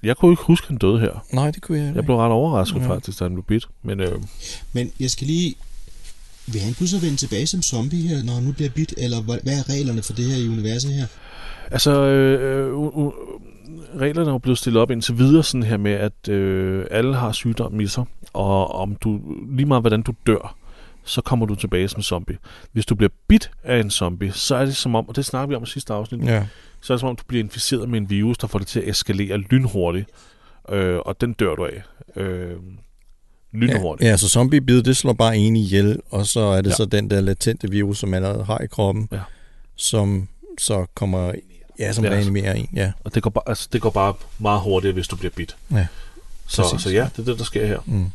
Jeg kunne ikke huske, han døde her. Nej, det kunne jeg heller Jeg ikke. blev ret overrasket Ja. faktisk, da han blev bidt. Men øh, Men jeg skal lige... Vil han kunne så vende tilbage som zombie her, når han nu bliver bidt? Eller hvad hvad er reglerne for det her i universet her? Altså, øh, øh, u- u- reglerne er jo blevet stillet op indtil videre sådan her med, at øh, alle har sygdommen i sig, og om du, lige meget hvordan du dør, så kommer du tilbage som zombie. Hvis du bliver bit af en zombie, så er det som om, og det snakker vi om i sidste afsnit, Ja. så er det som om, du bliver inficeret med en virus, der får det til at eskalere lynhurtigt, øh, og den dør du af. Øh, lynhurtigt. Ja, ja, så zombiebid, det slår bare en ihjel, og så er det Ja. ja. så den der latente virus, som man allerede har i kroppen, Ja. som så kommer, ja, som Ja. ja. reanimerer en, ja. Og det går, bare, altså, det går bare meget hurtigere, hvis du bliver bit. Ja. Så, Præcis. så ja, det er det, der sker her. Mm.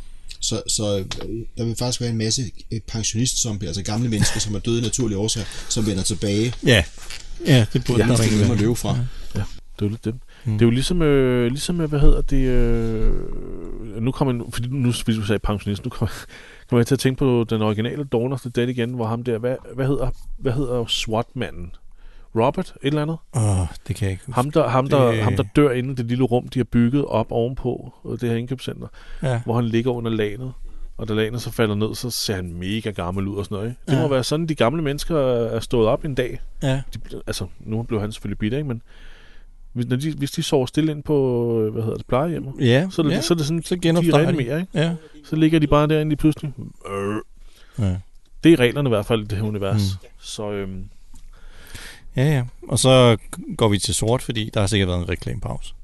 Så, så øh, der vil faktisk være en masse øh, pensionist-zombier, altså gamle mennesker, som er døde af naturlige årsager, som vender tilbage, Ja. ja, det burde Ja. der mens de ikke glemmer at være. løbe fra. Det er jo lidt det. Mm. Mm. Det er jo ligesom, øh, ligesom øh, hvad hedder det, øh, nu kommer en, fordi nu fordi du sagde pensionist, nu kommer kom jeg til at tænke på den originale Dawn of the Dead igen, hvor ham der, hvad, hvad hedder, hvad hedder SWAT-manden? Robert, et eller andet? Åh, det kan jeg ikke huske. Ham der, ham, der, Det- ham, der dør inden det lille rum, de har bygget op ovenpå øh, det her indkøbscenter, Ja. hvor han ligger under lanet, og da lanet så falder ned, så ser han mega gammel ud og sådan noget. Ikke? Det ja. Ja. må være sådan, de gamle mennesker er stået op en dag, ja. de, ble- altså, nu blev han selvfølgelig bidt, ikke? men hvis, når de, hvis de sover stille ind på, øh, hvad hedder det, plejehjemmet, Ja, så, er det, ja. så er det sådan, så de genopstarter de. reanimerer, ikke? Ja. Så ligger de bare derinde lige pludselig. Øh. ja. Det er reglerne i hvert fald i det her univers. Mm. Så øhm, Ja, ja. Og så går vi til sort, fordi der har sikkert været en reklamepause.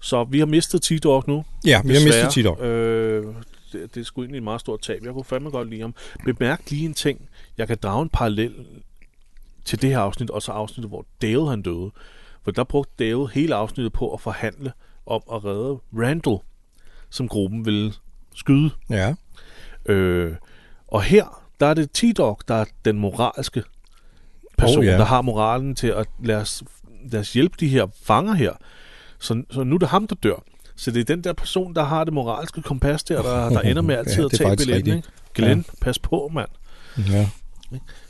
Så vi har mistet T-Dog nu. Ja, vi har mistet desværre. Tidor. Øh, det, det er sgu egentlig et meget stort tab. Jeg kunne fandme godt lide ham. Bemærk lige en ting. Jeg kan drage en parallel til det her afsnit, og så afsnittet, hvor Dale han døde. For der brugte Dale hele afsnittet på at forhandle om at redde Randall, som gruppen ville skyde. Ja. Øh, og her, der er det T-Dog, der er den moralske person, oh, Oh, ja. ja. der har moralen til at lade os, lade os hjælpe de her fanger her. Så, så nu er det ham, der dør. Så det er den der person, der har det moralske kompas der, der, der ender med altid Ja, at det er tage faktisk billetten. Ikke? rigtigt. Glenn, ja. pas på, mand. ja.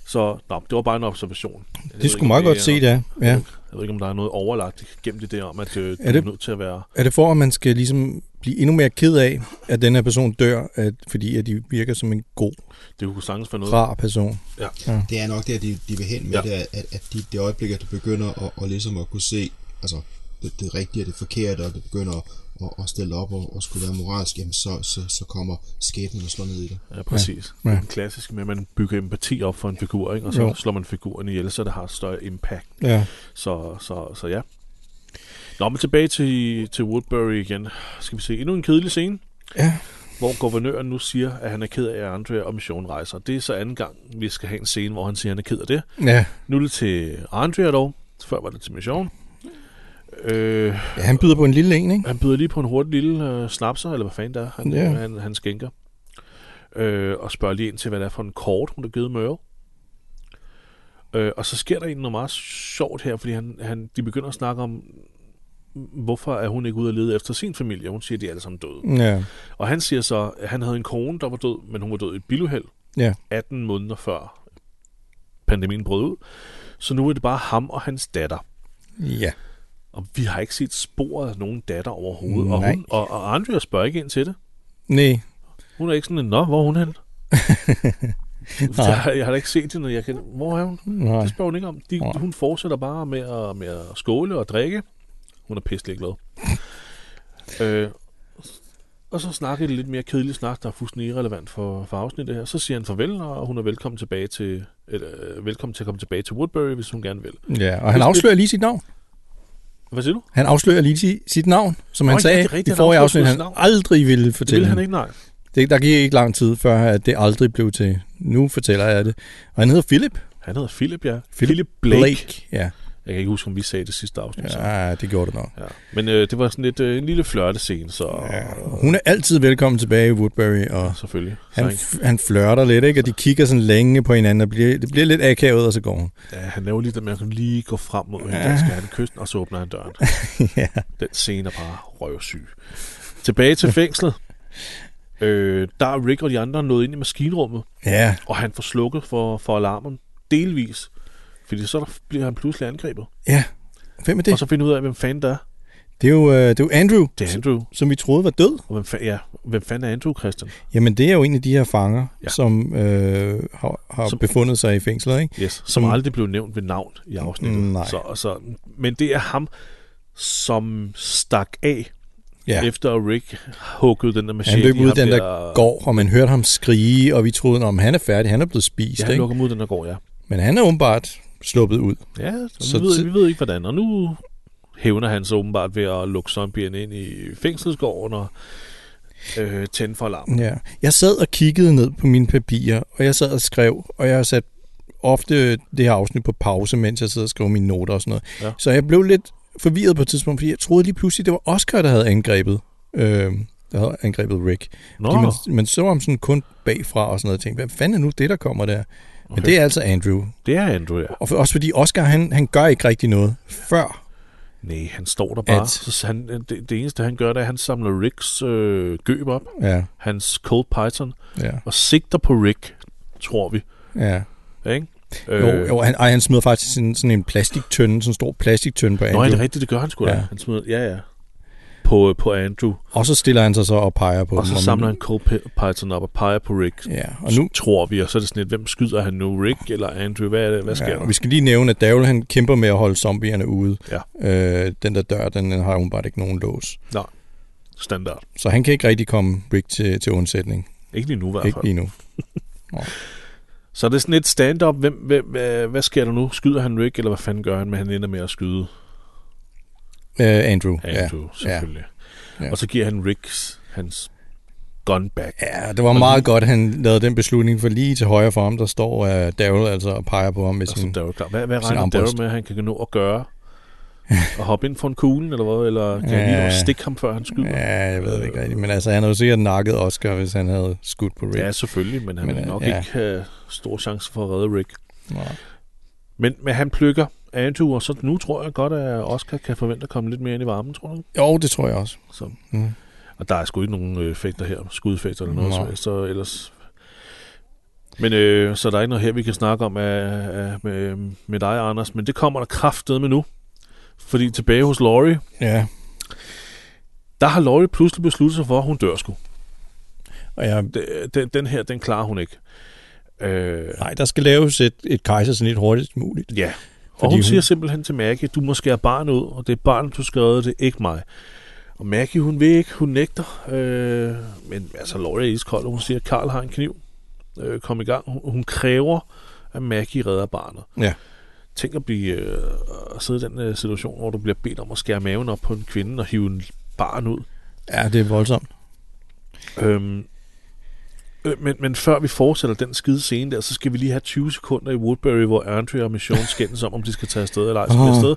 Så nå, det var bare en observation. Jeg ved Det ikke, skulle om meget godt er se, noget- det Ja. Jeg ved ikke, om der er noget overlagt gennem det der om, at øh, du er, Er det- nødt til at være... Er det for, at man skal ligesom blive endnu mere ked af, at den her person dør, at, fordi at de virker som en god, Det kunne sagtens være noget... rar person? Det er nok det, at de, de vil hen med, Ja. ja. det, er, at, at de, det øjeblik, at du begynder at, og ligesom at kunne se altså, det, det rigtige og det forkerte, og du begynder at, at, at stille op og, og skulle være moralsk, jamen så, så, så kommer skæbnen og slår ned i dig. Ja, præcis. Ja. Ja. Ja. Den klassiske med, at man bygger empati op for en figur, ikke? og så jo. Jo. slår man figuren ihjel, så det har et større impact. Ja. Så, så, så ja. Nå, men tilbage til, til Woodbury igen. Skal vi se endnu en kedelig scene, Ja. hvor guvernøren nu siger, at han er ked af, at Andrea og missionen rejser. Det er så anden gang, vi skal have en scene, hvor han siger, at han er ked af det. Ja. Nu er det til Andrea dog. Før var det til missionen. Øh, ja. Han byder på en lille en, ikke? han byder lige på en hurtig lille øh, snapser, eller hvad fanden det er, han, Ja. yeah. han, han skænker. Øh, og spørger lige ind til, hvad det er for en kort, hun har givet Møre. Øh, og så sker der egentlig noget meget sjovt her, fordi han, han, de begynder at snakke om, hvorfor er hun ikke ude at lede efter sin familie. Hun siger, at de er alle sammen døde. Ja. Og han siger så, at han havde en kone, der var død, men hun var død i et biluheld Ja. 18 måneder før pandemien brød ud. Så nu er det bare ham og hans datter. Ja. Og vi har ikke set spor af nogen datter overhovedet. Og, Nej. hun, og, og Andrea spørger ikke ind til det. Nej. Hun er ikke sådan, nå, hvor er hun henne? jeg, har- jeg har da ikke set hende, og jeg kan, hvor er hun? Nej. Det spørger hun ikke om. De, Nej. hun fortsætter bare med at, med at skåle og drikke. Hun er pisselig glad. øh, og så snakker de lidt mere kedelige snak, der er fuldstændig irrelevant for, for afsnittet her. Så siger han farvel, og hun er velkommen tilbage til, eller, øh, velkommen til at komme tilbage til Woodbury, hvis hun gerne vil. Ja, og han afslører lige sit navn. Hvad siger du? Han afslører lige si- sit navn, som han Nå, ja, sagde det er rigtigt, i forrige han afsnit, afslører han sit navn. aldrig ville Det vil fortælle. han hende. ikke, nej. Det, der gik ikke lang tid, før at det aldrig blev til. Nu fortæller jeg det. Og han hedder Philip. Han hedder Philip, ja. Philip Blake. Blake. Blake. Ja. Jeg kan ikke huske, om vi sagde det sidste afsnit. Ja. ja, det gjorde det nok. Ja. Men øh, det var sådan lidt øh, en lille flørtescene, så ja. Ja. Hun er altid velkommen tilbage i Woodbury, og selvfølgelig. han, så, f- han flørter lidt, ikke? og de kigger sådan længe på hinanden, og bliver, det bliver lidt akavet, og så går hun. ja, han laver lige det med, at han lige går frem mod hende, der skal han kysse, den, og så åbner han døren. ja. Den scene er bare røvsyg. Tilbage til fængslet. Øh, der er Rick og de andre nået ind i maskinrummet, ja, og han får slukket for, for alarmen. Delvis. Fordi så der, bliver han pludselig angrebet. ja. Hvem er Det. Og det? så finder ud af, hvem fanden der er. Det er jo, øh, det er jo Andrew, Det er Andrew. som vi troede var død. Og hvem, fa- ja, hvem fanden er Andrew, Christian? Jamen, det er jo en af de her fanger, Ja. ja. som øh, har, har Som- som... befundet sig i fængslet, ikke? Yes, som mm. Mm. aldrig blev nævnt ved navn i afsnittet. Mm, nej. Så, så, men det er ham, som stak af ja. Ja. efter at Rick huggede den der machete. Han løb i ud ham den der gård, og man hørte ham skrige, og vi troede, om han er færdig, han er blevet spist. Ja, Ja, han ikke? lukker mod den der gård, ja. Men han er åbenbart sluppet ud. Ja, så, Så vi, ved, tid- vi ved ikke hvordan. Og nu hævner han sig åbenbart ved at lukke zombierne ind i fængselsgården og øh, tænde for alarmen. Ja. Jeg sad og kiggede ned på mine papirer, og jeg sad og skrev, og jeg har sat ofte det her afsnit på pause, mens jeg sidder og skriver mine noter og sådan noget. Ja. Ja. Så jeg blev lidt forvirret på et tidspunkt, fordi jeg troede lige pludselig, det var Oscar, der havde angrebet, øh, der havde angrebet Rick. Nå, Fordi man, man så ham sådan kun bagfra og sådan noget, og tænkte, hvad fanden er nu det, der kommer der? Men Okay. det er altså Andrew. det er Andrew, ja. Og for, også fordi Oscar, han, han gør ikke rigtig noget, før Nej, han står der bare. At- Så han, øh, det, det eneste, han gør, det er, at han samler Ricks øh, gøb op, ja, hans Cold Python, ja, og sigter på Rick, tror vi. ja. Ikke? Øh, Jo, jo han, ej, han smider faktisk sådan, sådan en plastiktønde, sådan en stor plastiktønde på Andrew. Nå, er det rigtigt? Det gør han sgu da. Ja. Ja. Han smider, ja, ja. På, øh, på Andrew. Og så stiller han sig så og peger på Og dem. så samler han Cold Pi- Python op og peger på Rick. Ja, og nu... tror vi, og så er det sådan lidt, hvem skyder han nu? Rick eller Andrew? Hvad, er det, hvad sker Ja, ja, og der? vi skal lige nævne, at Daryl han kæmper med at holde zombierne ude. Ja. Øh, den der dør, den har jo bare ikke nogen lås. Standard. Så han kan ikke rigtig komme Rick til, til undsætning. Ikke lige nu i hvert Ikke fald. lige nu. Så er det sådan lidt stand-up. Hvem, hvem, hvad, hvad sker der nu? Skyder han Rick, eller hvad fanden gør han? Men han ender med at skyde Øh, Andrew. Andrew, ja, selvfølgelig. Ja. ja. Og så giver han Ricks hans gun back. Ja. ja, det var meget godt, han lavede den beslutning, for lige til højre for ham, der står uh, Daryl altså og peger på ham med Og så sin... der er jo klar. Hvad, hvad sin regner Daryl armbrøst. med, at han kan nå at gøre? At hoppe ind for en kugle, eller hvad? Eller kan han lige nå at Ja. stikke ham, før han skyder? Ja, Ja, jeg ved det ikke rigtigt, men altså, han havde jo sikkert nakket Oscar, hvis han havde skudt på Rick. ja selvfølgelig, men han Men, vil øh, nok ja. ikke have stor chance for at redde Rick. Nå. Men, men han plukker Andrew, og så nu tror jeg godt, at Oscar kan forvente at komme lidt mere ind i varmen, tror du? Jo, det tror jeg også. Så. Mm. Og der er sgu ikke nogen øh, effekter her, skudeffekter eller noget, Nå. som helst, så ellers... Men øh, så der er ikke noget her, vi kan snakke om af, af, med, øh, med dig, Anders, men det kommer der kraftet med nu. Fordi tilbage hos Laurie, Ja, der har Laurie pludselig besluttet sig for, at hun dør sgu. og jeg Den, den, den her, den klarer hun ikke. Øh, Nej, der skal laves et, et kejsersnit hurtigst muligt. Ja. Og Fordi hun hun- siger simpelthen til Maggie, du må skære barnet ud, og det er barnet, du skal redde, det er ikke mig. Og Maggie, hun vil ikke, hun nægter. Øh, men altså, Laurie er iskold, og hun siger, at Karl har en kniv. Øh, kom i gang. Hun, hun kræver, at Maggie redder barnet. Ja. Tænk at blive øh, at sidde i den øh, situation, hvor du bliver bedt om at skære maven op på en kvinde og hive en barn ud. Ja, det er voldsomt. Øhm, øh, men, men før vi fortsætter den skide scene der, så skal vi lige have 20 sekunder i Woodbury, hvor Andrea og Mission skændes om, om de skal tage afsted eller ej. Skal vi Åh, afsted?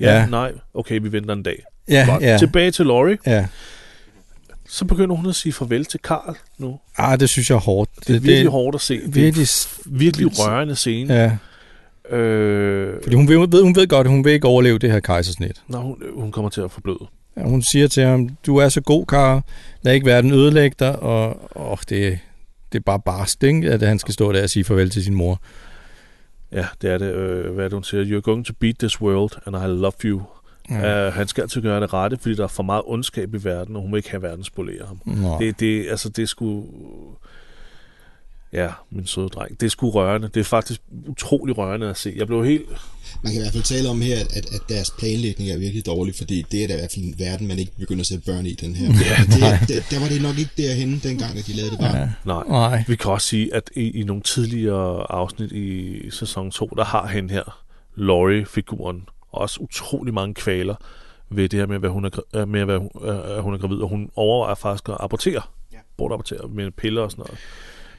Ja, ja, ja. nej. Okay, vi venter en dag. Ja, Godt. ja. Tilbage til Laurie. ja. Så begynder hun at sige farvel til Karl nu. Ah, det synes jeg er hårdt. Det, Det er virkelig hårdt at se. Det er Virkelig, en virkelig rørende scene. Ja. ja. Øh, Fordi hun ved, hun ved godt, at hun vil ikke overleve det her kejsersnit. når hun, øh, hun kommer til at forbløde. Ja, hun siger til ham, du er så god, Kara. Lad ikke verden ødelægge dig. Og åh, det, det er bare barst, ikke? at han skal stå der og sige farvel til sin mor. Ja, det er det. Øh, hvad er det, hun siger? You're going to beat this world, and I love you. Ja. Øh, han skal altid gøre det rette, fordi der er for meget ondskab i verden, og hun vil ikke have verden spolere ham. Nå. Det, det, altså, det skulle... Ja, min søde dreng. Det er sgu rørende. Det er faktisk utrolig rørende at se. Jeg blev helt... Man kan i hvert fald tale om her, at, at deres planlægning er virkelig dårlig, fordi det er da i hvert fald en verden, man ikke begynder at sætte børn i den her. Ja, det, det, der var det nok ikke derhen dengang, at de lavede det bare. Ja. Nej. Nej. Vi kan også sige, at i, i nogle tidligere afsnit i sæson 2, der har hende her, Laurie-figuren, også utrolig mange kvaler ved det her med, hvad hun er, gra- øh, med hvad hun, øh, at hun er gravid, og hun overvejer faktisk at abortere. Ja. Bortabortere med piller og sådan noget.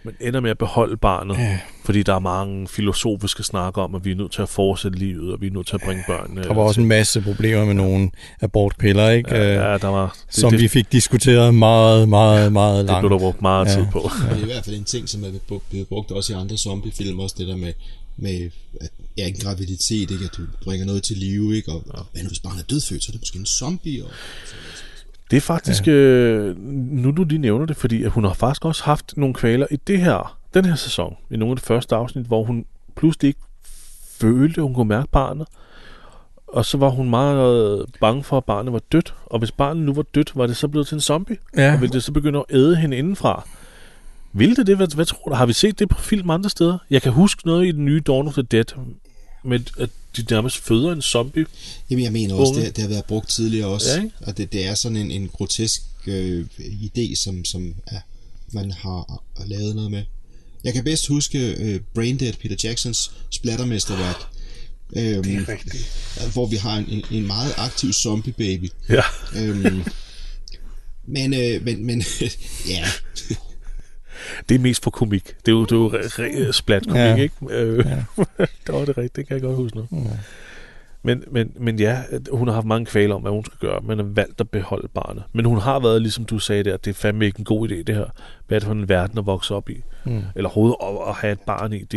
Men ender med at beholde barnet, ja. fordi der er mange filosofiske snakker om, at vi er nødt til at fortsætte livet, og vi er nødt til at bringe børnene. Der var også en masse problemer med nogle abortpiller, ikke? Ja, Øh, ja, der var, det, som det, vi fik diskuteret meget, meget, meget det blev langt. der brugt meget ja. Ja. tid på. Det er i hvert fald en ting, som er bu- blevet brugt også i andre zombiefilm, også det der med, med at, ja, en graviditet, ikke? at du bringer noget til live, ikke? og ja. hvad nu hvis barnet er dødfødt, så er det måske en zombie. Og, Det er faktisk, ja. øh, nu du lige nævner det, fordi at hun har faktisk også haft nogle kvaler i det her, den her sæson, i nogle af de første afsnit, hvor hun pludselig ikke følte, at hun kunne mærke barnet. Og så var hun meget øh, bange for, at barnet var dødt. Og hvis barnet nu var dødt, var det så blevet til en zombie? Ja. Og ville det så begynde at æde hende indenfra? Ville det det? Hvad, hvad tror du? Har vi set det på film andre steder? Jeg kan huske noget i den nye Dawn of the Dead, men at de nærmest føder en zombie. Jamen, jeg mener også, Unge. det, det har været brugt tidligere også. Ja, ikke? Og det, det er sådan en, en grotesk øh, idé, som, som ja, man har øh, lavet noget med. Jeg kan bedst huske øh, Braindead, Peter Jacksons splattermesterværk. Øhm, rigtigt. hvor vi har en, en, en meget aktiv zombie baby. Ja, Øhm, men, øh, men, men, ja, det er mest for komik. Det er jo, det er jo re- re- splat komik, Ja. ikke? Øh, Ja. der var det rigtigt, det kan jeg godt huske nu. Ja. Men, men, men ja, at hun har haft mange kvaler om, hvad hun skal gøre, men har valgt at beholde barnet. Men hun har været, ligesom du sagde der, det er fandme ikke en god idé, det her. Hvad er det for en verden at vokse op i? Mm. Eller hovedet at, at have et barn i, det,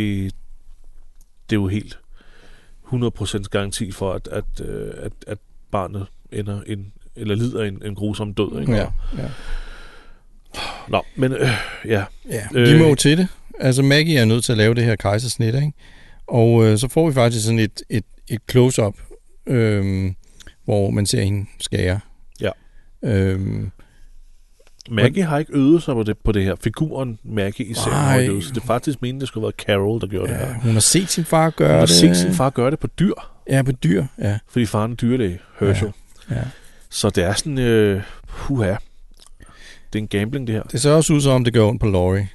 det er jo helt 100% garanti for, at, at, øh, at, at barnet ender en, eller lider en, en grusom død. Ikke? Ja, ja. Nå, men øh, ja, Ja, Øh, de må jo til det. Altså Maggie er nødt til at lave det her kejsersnit, ikke? Og øh, så får vi faktisk sådan et, et, et close-up, øh, hvor man ser hende skære. Ja. Øhm, Maggie har ikke øvet sig på det, på det her. Figuren Maggie i serien har Nej. ikke øvet sig. Det er faktisk meningen, det skulle have været Carol, der gjorde det her. ja, hun har set sin far gøre Hun har det. set sin far gøre det på dyr, Ja, på dyr. Ja, fordi faren er en dyrlæge, Herschel. ja. Så det er sådan, øh, huha. Det er en gambling, det her. Det ser også ud som om, det gør ondt på Laurie.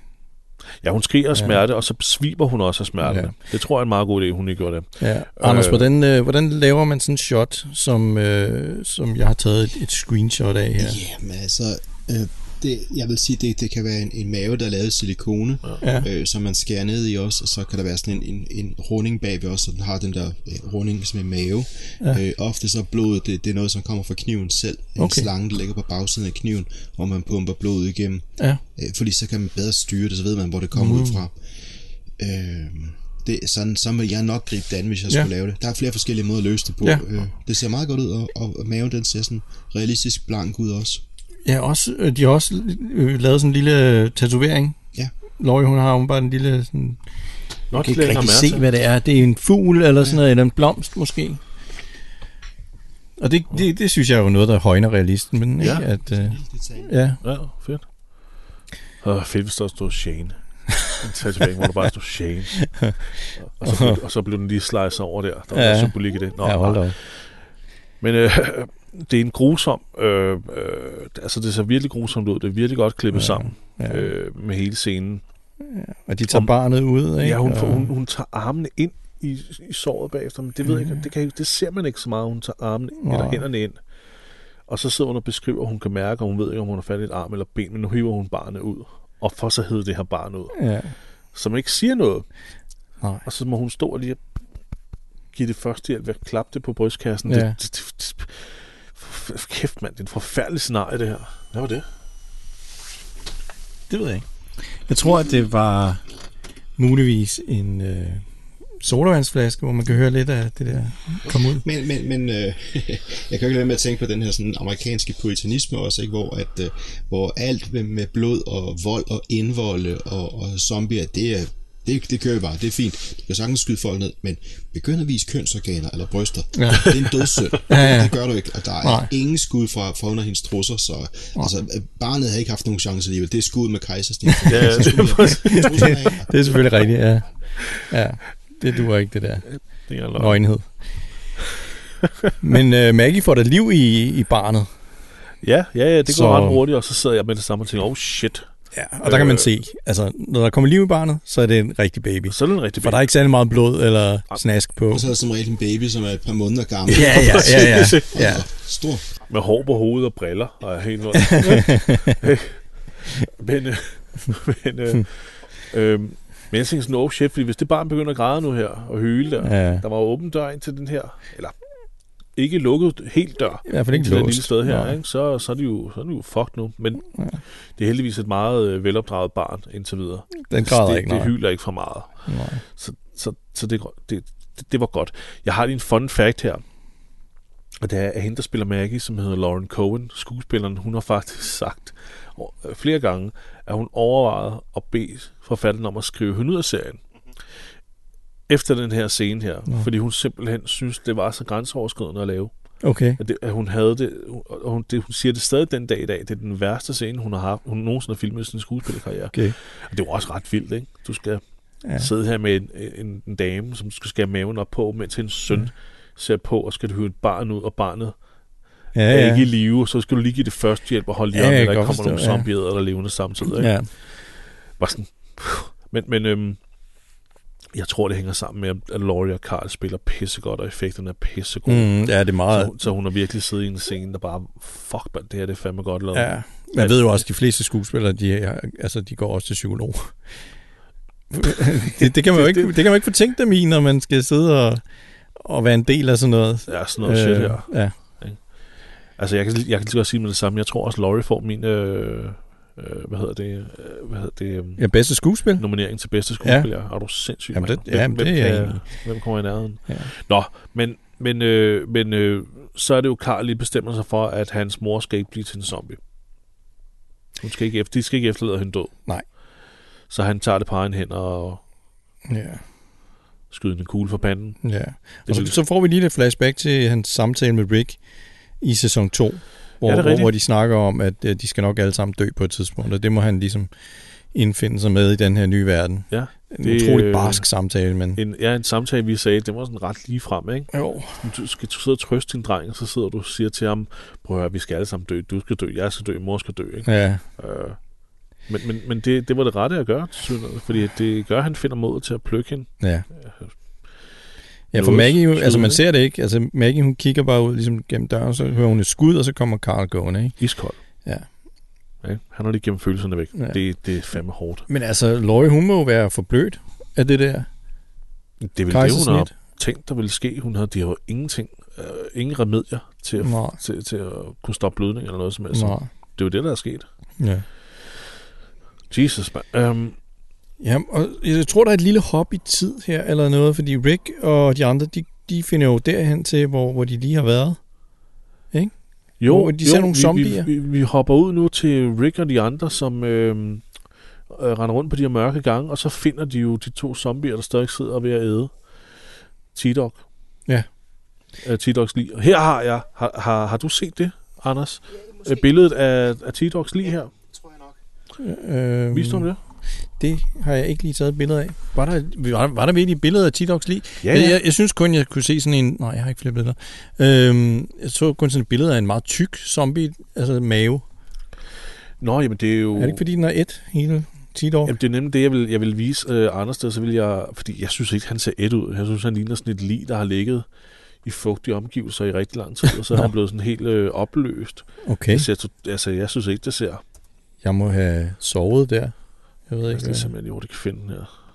Ja, hun skriger af Ja. smerte, og så sviber hun også af smerte. Ja. Det tror jeg er en meget god idé, hun ikke gjorde det. Ja. Anders, Øh. hvordan, øh, hvordan laver man sådan en shot, som, øh, som jeg har taget et, et screenshot af her? ja, men altså, øh, det, jeg vil sige, det, det kan være en, en mave, der er lavet af silikone, Ja. øh, som man skærer ned i også, og så kan der være sådan en, en, en runding bagved også, så den har den der øh, runding som en mave. Ja. Øh, ofte så er blodet, det, det er noget, som kommer fra kniven selv. En Okay. okay. slange, der ligger på bagsiden af kniven, hvor man pumper blodet igennem. Ja. Øh, fordi så kan man bedre styre det, så ved man, hvor det kommer mm. ud fra. Øh, det, er sådan, så vil jeg nok gribe det an, hvis jeg Ja. ja. skulle lave det. Der er flere forskellige måder at løse det på. Ja. Øh, det ser meget godt ud, og, og maven den ser sådan realistisk blank ud også. Ja, også, øh, de har også øh, lavet sådan en lille øh, tatovering. Ja. Laurie, hun har jo bare en lille... Sådan, Nå, kan det ikke lægger rigtig mærke se, til. hvad det er. Det er en fugl eller sådan noget, eller en blomst måske. Og det, det, det synes jeg er jo noget, der højner realisten. Men, Ja. ikke, at, øh, ja. Ja, fedt. Og fedt, hvis der stod Shane. En tatovering, hvor der bare stod Shane. Og så, blev, og så blev den lige slicet over der. Der var Ja. ja. symbolik i det. Nå, ja, hold da op. Men øh, det er en grusom... Øh, øh, altså, det ser virkelig grusomt ud. Det er virkelig godt klippet ja. sammen Ja. øh, med hele scenen. Og de tager om- barnet ud, ikke? Ja, hun, og, får, hun, hun tager armene ind i, i såret bagefter, men det, ved jeg, ikke, det, kan, jeg- det ser man ikke så meget. Hun tager armene Mm. Nej. eller hænderne ind, og så sidder hun og beskriver, at hun kan mærke, og hun ved ikke, om hun har fat i et arm eller ben, men nu hiver hun barnet ud, og for så hed det her barn ud, Ja. som ikke siger noget. Nej. Og så må hun stå og lige give det første hjælp ved at klappe det på brystkassen. Ja. Ja. Det, det, det, det, f- kæft mand, det er en forfærdelig scenarie det her. Hvad var det? Det ved jeg ikke. Jeg tror, at det var muligvis en øh, sodavandsflaske, hvor man kan høre lidt af det der komme ud. Men, men, men øh, jeg kan jo ikke lade være med at tænke på den her sådan amerikanske puritanisme også, ikke? Hvor, at, øh, hvor alt med, med blod og vold og indvolde og, og zombier, det, er, det, det kører vi bare, det er fint. Du kan sagtens skyde folk ned, men begynd at vise kønsorganer eller bryster. Ja. Ja. Det er en dødssynd. Ja, ja. Det gør du ikke, og der er Nej. Nej. ingen skud fra, fra under hendes trusser, så altså, øh, barnet har ikke haft nogen chance alligevel. Det er skud med kejsersnit. Ja, ja, det er Trusserne er- Det er selvfølgelig rigtigt, ja. ja. Det duer ikke, det der Det er løgn. nøgenhed. Men øh, Maggie får da liv i, i barnet. Ja, ja, ja, det går Så- så... ret hurtigt, og så sidder jeg med det samme og tænker, oh shit, Ja, og der kan man Øh. se, altså, når der kommer liv i barnet, så er det en rigtig baby. så er det en rigtig For der er ikke særlig meget blod eller snask på. Altså, Og så er der som regel en baby, som er et par måneder gammel. Ja, ja, ja, ja. ja. Og Stor. Med hår på hovedet og briller, og er helt noget. men, øh, men, øh, Hmm. øh, men jeg tænkte sådan, oh shit, fordi hvis det barn begynder at græde nu her, og hyle der, ja. ja. der var jo åben dør ind til den her, eller ikke lukket helt dør, I hvert fald ikke til det låst. lille sted her, Nej. ikke? Så, så, er de jo, så er de jo fucked nu. Men ja. det er heldigvis et meget øh, velopdraget barn indtil videre. Den græder det, ikke, det nej. hyler ikke for meget. Nej. Så, så, så det, det, det, det var godt. Jeg har lige en fun fact her. Og det er, at hende, der spiller Maggie, som hedder Lauren Cohen, skuespilleren, hun har faktisk sagt over- øh, flere gange, at hun overvejede at bede forfatteren om at skrive hende ud af serien. Efter den her scene her. Ja. Fordi hun simpelthen synes, det var så grænseoverskridende at lave. Okay. At, det, at hun havde det, og hun, det, hun siger det stadig den dag i dag, det er den værste scene, hun har haft, hun nogensinde har filmet i sin skuespillerkarriere. okay. Og det var også ret vildt, ikke? Du skal Ja. Sidde her med en, en, en dame, som skal skære maven op på, mens hendes søn ja. ser på, og skal hyre et barn ud, og barnet ja, ja. er ikke i live, så skal du lige give det første hjælp og holde lige ja, om, jeg at der kan ikke godt kommer nogle forstå, ja. zombier eller levende samtidig. Ikke? Ja. Bare sådan, men, men øhm, jeg tror, det hænger sammen med, at Laurie og Carl spiller pissegodt, og effekterne er pissegode. Mm, ja, det er meget... Så, så hun har virkelig siddet i en scene, der bare, fuck, man, det her det er fandme godt lavet. Ja. Man ved jo også, at de fleste skuespillere, de, er, altså, de går også til psykolog. det, det, kan man jo ikke, det kan man jo ikke fortænke dem i, når man skal sidde og, og være en del af sådan noget. Ja, sådan noget øh, shit her. ja. Altså, jeg kan, jeg kan lige så godt sige med det samme. Jeg tror også, Laurie får min, øh, øh, hvad hedder det, øh, hvad hedder det, øh, ja, bedste skuespil. nominering til bedste skuespiller. Ja. Er du sindssyg? Mm. Jamen, mand? det- jamen, det er jeg kan, enig hvem kommer i nærheden? Ja. Nå, men, men, øh, men øh, så er det jo Karl lige bestemmer sig for, at hans mor skal ikke blive til en zombie. Hun skal ikke, efter, de skal ikke efterlade hende død. Nej. Så han tager det på egen hænder og Ja. skyder en kugle for panden. Ja. Og Det så, vil- så får vi lige lidt flashback til hans samtale med Rick i sæson 2, hvor, Ja, det ja, er hvor, rigtigt. hvor de snakker om, at øh, de skal nok alle sammen dø på et tidspunkt, og det må han ligesom indfinde sig med i den her nye verden. Ja, En det, det, utrolig øh, barsk samtale, men... En, ja, en samtale, vi sagde, det var sådan ret lige frem, ikke? Jo, Du skal sidde og trøste din dreng, og så sidder du og siger til ham, prøv at høre, vi skal alle sammen dø, du skal dø, jeg skal dø, mor skal dø, ikke? ja. Øh, men men, men det, det var det rette at gøre, tilsyneladende, fordi det gør, at han finder mod til at plukke hende. Ja. Ja, for Noget Maggie, jo, skud, altså man ikke? ser det ikke. Altså Maggie, hun kigger bare ud ligesom gennem døren, så hører hun et skud, og så kommer Carl gående, ikke? Iskold. Ja. Okay? Han har lige gemt følelserne væk. Ja. Ja. Det, det er fandme hårdt. Men altså, Laurie, hun må jo være forblødt af det der Det ville det, hun har kejsersnit. tænkt, der ville ske. Hun havde, de har jo ingenting, øh, ingen remedier til at, Nej. til, til at kunne stoppe blødning eller noget som helst. Nej. Det er jo det, der er sket. Ja. Jesus, man. Øhm, Ja, og jeg tror, der er et lille hop i tid her eller noget, fordi Rick og de andre, de, de finder jo derhen til, hvor, hvor de lige har været. jo, Hvor de ser jo, nogle vi- zombier. Vi, vi, vi hopper ud nu til Rick og de andre, som øh, øh, render rundt på de her mørke gange, og så finder de jo de to zombier, der stadig sidder ved at æde. T-Dog. Ja. Øh, T-Dogs lig. Og Her har jeg. Har, har, har du set det, Anders? Øh, billedet af, af T-Dogs lig her. tror jeg nok. Øh, Viste du ham det? det? har jeg ikke lige taget et billede af. Var der, var, var der virkelig et billede af T-Dogs lige? Ja, Jeg, ja. jeg, jeg synes kun, jeg kunne se sådan en... Nej, jeg har ikke flere billeder. Øhm, jeg så kun sådan et billede af en meget tyk zombie, altså mave. Nå, jamen det er jo... Er det ikke, fordi den er et hele 10 år? Jamen, det er nemlig det, jeg vil, jeg vil vise øh, Anders der, så vil jeg... Fordi jeg synes ikke, han ser et ud. Jeg synes, han ligner sådan et lig, der har ligget i fugtige omgivelser i rigtig lang tid, og så er Nå. han blevet sådan helt øh, opløst. Okay. Det ser, to- altså, jeg synes ikke, det ser... Jeg må have sovet der. Jeg ved Jeg ikke, skal hvad. simpelthen, jo, Altså, det kan finde den her.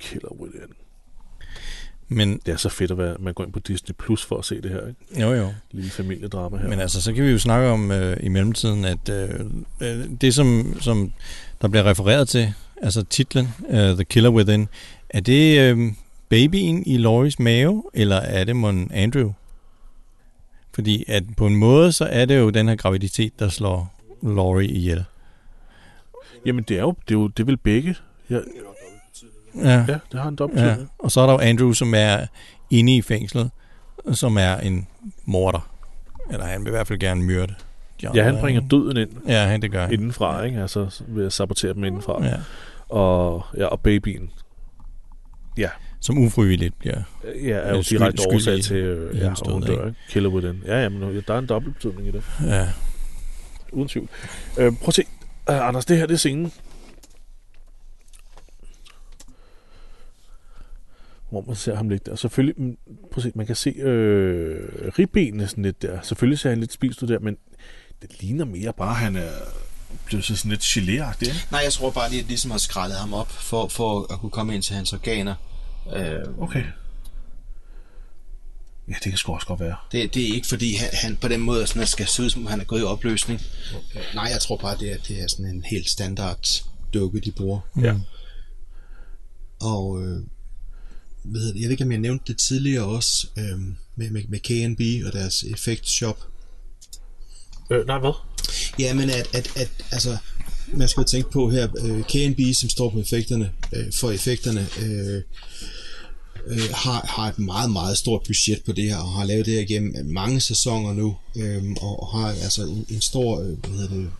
Killer Within. Men Det er så fedt at være, man går ind på Disney Plus for at se det her, ikke? jo, jo. Lille familiedrama her. Men altså, så kan vi jo snakke om øh, i mellemtiden, at øh, øh, det, som, som der bliver refereret til, altså titlen, øh, The Killer Within, er det øh, babyen i Loris mave, eller er det mon Andrew? Fordi at på en måde, så er det jo den her graviditet, der slår Laurie ihjel. Jamen, det er jo, det er jo, det vil begge. Ja, Ja, ja det har en dobbelt ja. ja. Og så er der jo Andrew, som er inde i fængslet, som er en morder. Eller han vil i hvert fald gerne myrde. de ja, han andre, bringer ikke? døden ind Ja, han det gør han. indenfra, ikke? Altså, ved at sabotere dem indenfra. Ja. Og, ja, og babyen Som ufrivilligt bliver øh, ja, er jo Øh, skyld- direkte skyld i- årsag til, øh, i ja, hans og hun død, dør, ikke? Killer Within. Ja, ja, men der er en dobbelt betydning i det. Ja, Uden tvivl. Øh, prøv at se. Øh, Anders, det her det er scenen. Hvor man ser ham lidt der. Selvfølgelig, mm, prøv at se, man kan se øh, ribbenene sådan lidt der. Selvfølgelig ser han lidt spist ud der, men det ligner mere bare, at han er blevet sådan lidt gelé ikke? Nej, jeg tror bare, de ligesom har skrællet ham op for, for at kunne komme ind til hans organer. Øh, Okay. Ja, det kan sgu også godt være. det, det er ikke fordi, han, han på den måde sådan, skal se ud, som om han er gået i opløsning. Okay. Nej, jeg tror bare, det er, det er sådan en helt standard dukke, de bruger. Ja. Og øh, hvad hedder det, jeg ved ikke, om jeg nævnte det tidligere også, øh, med, med, med K&B og deres effektshop. Øh, nej, hvad? Ja, men at, at, at altså, man skal jo tænke på her, øh, K&B, som står på effekterne, øh, for effekterne, øh, øh, har, har et meget, meget stort budget på det her, og har lavet det her øhm, igennem mange sæsoner nu, øh, og har altså en, en stor, øh, hvad hedder det, øh,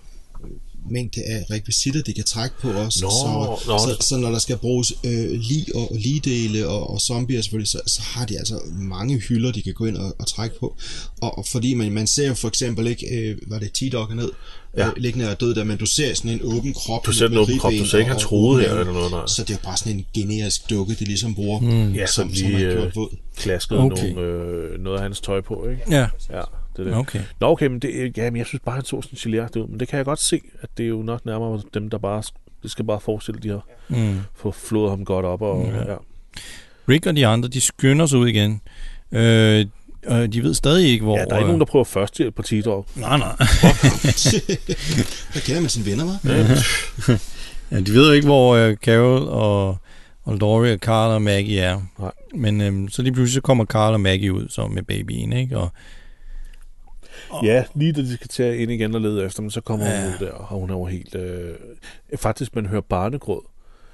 mængde af rekvisitter, de kan trække på også. Nå, så, nå. Så, så når der skal bruges øh, lige og ligedele og, og zombier selvfølgelig, så, så har de altså mange hylder, de kan gå ind og, og trække på. Og, og fordi man, man ser jo for eksempel ikke, øh, var det T-Dog ned, Ja. ja. øh, liggende og død der, men du ser sådan en åben krop. Du ser med- den med åben krop, du ribben ser ikke og- hans hoved her og- eller noget, nej. Så det er jo bare sådan en generisk dukke, de ligesom bruger, mm. Ja, som, som, som lige er øh, gjort våd. klaskede Okay. nogle, øh, noget af hans tøj på, ikke? Ja, Ja, det er det. Okay. Nå, okay, men det, ja, men jeg synes bare, han så sådan geléragtig ud, men det kan jeg godt se, at det er jo nok nærmere dem, der bare, det skal bare forestille, de har mm. få flået ham godt op, og ja. ja. Rick og de andre, de skynder sig ud igen. Øh, og de ved stadig ikke, hvor... øh, Ja, der er ikke nogen, der prøver førstehjælp på T-Dog. Nej, nej. Der kender man sine venner, hva'? Ja, de ved jo ikke, hvor øh, Carol og, og Laurie og Carl og Maggie er. Nej. Men øhm, så lige pludselig så kommer Carl og Maggie ud så med babyen, ikke? Og, Ja, lige da de skal til at ind igen og lede efter dem, så kommer ja. Ja. hun ud der, og hun er jo helt... Øh, faktisk, man hører barnegråd,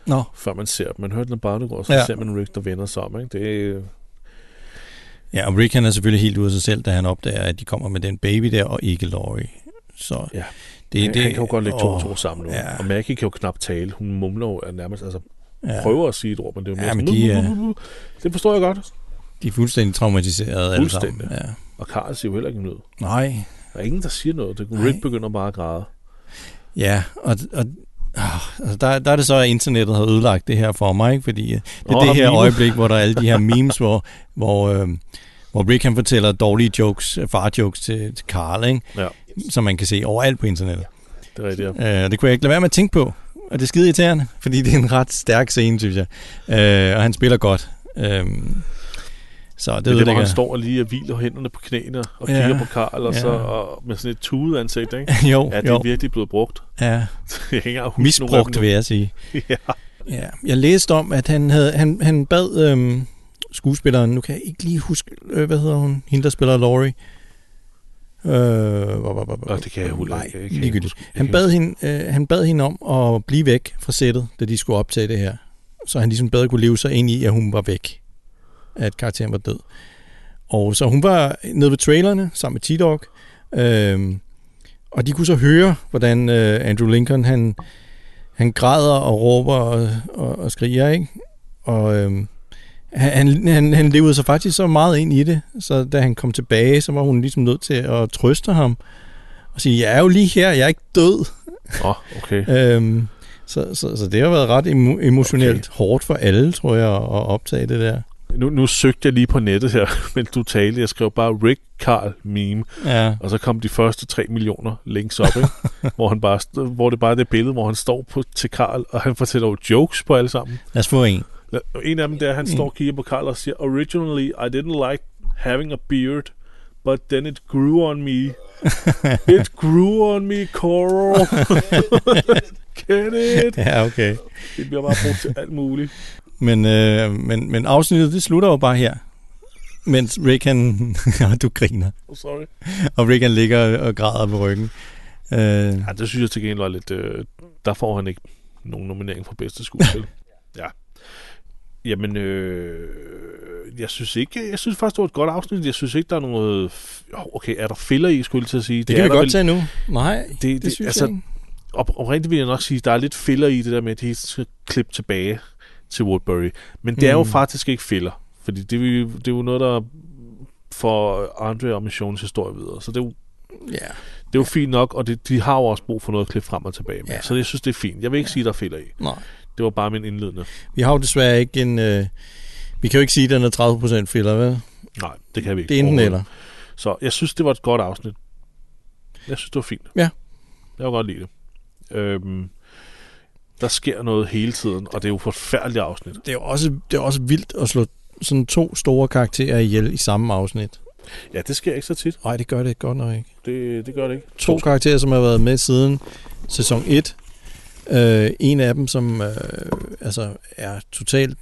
nå, før man ser dem. Man hører den af barnegråd, så ja. Ja. ser man Rick, der vender sig om, ikke? Det er... ja, og Rick han er selvfølgelig helt ude af sig selv, da han opdager, at de kommer med den baby der, og ikke Laurie. Så Ja. det, han, det, han kan jo godt lægge to og åh, to sammen nu. Ja. ja. Og Maggie kan jo knap tale. Hun mumler jo nærmest, altså ja. Ja. prøver at sige et ord, men det er jo mere Ja, men de sådan, er- "Uh, uh, uh, uh." Det forstår jeg godt. De er fuldstændig traumatiserede alle sammen. Fuldstændig. Ja. Og Karl siger jo heller ikke noget. Nej, Der er ingen, der siger noget. Det, Nej. Rick begynder bare at græde. ja, og... og ah, altså, der, der er det så, at internettet har ødelagt det her for mig, ikke? fordi øh, det er Åh, oh, det her meme. øjeblik, hvor der er alle de her memes, hvor, hvor, øh, hvor Rick han fortæller dårlige jokes, øh, far-jokes til, til Carl, ikke? Ja, som man kan se overalt på internettet. det er rigtigt. Ja. Øh, og det kunne jeg ikke lade være med at tænke på, og det er skide irriterende, fordi det er en ret stærk scene, synes jeg. Øh, og han spiller godt. Øh, så det, Det er det, hvor ødelægger... han står og lige og hviler hænderne på knæene og Ja. kigger på Karl, og Ja. så og med sådan et tudet ansigt, ikke? jo, Ja, det jo. er virkelig blevet brugt. Ja, Jeg kan ikke engang huske nogle af misbrugt, dem. vil jeg sige. Ja. Ja, jeg læste om, at han, havde, han, han bad øhm, skuespilleren, nu kan jeg ikke lige huske, øh, hvad hedder hun, hende der spiller Laurie. Øh, hvor- hvor- hvor- Nå, det kan jeg jo Nej, ikke- jeg kan ikke ligegyldigt. huske. Jeg Han kan bad, hende, øh, han bad hende om at blive væk fra sættet, da de skulle optage det her. Så han ligesom bedre kunne leve sig ind i, at hun var væk. At karakteren var død. Og så hun var nede ved trailerne sammen med T-Dog. Øh, og de kunne så høre, hvordan øh, Andrew Lincoln, han, han græder og råber og, og, og skriger, ikke? Og øhm, han, han- han, han levede sig faktisk så meget ind i det, så da han kom tilbage, så var hun ligesom nødt til at trøste ham og sige, jeg er jo lige her, jeg er ikke død. Åh, okay. Øhm, så, så, så det har været ret emo- emotionelt okay. hårdt for alle, tror jeg, at optage det der. Nu, nu søgte jeg lige på nettet her, men du talte. Jeg skrev bare Rick Carl meme, Ja, og så kom de første 3 millioner links op, ikke? hvor, han bare, st- hvor det bare er det billede, hvor han står på, til Karl, og han fortæller jo jokes på alle sammen. lad os få en. En af dem der, han står og kigger på Karl og siger, Originally I didn't like having a beard, but then it grew on me. It grew on me, Coral. Get it? Ja, okay. Det bliver bare brugt til alt muligt. Men, øh, men, men afsnittet, det slutter jo bare her. Mens Rick, han... Ja, du griner. Oh, sorry. Og Rick, han ligger og græder på ryggen. Øh, Ja, det synes jeg til gengæld var lidt... Øh, der får han ikke nogen nominering for bedste skuespil. ja. Jamen, øh, jeg synes ikke... Jeg synes faktisk, det var et godt afsnit. Jeg synes ikke, der er noget... f- Jo, Okay, er der filler i, skulle jeg til at sige? det kan vi er der godt tage nu. Nej, det, det, det, det synes altså, altså, jeg ikke. op, oprigtigt vil jeg nok sige, der er lidt filler i det der med, at de skal klippe tilbage til Woodbury. Men det er jo Mm. faktisk ikke filler, fordi det, er jo- det er jo noget, der får Andre og missionens historie videre. Så det er jo, Ja. det er jo fint nok, og det, de har jo også brug for noget at klippe frem og tilbage med. Ja. Så jeg synes, det er fint. Jeg vil ikke sige, der er filler i. Nej. Det var bare min indledende. Vi har jo desværre ikke en... Øh, vi kan jo ikke sige, at den er 30% filler, vel? Nej, det kan vi ikke. Det er enten overhovedet. eller. Så jeg synes, det var et godt afsnit. Jeg synes, det var fint. Ja. Jeg kan godt lide det. Øhm, der sker noget hele tiden, og det er jo et forfærdeligt afsnit. Det er jo også, det er også vildt at slå sådan to store karakterer ihjel i samme afsnit. Ja, det sker ikke så tit. Nej, det gør det godt nok ikke. Det, det gør det ikke. To karakterer, som har været med siden sæson 1. Øh, en af dem, som øh, altså er totalt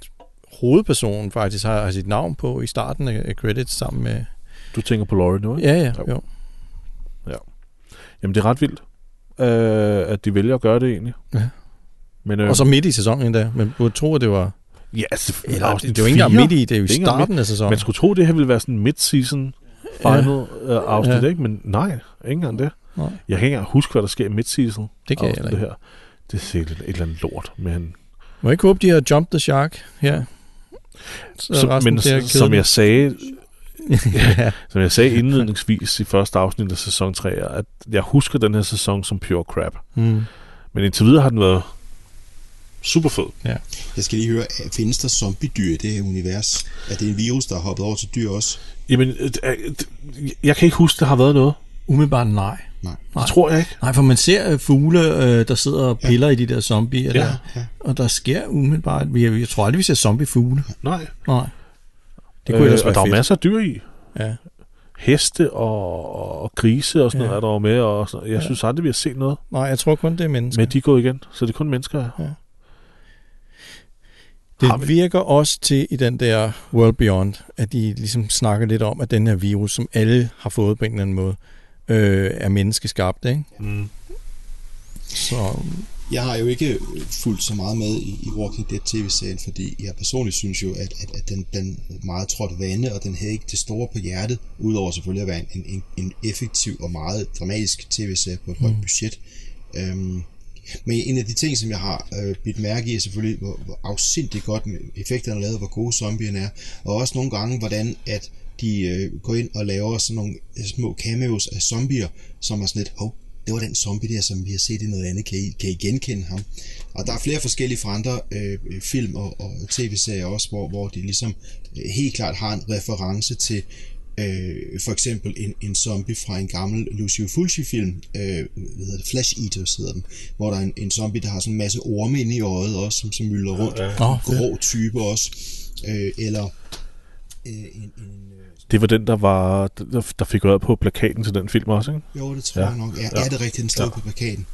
hovedpersonen faktisk har, har sit navn på i starten af af credits sammen med... Du tænker på Laurie nu, ikke? Ja, ja, Jo. jo. Jamen, det er ret vildt, øh, at de vælger at gøre det egentlig. Ja. Men, øh, Og så midt i sæsonen endda. Men du tror, at det var... ja, altså, Eller, afsnit det, det var ikke engang fire. midt i, det er jo Det er i ikke engang starten af sæsonen. Man skulle tro, det her ville være sådan en mid-season final ja. øh, afsnit, ja. Ja. ikke? Men nej, ikke engang det. Nej. Jeg kan ikke engang huske, hvad der sker i midtseason. Det kan jeg afsnittet heller ikke. her. Det er sikkert et eller andet lort, men, Må jeg ikke håbe, de har jumped the shark her? Så som, resten men ser som jeg sagde, kedeligt. ja. som jeg sagde indledningsvis i første afsnit af sæson 3, er, at jeg husker den her sæson som pure crap. mm. Men indtil videre har den været super fed. Jeg skal lige høre, findes der zombiedyr i det her univers? Er det en virus, der er hoppet over til dyr også? Jamen, øh, øh, jeg kan ikke huske, der har været noget. Umiddelbart nej. Nej. Det tror jeg ikke. Nej, for man ser øh, fugle, øh, der sidder og piller ja. i de der zombier Ja, der, ja. og der sker umiddelbart, vi, jeg tror aldrig, vi ser zombiefugle. Nej. Nej. Det kunne øh, ellers og være der er fedt. jo masser af dyr i. Ja. Heste og, og grise og sådan Ja. ja. noget er der jo med. Og sådan. Jeg ja. synes aldrig, vi har set noget. Nej, jeg tror kun, det er mennesker. Men de er gået igen, så det er kun mennesker. her. Har vi- Det virker også til i den der World Beyond, at de ligesom snakker lidt om, at den her virus, som alle har fået på en eller anden måde, øh, er menneskeskabt, ikke? Mm. Så Jeg har jo ikke øh, fulgt så meget med i, i Walking Dead tv-serien, fordi jeg personligt synes jo, at, at, at den, den meget trådte vande, og den havde ikke det store på hjertet, udover selvfølgelig at være en, en, en effektiv og meget dramatisk tv-serie på et højt budget. Øhm, men en af de ting, som jeg har øh, bidt mærke i, er selvfølgelig, hvor, hvor afsindigt godt effekterne er lavet, hvor gode zombierne er, og også nogle gange, hvordan at de øh, går ind og laver sådan nogle øh, små cameos af zombier, som er sådan lidt, hov, det var den zombie der, som vi har set i noget andet. Kan I, kan I genkende ham? Og der er flere forskellige fra andre øh, film og, og tv-serier også, hvor, hvor de ligesom øh, helt klart har en reference til øh, for eksempel en, en zombie fra en gammel Lucio Fulci-film, øh, hvad hedder det, Flash Eaters hedder den, hvor der er en, en zombie, der har sådan en masse orme inde i øjet også, som, som mylder rundt. Nå, fedt. Grå type også. Øh, eller øh, en, en øh, Det var den, der var der, der fik øjet på plakaten til den film også, ikke? Jo, det tror ja. Ja. jeg nok. Ja, ja. Ja. Er det rigtigt, den stod ja. Ja. på plakaten?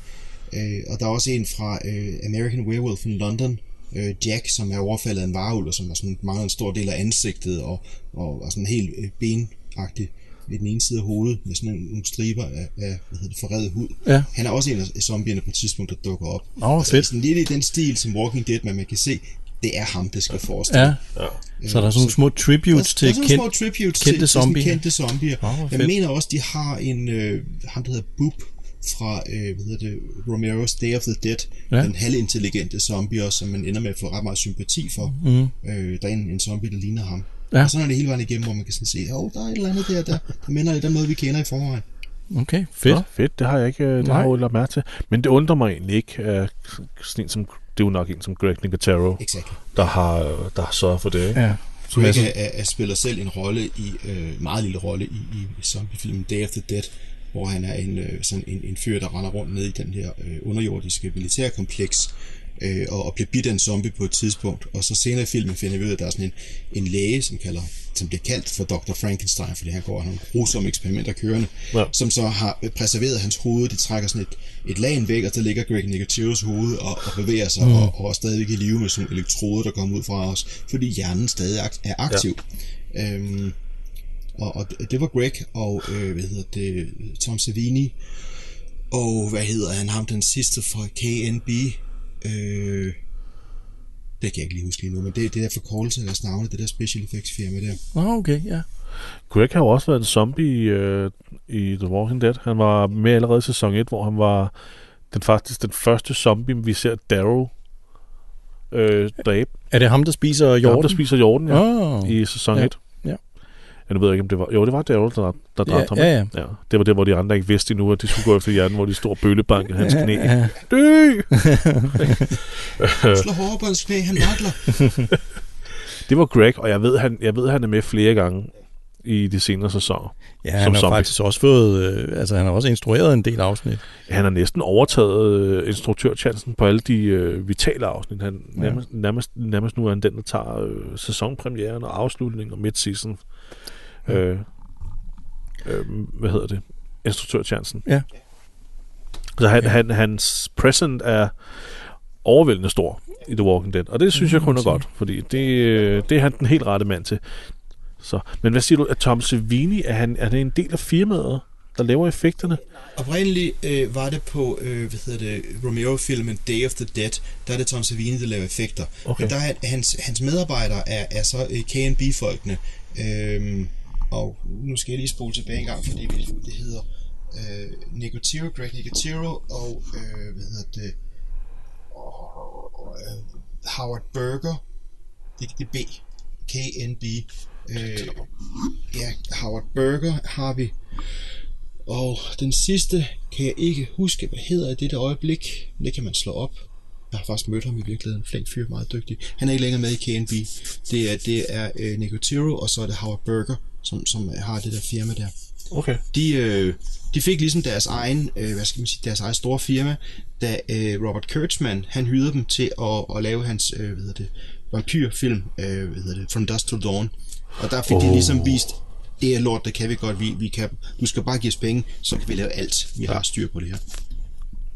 Øh, og der er også en fra øh, American Werewolf in London, øh, Jack, som er overfaldet af en varulv, og som har sådan, mangler en stor del af ansigtet, og, og, og sådan helt øh, benagtig ved den ene side af hovedet, med sådan nogle, nogle striber af, af hvad hedder det, forredet hud. Ja. Han er også en af zombierne på et tidspunkt, der dukker op. Nå, Det er fedt. sådan lidt i den stil som Walking Dead, men man kan se, det er ham, det skal forestille. Ja. Så er der sådan nogle små tributes til der, der Altså, er sådan kendt... små tributes kendte til, zombier. til sådan kendte zombier. Nå, hvor jeg fedt. mener også, de har en, øh, ham der hedder Boop fra øh, hvad hedder det, Romero's Day of the Dead, Ja. ja. den halvintelligente zombie, også, som man ender med at få ret meget sympati for. Mm. Øh, der er en, en zombie, der ligner ham. Ja. Ja. Og sådan er det hele vejen igennem, hvor man kan sådan se, at oh, der er et eller andet der, der, der minder lidt om noget, vi kender i forvejen. Okay, fedt. Nå, fedt, det har jeg ikke øh, det Nej. har jeg jo lagt mærke til. Men det undrer mig egentlig ikke, at sådan en som, det er jo nok en som Greg Nicotero, Exakt. der har, øh, der har sørget for det, ikke? Altså, Ja. Du Masse- ikke er, er, spiller selv en rolle i øh, meget lille rolle i, i zombiefilmen Day of the Dead, hvor han er en øh, sådan en, en fyr der render rundt ned i den her øh, underjordiske militærkompleks øh, og, og bliver bidt af en zombie på et tidspunkt. Og så senere i filmen finder vi ud af, at der er sådan en, en læge, som kalder som bliver kaldt for Dr. Frankenstein, fordi han går og har nogle grusomme eksperimenter kørende, Ja. ja. som så har preserveret hans hoved. De trækker sådan et, et lag væk, og der ligger Greg Nicotiros hoved og, og bevæger sig, mm. og, og er stadigvæk i live med sådan nogle elektroder, der kommer ud fra os, fordi hjernen stadig ak- er aktiv. Ja. Øhm, og, og det- det var Greg og, øh, hvad hedder det, Tom Savini, og hvad hedder han, ham den sidste fra KNB, øh, det kan jeg ikke lige huske lige nu, men det, det der forkortelse af deres navne, det der special effects firma der. Nå, okay, ja. Greg har jo også været en zombie i, øh, i The Walking Dead. Han var med allerede i sæson 1, hvor han var den faktisk den første zombie, vi ser Daryl øh, dræbe. Er det ham, der spiser Det er ham, jorden? der spiser jorden, ja, oh. i sæson Ja. 1. Ja. Ja, nu ved jeg ikke, om det var... Jo, det var Daryl, der, der dræbte ham. ja, ja. ja. Det var det, hvor de andre ikke vidste endnu, at de skulle gå efter hjernen, hvor de stod og bøllebankede hans knæ. Ja, Dø! Slå hårdere på hans knæ, han vakler. Det var Greg, og jeg ved, han, jeg ved, han er med flere gange i de senere sæsoner. ja Som han har zombie. faktisk også fået, øh, altså han har også instrueret en del afsnit. Han har næsten overtaget øh, instruktørchancen på alle de øh, vitale afsnit. Han Ja. nærmest, nærmest, nærmest nu er han den, der tager øh, sæsonpremieren og afslutningen og midseason. Øh, øh, hvad hedder det? Instruktørchancen. Ja. Så han, Ja. han, hans present er overvældende stor i The Walking Dead, og det synes Mm. jeg kun er godt, fordi det, øh, det er han den helt rette mand til. Så, men hvad siger du, at Tom Savini, er han, er det en del af firmaet, der laver effekterne? Oprindeligt øh, var det på, øh, hvad hedder det, Romero-filmen Day of the Dead, der er det Tom Savini, der laver effekter. Okay. Men der er hans, hans medarbejdere er, er så øh, K&B-folkene. Øhm, og nu skal jeg lige spole tilbage en gang, fordi det, det hedder øh, Nicotero, Greg Nicotero og øh, hvad hedder det, og, øh, Howard Berger, DKDB, KNB, øh, ja, Howard Berger har vi, og den sidste kan jeg ikke huske, hvad hedder i dette øjeblik. Det kan man slå op. Jeg har faktisk mødt ham i virkeligheden. Flink fyr, meget dygtig. Han er ikke længere med i KNB. Det er, det er øh, Nicotero, og så er det Howard Burger, som, som har det der firma der. Okay. De, øh, de fik ligesom deres egen, øh, hvad skal man sige, deres egen store firma, da øh, Robert Kurtzman, han hyrede dem til at, at lave hans, øh, hvad hedder det, vampyrfilm, øh, hvad hedder det, From Dusk Till Dawn. Og der fik oh. de Oh. ligesom vist, det er lort, det kan vi godt, vi, vi kan, du skal bare give os penge, så kan vi lave alt, vi har styr på det her.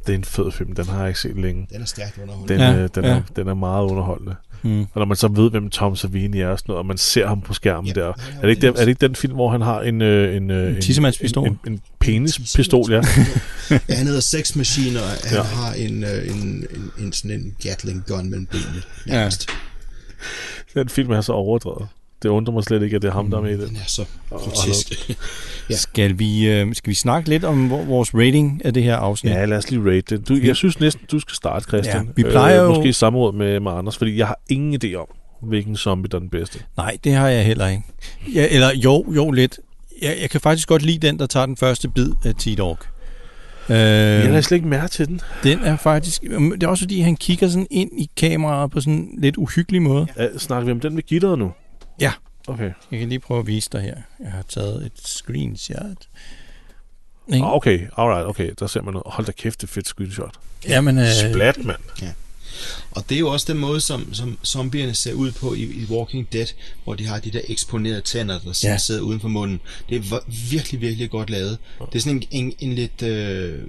Det er en fed film, den har jeg ikke set længe. Den er stærkt underholdende. Den, Ja, ja, øh, den, ja. ja. er, den er meget underholdende. Mm. Og når man så ved, hvem Tom Savini er og sådan noget, og man ser ham på skærmen Ja, ja, der. han er Er jo det, ikke den, Dennis. er det ikke den film, hvor han har en... Øh, en, øh, en tissemandspistol. En, en, en penispistol, ja. ja, han hedder Sex Machine, og han ja. Ja. har en, øh, en, en, en, sådan en Gatling gun mellem benene. Ja. nærmest. Den film er så overdrevet. Det undrer mig slet ikke, at det er ham, der er med i Den Mm. den. er så grotesk. Ja. Ja. Skal, vi, øh, skal vi snakke lidt om vor- vores rating af det her afsnit? Ja, lad os lige rate den. Du, jeg synes næsten, du skal starte, Christian. Øh, Ja, vi plejer jo- Måske i samråd med, med Anders, fordi jeg har ingen idé om, hvilken zombie der er den bedste. Nej, det har jeg heller ikke. Ja, eller jo, jo lidt. Jeg, jeg kan faktisk godt lide den, der tager den første bid af T-Dog. Øh, Øh. Jeg lader slet ikke mærke til den. den er faktisk... Det er også fordi, han kigger sådan ind i kameraet på sådan en lidt uhyggelig måde. Ja, Øh, snakker vi om den med gitter nu? Ja. Okay. Jeg kan lige prøve at vise dig her. Jeg har taget et screenshot. Ah, Ikke? Okay, alright, okay. Der ser man noget. Hold da kæft, det er fedt screenshot. Jamen, øh, Splat, mand. Og det er jo også den måde, som, som zombierne ser ud på i, i Walking Dead, hvor de har de der eksponerede tænder, der Ja. ja. sidder uden for munden. Det er vo- virkelig, virkelig godt lavet. Det er sådan en, en, en lidt øh,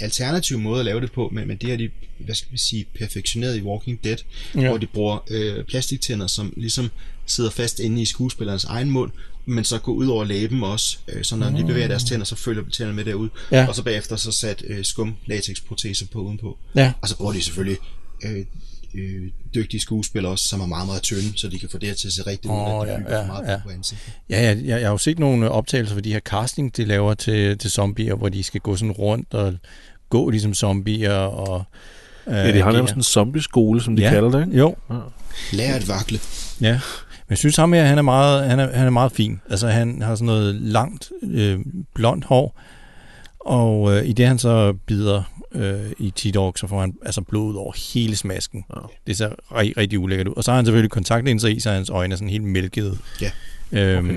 alternativ måde at lave det på, men, men det har de, hvad skal vi sige, perfektioneret i Walking Dead, Ja. ja. hvor de bruger øh, plastiktænder, som ligesom sidder fast inde i skuespillerens egen mund, men så går ud over læben også, øh, så når de bevæger deres tænder, så følger tænderne med derud, Ja. ja. og så bagefter så sat øh, skum latexproteser på udenpå. ja. Og så bruger de selvfølgelig øh, øh, dygtige skuespillere også, som er meget, meget tynde, så de kan få det her til at se rigtigt ud, Åh, at de ja, bygger ja, for meget ja. på ansigtet. Ja, jeg, jeg, jeg har jo set nogle øh, optagelser for de her casting, de laver til, til zombier, hvor de skal gå sådan rundt og gå ligesom zombier og... Øh, Ja, de har agere. nærmest en zombie-skole, som de Ja. ja. kalder det, ikke? Jo, Lær at vakle. ja. Men jeg synes ham her, han er meget, han er, han er meget fin. Altså, han har sådan noget langt, øh, blondt hår, og øh, i det han så bider øh, i T-Dog, så får han altså blod ud over hele smasken. Ja. Det ser ri- rigtig ulækkert ud. Og så har han selvfølgelig kontaktlinser i, så hans øjne er sådan helt mælkede. Ja. Øhm,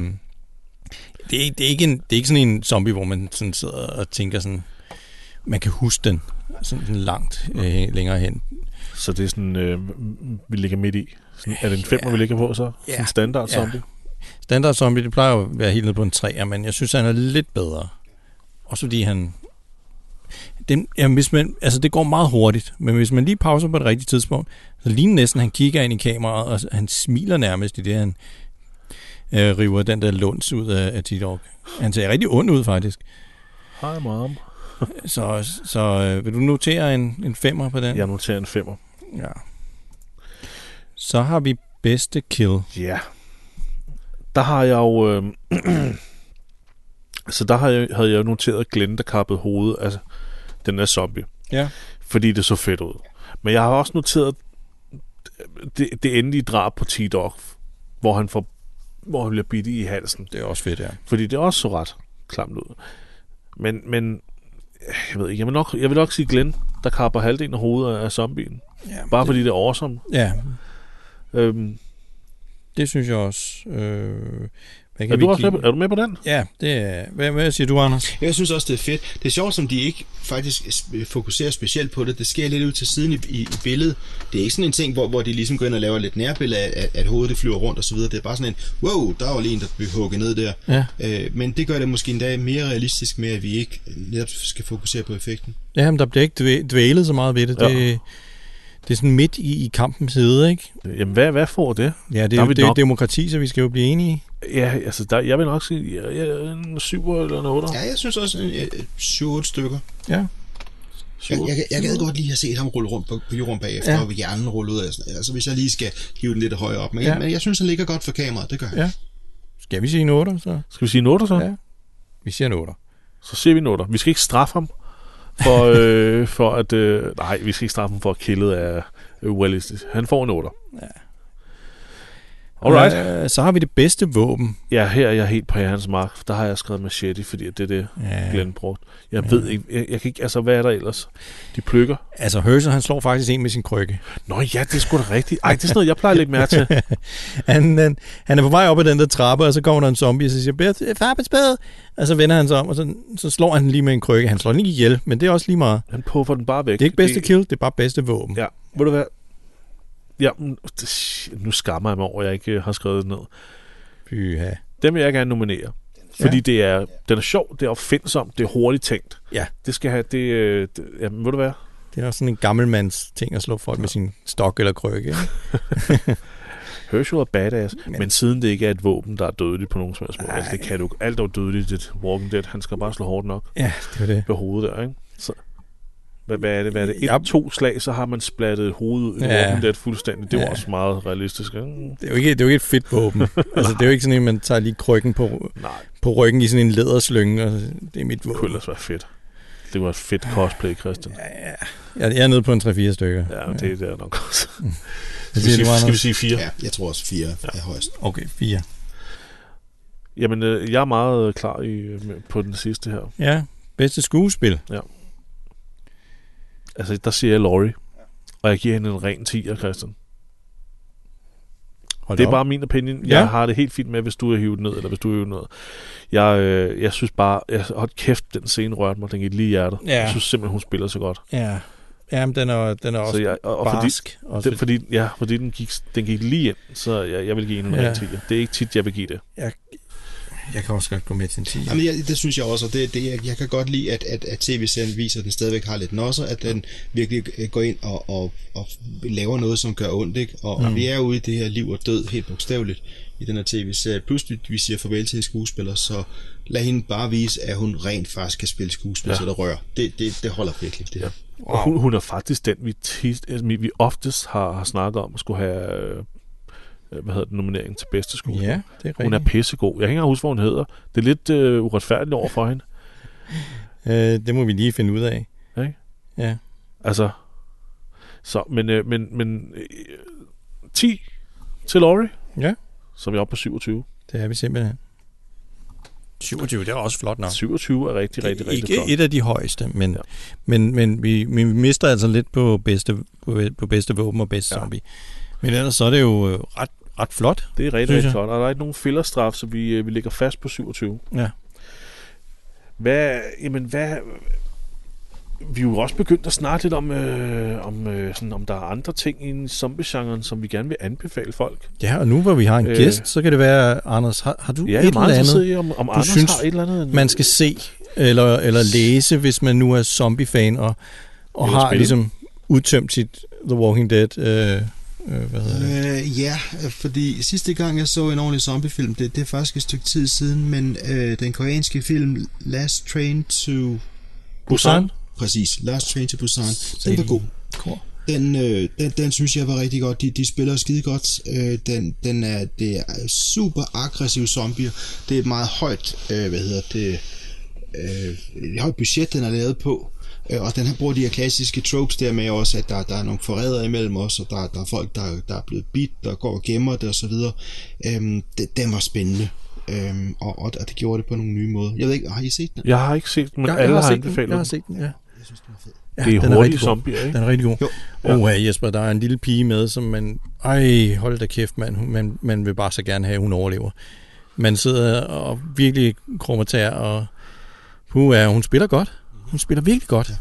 okay. det, er, ikke- det, er ikke en, det er ikke sådan en zombie, hvor man sådan sidder og tænker sådan, man kan huske den sådan, sådan langt øh, længere hen. Så det er sådan, øh, vi ligger midt i. Sådan, er det en femmer, Ja. vi ligger på så? Ja. Sådan en standard Ja. zombie? Standard zombie, det plejer jo at være helt nede på en 3, men jeg synes, han er lidt bedre. Også fordi han... Den, jamen, hvis man, altså det går meget hurtigt, men hvis man lige pauser på det rigtige tidspunkt, så ligner næsten, han kigger ind i kameraet, og s- han smiler nærmest i det, han øh, river den der lunds ud af, af T-Dog. Han ser rigtig ond ud, faktisk. Hej, mom. Så, så øh, vil du notere en, en femmer på den? Jeg noterer en femmer. ja. Så har vi bedste kill. Ja. Der har jeg jo... Øh, så der har jeg, havde jeg jo noteret Glenn, der kappede hovedet af den der zombie. Ja. Fordi det så fedt ud. Men jeg har også noteret det, det endelige drab på T-Dog, hvor han, får, hvor han bliver bidt i halsen. Det er også fedt, ja. Fordi det også så ret klamt ud. Men, men jeg ved ikke, jeg vil nok, jeg vil nok sige Glenn, der kapper halvdelen af hovedet af zombien. Ja, Bare fordi det er awesome. ja, Øhm, Det synes jeg også. Øh, hvad kan er, vi du også give- med, på- er du med på den? Ja, det er... Hvad, hvad siger du, Anders? Jeg synes også, det er fedt. Det er sjovt, som de ikke faktisk sp- fokuserer specielt på det. Det sker lidt ud til siden i, i, i billedet. Det er ikke sådan en ting, hvor, hvor de ligesom går ind og laver lidt nærbillede af, at, at hovedet det flyver rundt og så videre. Det er bare sådan en, wow, der var lige en, der blev hugget ned der. Ja. Øh, men det gør det måske endda mere realistisk med, at vi ikke øh, netop skal fokusere på effekten. Ja, men der bliver ikke dvæ- dvælet så meget ved det. Ja. Det, det er sådan midt i, i kampens hede, ikke? Jamen, hvad, hvad får det? Ja, det Der er, er jo, vi det er nok. demokrati, så vi skal jo blive enige. Ja, altså, der, jeg vil nok sige ja, ja, en 7 eller en 8. Ja, jeg synes også, øh, øh, 7-8 stykker. Ja. Jeg, jeg, jeg gad godt lige have set ham rulle rundt på, på jorden bagefter, Ja. ja. og hjernen rulle ud af. Sådan, altså, hvis jeg lige skal hive den lidt højere op. Men, Ja. ja. men jeg synes, han ligger godt for kameraet. Det gør han. Ja. Skal vi sige en 8, så? Skal vi sige en 8 så? Ja. Vi siger en 8. Så ser vi noter. Vi skal ikke straffe ham for, øh, for at... Øh, nej, vi skal ikke straffe ham for at killet af øh, Wallis. Han får noter. Ja. Alright. Øh, så har vi det bedste våben. Ja, her er jeg helt på hans mark. Der har jeg skrevet machete, fordi at det er det, Ja. Glenn brugt. Jeg ved ikke, jeg, jeg kan ikke, altså hvad er der ellers? De pløkker. Altså, Herschel, han slår faktisk en med sin krykke. Nå ja, det er sgu da rigtigt. Ej, det er sådan noget, jeg plejer at lægge mærke til. Han, han, han er på vej op ad den der trappe, og så kommer der en zombie, og så siger, "Beth, øh, far på spæd! Og så vender han sig om, og så, så slår han den lige med en krykke. Han slår den ikke ihjel, men det er også lige meget. Han puffer den bare væk. Det er ikke bedste kill, det er bare bedste våben. Ja, ved du hvad? Ja, men, det- shit, nu skammer jeg mig over, at jeg ikke øh, har skrevet det ned. Pyha. Dem vil jeg gerne nominere. Fordi Ja. det er, den er sjov, det er opfindsom, det er hurtigt tænkt. Ja. Det skal have, det, øh, det jamen, ved du hvad? Det er også sådan en gammelmands ting at slå folk med sin stok eller krykke. ikke? Herschel er badass, men, Men- men siden det ikke er et våben, der er dødeligt på nogen som helst måde. Altså, det Ej. kan du Alt er jo dødeligt i det Walking Dead. Han skal bare slå hårdt nok Ja, det var det. ved hovedet der, ikke? Så, hvad, hvad er det? Hvad er det? Et, Jeg- to slag, så har man splattet hovedet ud i Ja. Walking Dead fuldstændig. Det var Ja. også meget realistisk. Ikke? Det er jo ikke, det er jo ikke et fedt våben. altså, det er jo ikke sådan en, man tager lige krykken på, Nej, på ryggen i sådan en læderslynge, og det er mit det kunne våben. ellers være fedt. Det var et fedt cosplay, Christian. Ja, ja. Jeg, jeg er nede på en 3-4 stykker. Ja, det er det er nok også. Hvad Skal vi sige, skal siger du, vi Anders? sige fire? Ja, jeg tror også fire er højst. Okay, 4. Jamen, øh, jeg er meget øh, klar i, øh, på den sidste her. Ja, bedste skuespil. Altså, der siger jeg Laurie. Og jeg giver hende en ren 10'er, Christian. Hold Det er op. bare min opinion. Jeg Ja. har det helt fint med, hvis du har hivet den ned, eller hvis du har hivet den ned. Jeg, øh, jeg synes bare, jeg, hold kæft, den scene rørte mig, den gik lige i hjertet. Ja. Jeg synes simpelthen, hun spiller så godt. Ja, Jamen, den er, den er også så jeg, og, og fordi, barsk. Også, den, fordi, ja, fordi den, gik, den gik lige ind, så jeg, jeg vil give hende en Ja. ren 10'er. Det er ikke tit, jeg vil give det. jeg kan også godt gå med til en 10. Jamen, jeg, det synes jeg også, og det, det, jeg, jeg kan godt lide, at, at, at tv-serien viser, at den stadigvæk har lidt nosser, at den virkelig øh, går ind og, og, og laver noget, som gør ondt. Ikke? Og, mm. og vi er ude i det her liv og død, helt bogstaveligt, i den her tv-serie. Pludselig vi siger farvel til en skuespiller, så lad hende bare vise, at hun rent faktisk kan spille skuespil, Ja. ja. så der rører. Det, det, det holder virkelig. Det. Ja. Wow. Og hun, hun er faktisk den, vi, tit, altså, vi vi oftest har, har snakket om at skulle have øh, øh, hvad hedder det, nomineringen til bedste skole. Ja, det er Hun er rigtigt. pissegod. Jeg kan ikke engang huske, hvad hun hedder. Det er lidt øh, uretfærdigt over for hende. Øh, det må vi lige finde ud af. Ikke? Ja. Altså, så, men, øh, men, men øh, 10 til Laurie, ja, som er oppe på 27. det er vi simpelthen. 27, det er også flot nok. 27 er rigtig, rigtig, rigtig ikke flot. et af de højeste, men, Ja. ja. men, men vi, vi mister altså lidt på bedste, på, på bedste våben og bedste Ja. ja. zombie. Men ellers så er det jo øh, ret, ret flot. Det er rigtig, synes rigtig jeg. flot. Og der er ikke nogen fillerstraf, så vi, øh, vi ligger fast på 27. Ja. Hvad, jamen, hvad... Vi er jo også begyndt at snakke lidt om, øh, om, øh, sådan, om der er andre ting i zombie-genren, som vi gerne vil anbefale folk. ja, og nu hvor vi har en Øh. øh. gæst, så kan det være, Anders, har, har du Ja, et jeg er eller meget andet, interesseret i, om, om du Anders synes, har et eller andet... man skal se eller, eller læse, hvis man nu er zombie-fan og, og Eller har spille. ligesom udtømt sit The Walking Dead... Øh, øh, hvad hedder det? Øh, ja, fordi sidste gang jeg så en ordentlig zombiefilm, det, det er faktisk et stykke tid siden, men øh, den koreanske film Last Train to Busan? Præcis, Last Train to Busan. Den Se. var god. Kor. Den, øh, den, den synes jeg var rigtig godt. De, de spiller skide godt. Øh, den, den er, det er super aggressive zombier. Det er et meget højt, øh, hvad hedder det, øh, et højt budget, den er lavet på. Øh, og den her bruger de her klassiske tropes der med også, at der, der er nogle forrædere imellem os, og der, der er folk, der, der er blevet bit, der går og gemmer det osv. Øhm, det, den var spændende. Øhm, og, og, og det gjorde det på nogle nye måder. Jeg ved ikke, har I set den? Jeg har ikke set den, men Jeg- alle jeg har, har set den, anbefalet jeg har den. set den, ja. Jeg synes, den var fed. ja Det er den hurtige rigtig god. zombier, ikke? Den er rigtig god. Jo. Ja. Oha, Jesper, der er en lille pige med, som man... Ej, hold da kæft, man. Hun- Man, man vil bare så gerne have, at hun overlever. Man sidder og virkelig krummer tær, og... Puha, hun spiller godt. Hun spiller virkelig godt.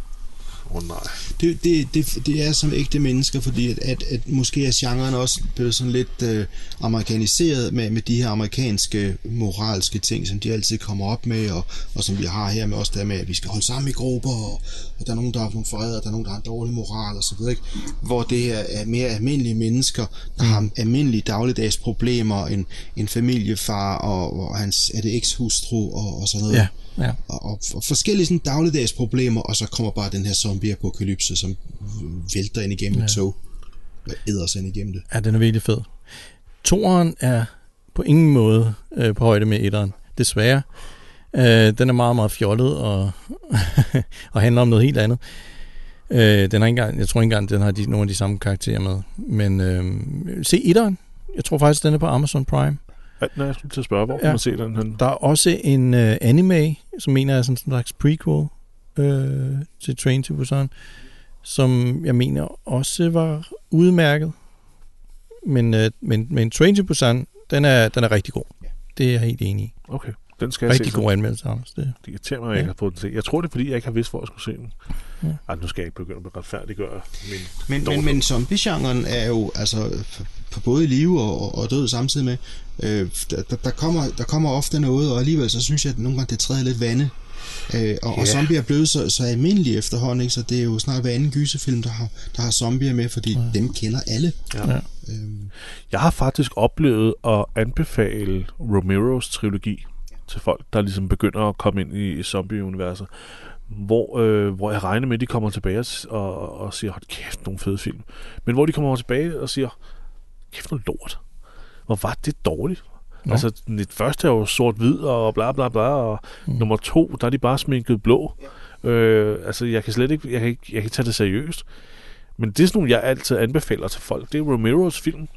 Åh oh, nej. det, det, det, det er som ægte mennesker, fordi at, at, at måske er genren også blevet sådan lidt øh, amerikaniseret med, med de her amerikanske moralske ting, som de altid kommer op med, og, og som vi har her med os der med, at vi skal holde sammen i grupper, og, og der er nogen, der har nogle forrædere, der er nogen, der har en dårlig moral og så videre, ikke? hvor det her er mere almindelige mennesker, der har almindelige dagligdags problemer, en, en familiefar og, og hans er det ekshustru og, og sådan noget Ja, ja. og, og, og forskellige sådan, dagligdags problemer, og så kommer bare den her zombie-apokalypse, som vælter ind igennem ja. et tog og æder sig ind igennem det. Ja, den er virkelig fed. Toren er på ingen måde øh, på højde med etteren, desværre. Øh, den er meget, meget fjollet og, og handler om noget helt andet. Øh, den har ikke engang, jeg tror ikke engang, den har de, nogle af de samme karakterer med. Men øh, se etteren. Jeg tror faktisk, den er på Amazon Prime. Ja, nej, jeg skulle til at spørge, hvor ja. Ja. kan man se den henne? Der er også en øh, anime, som mener er sådan en slags prequel øh, til Train to Busan, som jeg mener også var udmærket. Men, øh, men, men Train to Busan, den er, den er rigtig god. Det er jeg helt enig i. Okay, den skal jeg se. Rigtig så. god anmeldelse, Anders. Det. Det irriterer mig, at jeg ikke har fået den set. Jeg tror, det er, fordi jeg ikke har vidst, hvor jeg skulle se den. Ja. Ej, nu skal jeg ikke begynde at retfærdiggøre min Men, dårlige- men, men zombie-genren er jo altså f- på både i live og, og- og død samtidig med. Øh, der, der- der, kommer, der kommer ofte noget, og alligevel så synes jeg, at nogle gange det træder lidt vande. Øh, og, yeah. og Ja. zombier er blevet så, så almindelige efterhånden, ikke? så det er jo snart hver anden gyserfilm, der har, der har zombier med, fordi ja. dem kender alle. Ja. Ja. Øh, Jeg har faktisk oplevet at anbefale Romeros trilogi til folk, der ligesom begynder at komme ind i zombie-universet, hvor, øh, hvor jeg regner med, at de kommer tilbage og- og, og siger, hold kæft, nogle fede film. Men hvor de kommer tilbage og siger, kæft, noget lort. Hvor var det dårligt. Nå. Altså, det første er jo sort-hvid og bla bla bla, og Mm. nummer to, der er de bare sminket blå. Øh, altså, jeg kan slet ikke, jeg kan ikke, jeg kan ikke tage det seriøst. Men det er sådan nogle, jeg altid anbefaler til folk. Det er Romeros film.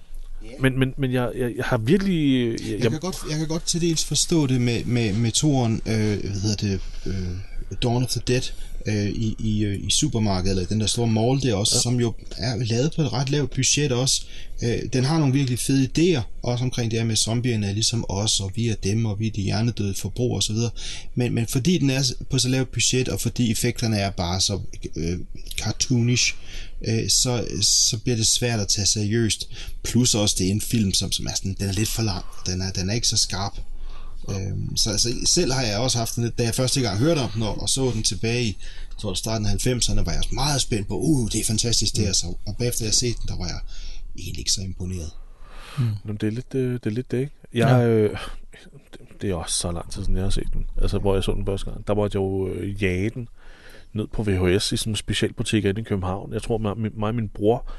Men, men, men jeg, jeg, jeg har virkelig... øh, Jeg, jeg, jeg, kan godt, jeg kan godt til dels forstå det med, med, med toren, øh, hvad hedder det, øh, Dawn of the Dead, øh, i, i, øh, i supermarkedet, eller den der store mall der også, ja. som jo er lavet på et ret lavt budget også. Øh, den har nogle virkelig fede idéer, også omkring det her med zombierne er ligesom os, og vi er dem, og vi er de hjernedøde forbrugere osv. Men, men fordi den er på så lavt budget, og fordi effekterne er bare så øh, cartoonish, øh, så, så bliver det svært at tage seriøst. Plus også, det er en film, som, som er sådan, den er lidt for lang, og den er, den er ikke så skarp. Øhm, så altså, selv har jeg også haft den lidt, da jeg første gang hørte om den og, og så den tilbage i jeg tror, det starten af 90'erne, var jeg også meget spændt på, uh, det er fantastisk det her, så, og bagefter jeg set den, der var jeg egentlig ikke så imponeret. Nå, det, er lidt, øh, det er lidt det, ikke? Jeg, ja. Ja. øh, det- det er også så lang tid siden, jeg har set den. Altså, hvor jeg så den første gang. Der måtte jeg jo øh, jage den ned på VHS i sådan en speciel butik inde i København. Jeg tror, mig, mig og min bror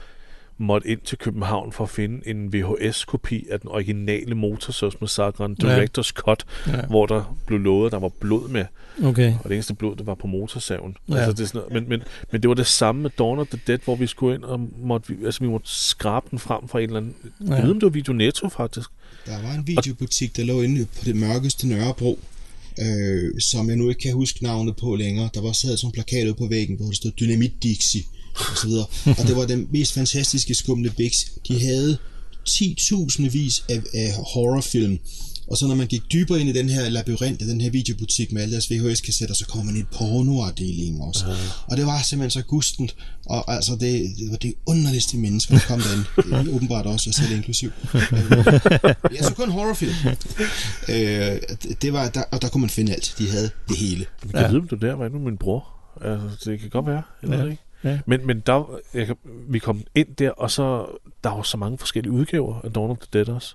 måtte ind til København for at finde en VHS-kopi af den originale Motorsøs Massakren Ja. Director's Cut, Ja. hvor der blev lovet, at der var blod med. Okay. og det eneste blod, det var på motorsaven. Ja. Ja. Altså, det er sådan noget, men, men, men det var det samme med Dawn of the Dead, hvor vi skulle ind og måtte, vi, altså, vi måtte skrabe den frem fra en eller anden... Ja. Jeg ved, om det var Video Netto, faktisk. Der var en videobutik, der lå inde på det mørkeste Nørrebro, øh, som jeg nu ikke kan huske navnet på længere. Der var sad sådan en plakat ude på væggen, hvor der stod Dynamit Dixie og så videre. og det var den mest fantastiske skumle biks. De havde 10.000 vis af, af horrorfilm. Og så når man gik dybere ind i den her labyrint af den her videobutik med alle deres VHS-kassetter, så kom man i pornoafdelingen også. Og det var simpelthen så gustent, og altså det, det var det underligste mennesker, der kom derind. Øh, Åbenbart også, jeg selv inklusiv. Jeg så kun horrorfilm. Øh, det- det var, der, og der kunne man finde alt. De havde det hele. Men Jeg ja. ved, om det der var endnu min bror. Altså, det kan godt være, eller ja. Ja. ikke? Ja. Men, men der, jeg, kan- vi kom ind der, og så... Der var så mange forskellige udgaver af Dawn of the Dead også.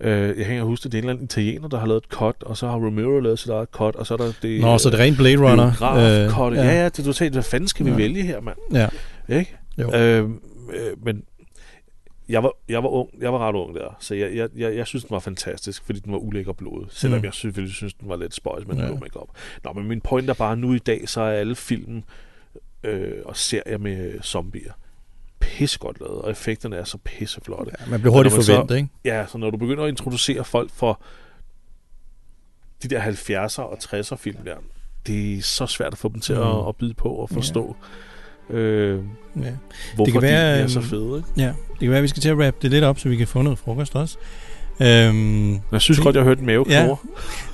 Øh, jeg kan ikke huske, det er en eller anden italiener, der har lavet et cut, og så har Romero lavet sit eget cut, og så er der det... Nå, så det er rent Blade Runner. Biograf, øh, ja. ja. ja, det er totalt, hvad fanden skal vi ja. Ja. vælge her, mand? ja. Ikke? Jo. Øh, øh, men jeg var, jeg var ung, jeg var ret ung der, så jeg, jeg, jeg, jeg synes, den var fantastisk, fordi den var ulækker blodet, selvom mm. Mm. jeg selvfølgelig synes, den var lidt spøjs med den Ja. blå makeup. Nå, men min point er bare, nu i dag, så er alle film øh, og serier med zombier pissegodt lavet, og effekterne er så pisseflotte. Man bliver hurtigt Men når man så- forventet, ikke? Ja, så når du begynder at introducere folk for de der 70'er og 60'er film der, det er så svært at få dem til mm. at, at byde på og forstå, øh, Ja. hvorfor det kan kan være, være, de er så øhm, fede. Ikke? ja. Det kan være, at vi skal til at rappe det lidt op, så vi kan få noget frokost også. Øhm, Jeg synes det- godt, jeg hørte en mave Ja.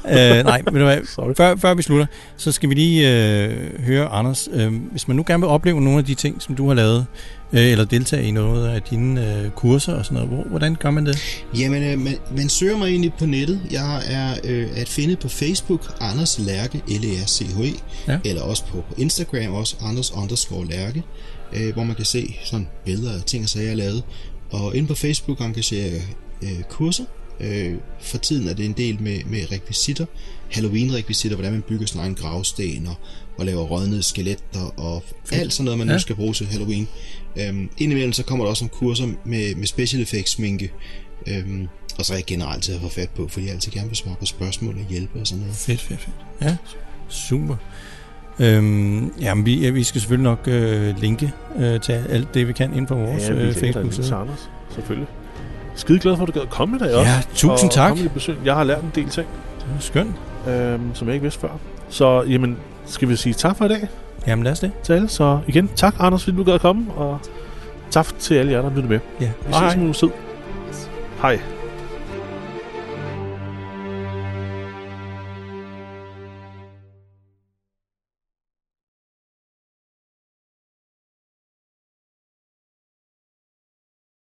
ja. øh, nej, ved du hvad? Sorry. Før, før vi slutter, så skal vi lige øh, høre, Anders, øh, hvis man nu gerne vil opleve nogle af de ting, som du har lavet, øh, eller deltage i noget af dine øh, kurser og sådan noget, hvor, hvordan gør man det? Jamen, øh, man, man søger mig egentlig på nettet. Jeg er øh, at finde på Facebook, Anders Lærke, l e r c h -E, Ja. eller også på, på Instagram, også Anders underscore Lærke, øh, hvor man kan se sådan billeder af ting og sager, jeg har lavet. Og inde på Facebook engagerer jeg øh, kurser. Øh, for tiden er det en del med, med rekvisitter, Halloween-rekvisitter, hvordan man bygger sin egen gravsten, og, og laver rådnede skeletter, og alt sådan noget, man ja. nu Ja. skal bruge til Halloween. Øhm, indimellem så kommer der også nogle kurser med, med special effects sminke. Øhm, Og så er jeg generelt til at få fat på, fordi jeg altid gerne vil svare på spørgsmål og hjælpe og sådan noget. Fedt, fedt, fedt. Ja, super. Øhm, jamen, vi, ja, vi skal selvfølgelig nok øh, linke øh, til alt det, vi kan ind på vores ja, vi lægger øh, dig lige til Facebook-side. Anders, selvfølgelig. Skide glad for, at du gad at komme i dag også. Ja, tusind og tak. komme i besøg. Jeg har lært en del ting, Det var Skønt. øhm, som jeg ikke vidste før. Så jamen, skal vi sige tak for i dag Jamen, lad os det. til alle. Så igen, tak Anders, fordi du gad at komme, og tak til alle jer, der lyttede med. Ja, Vi ses om en uges tid. Hej.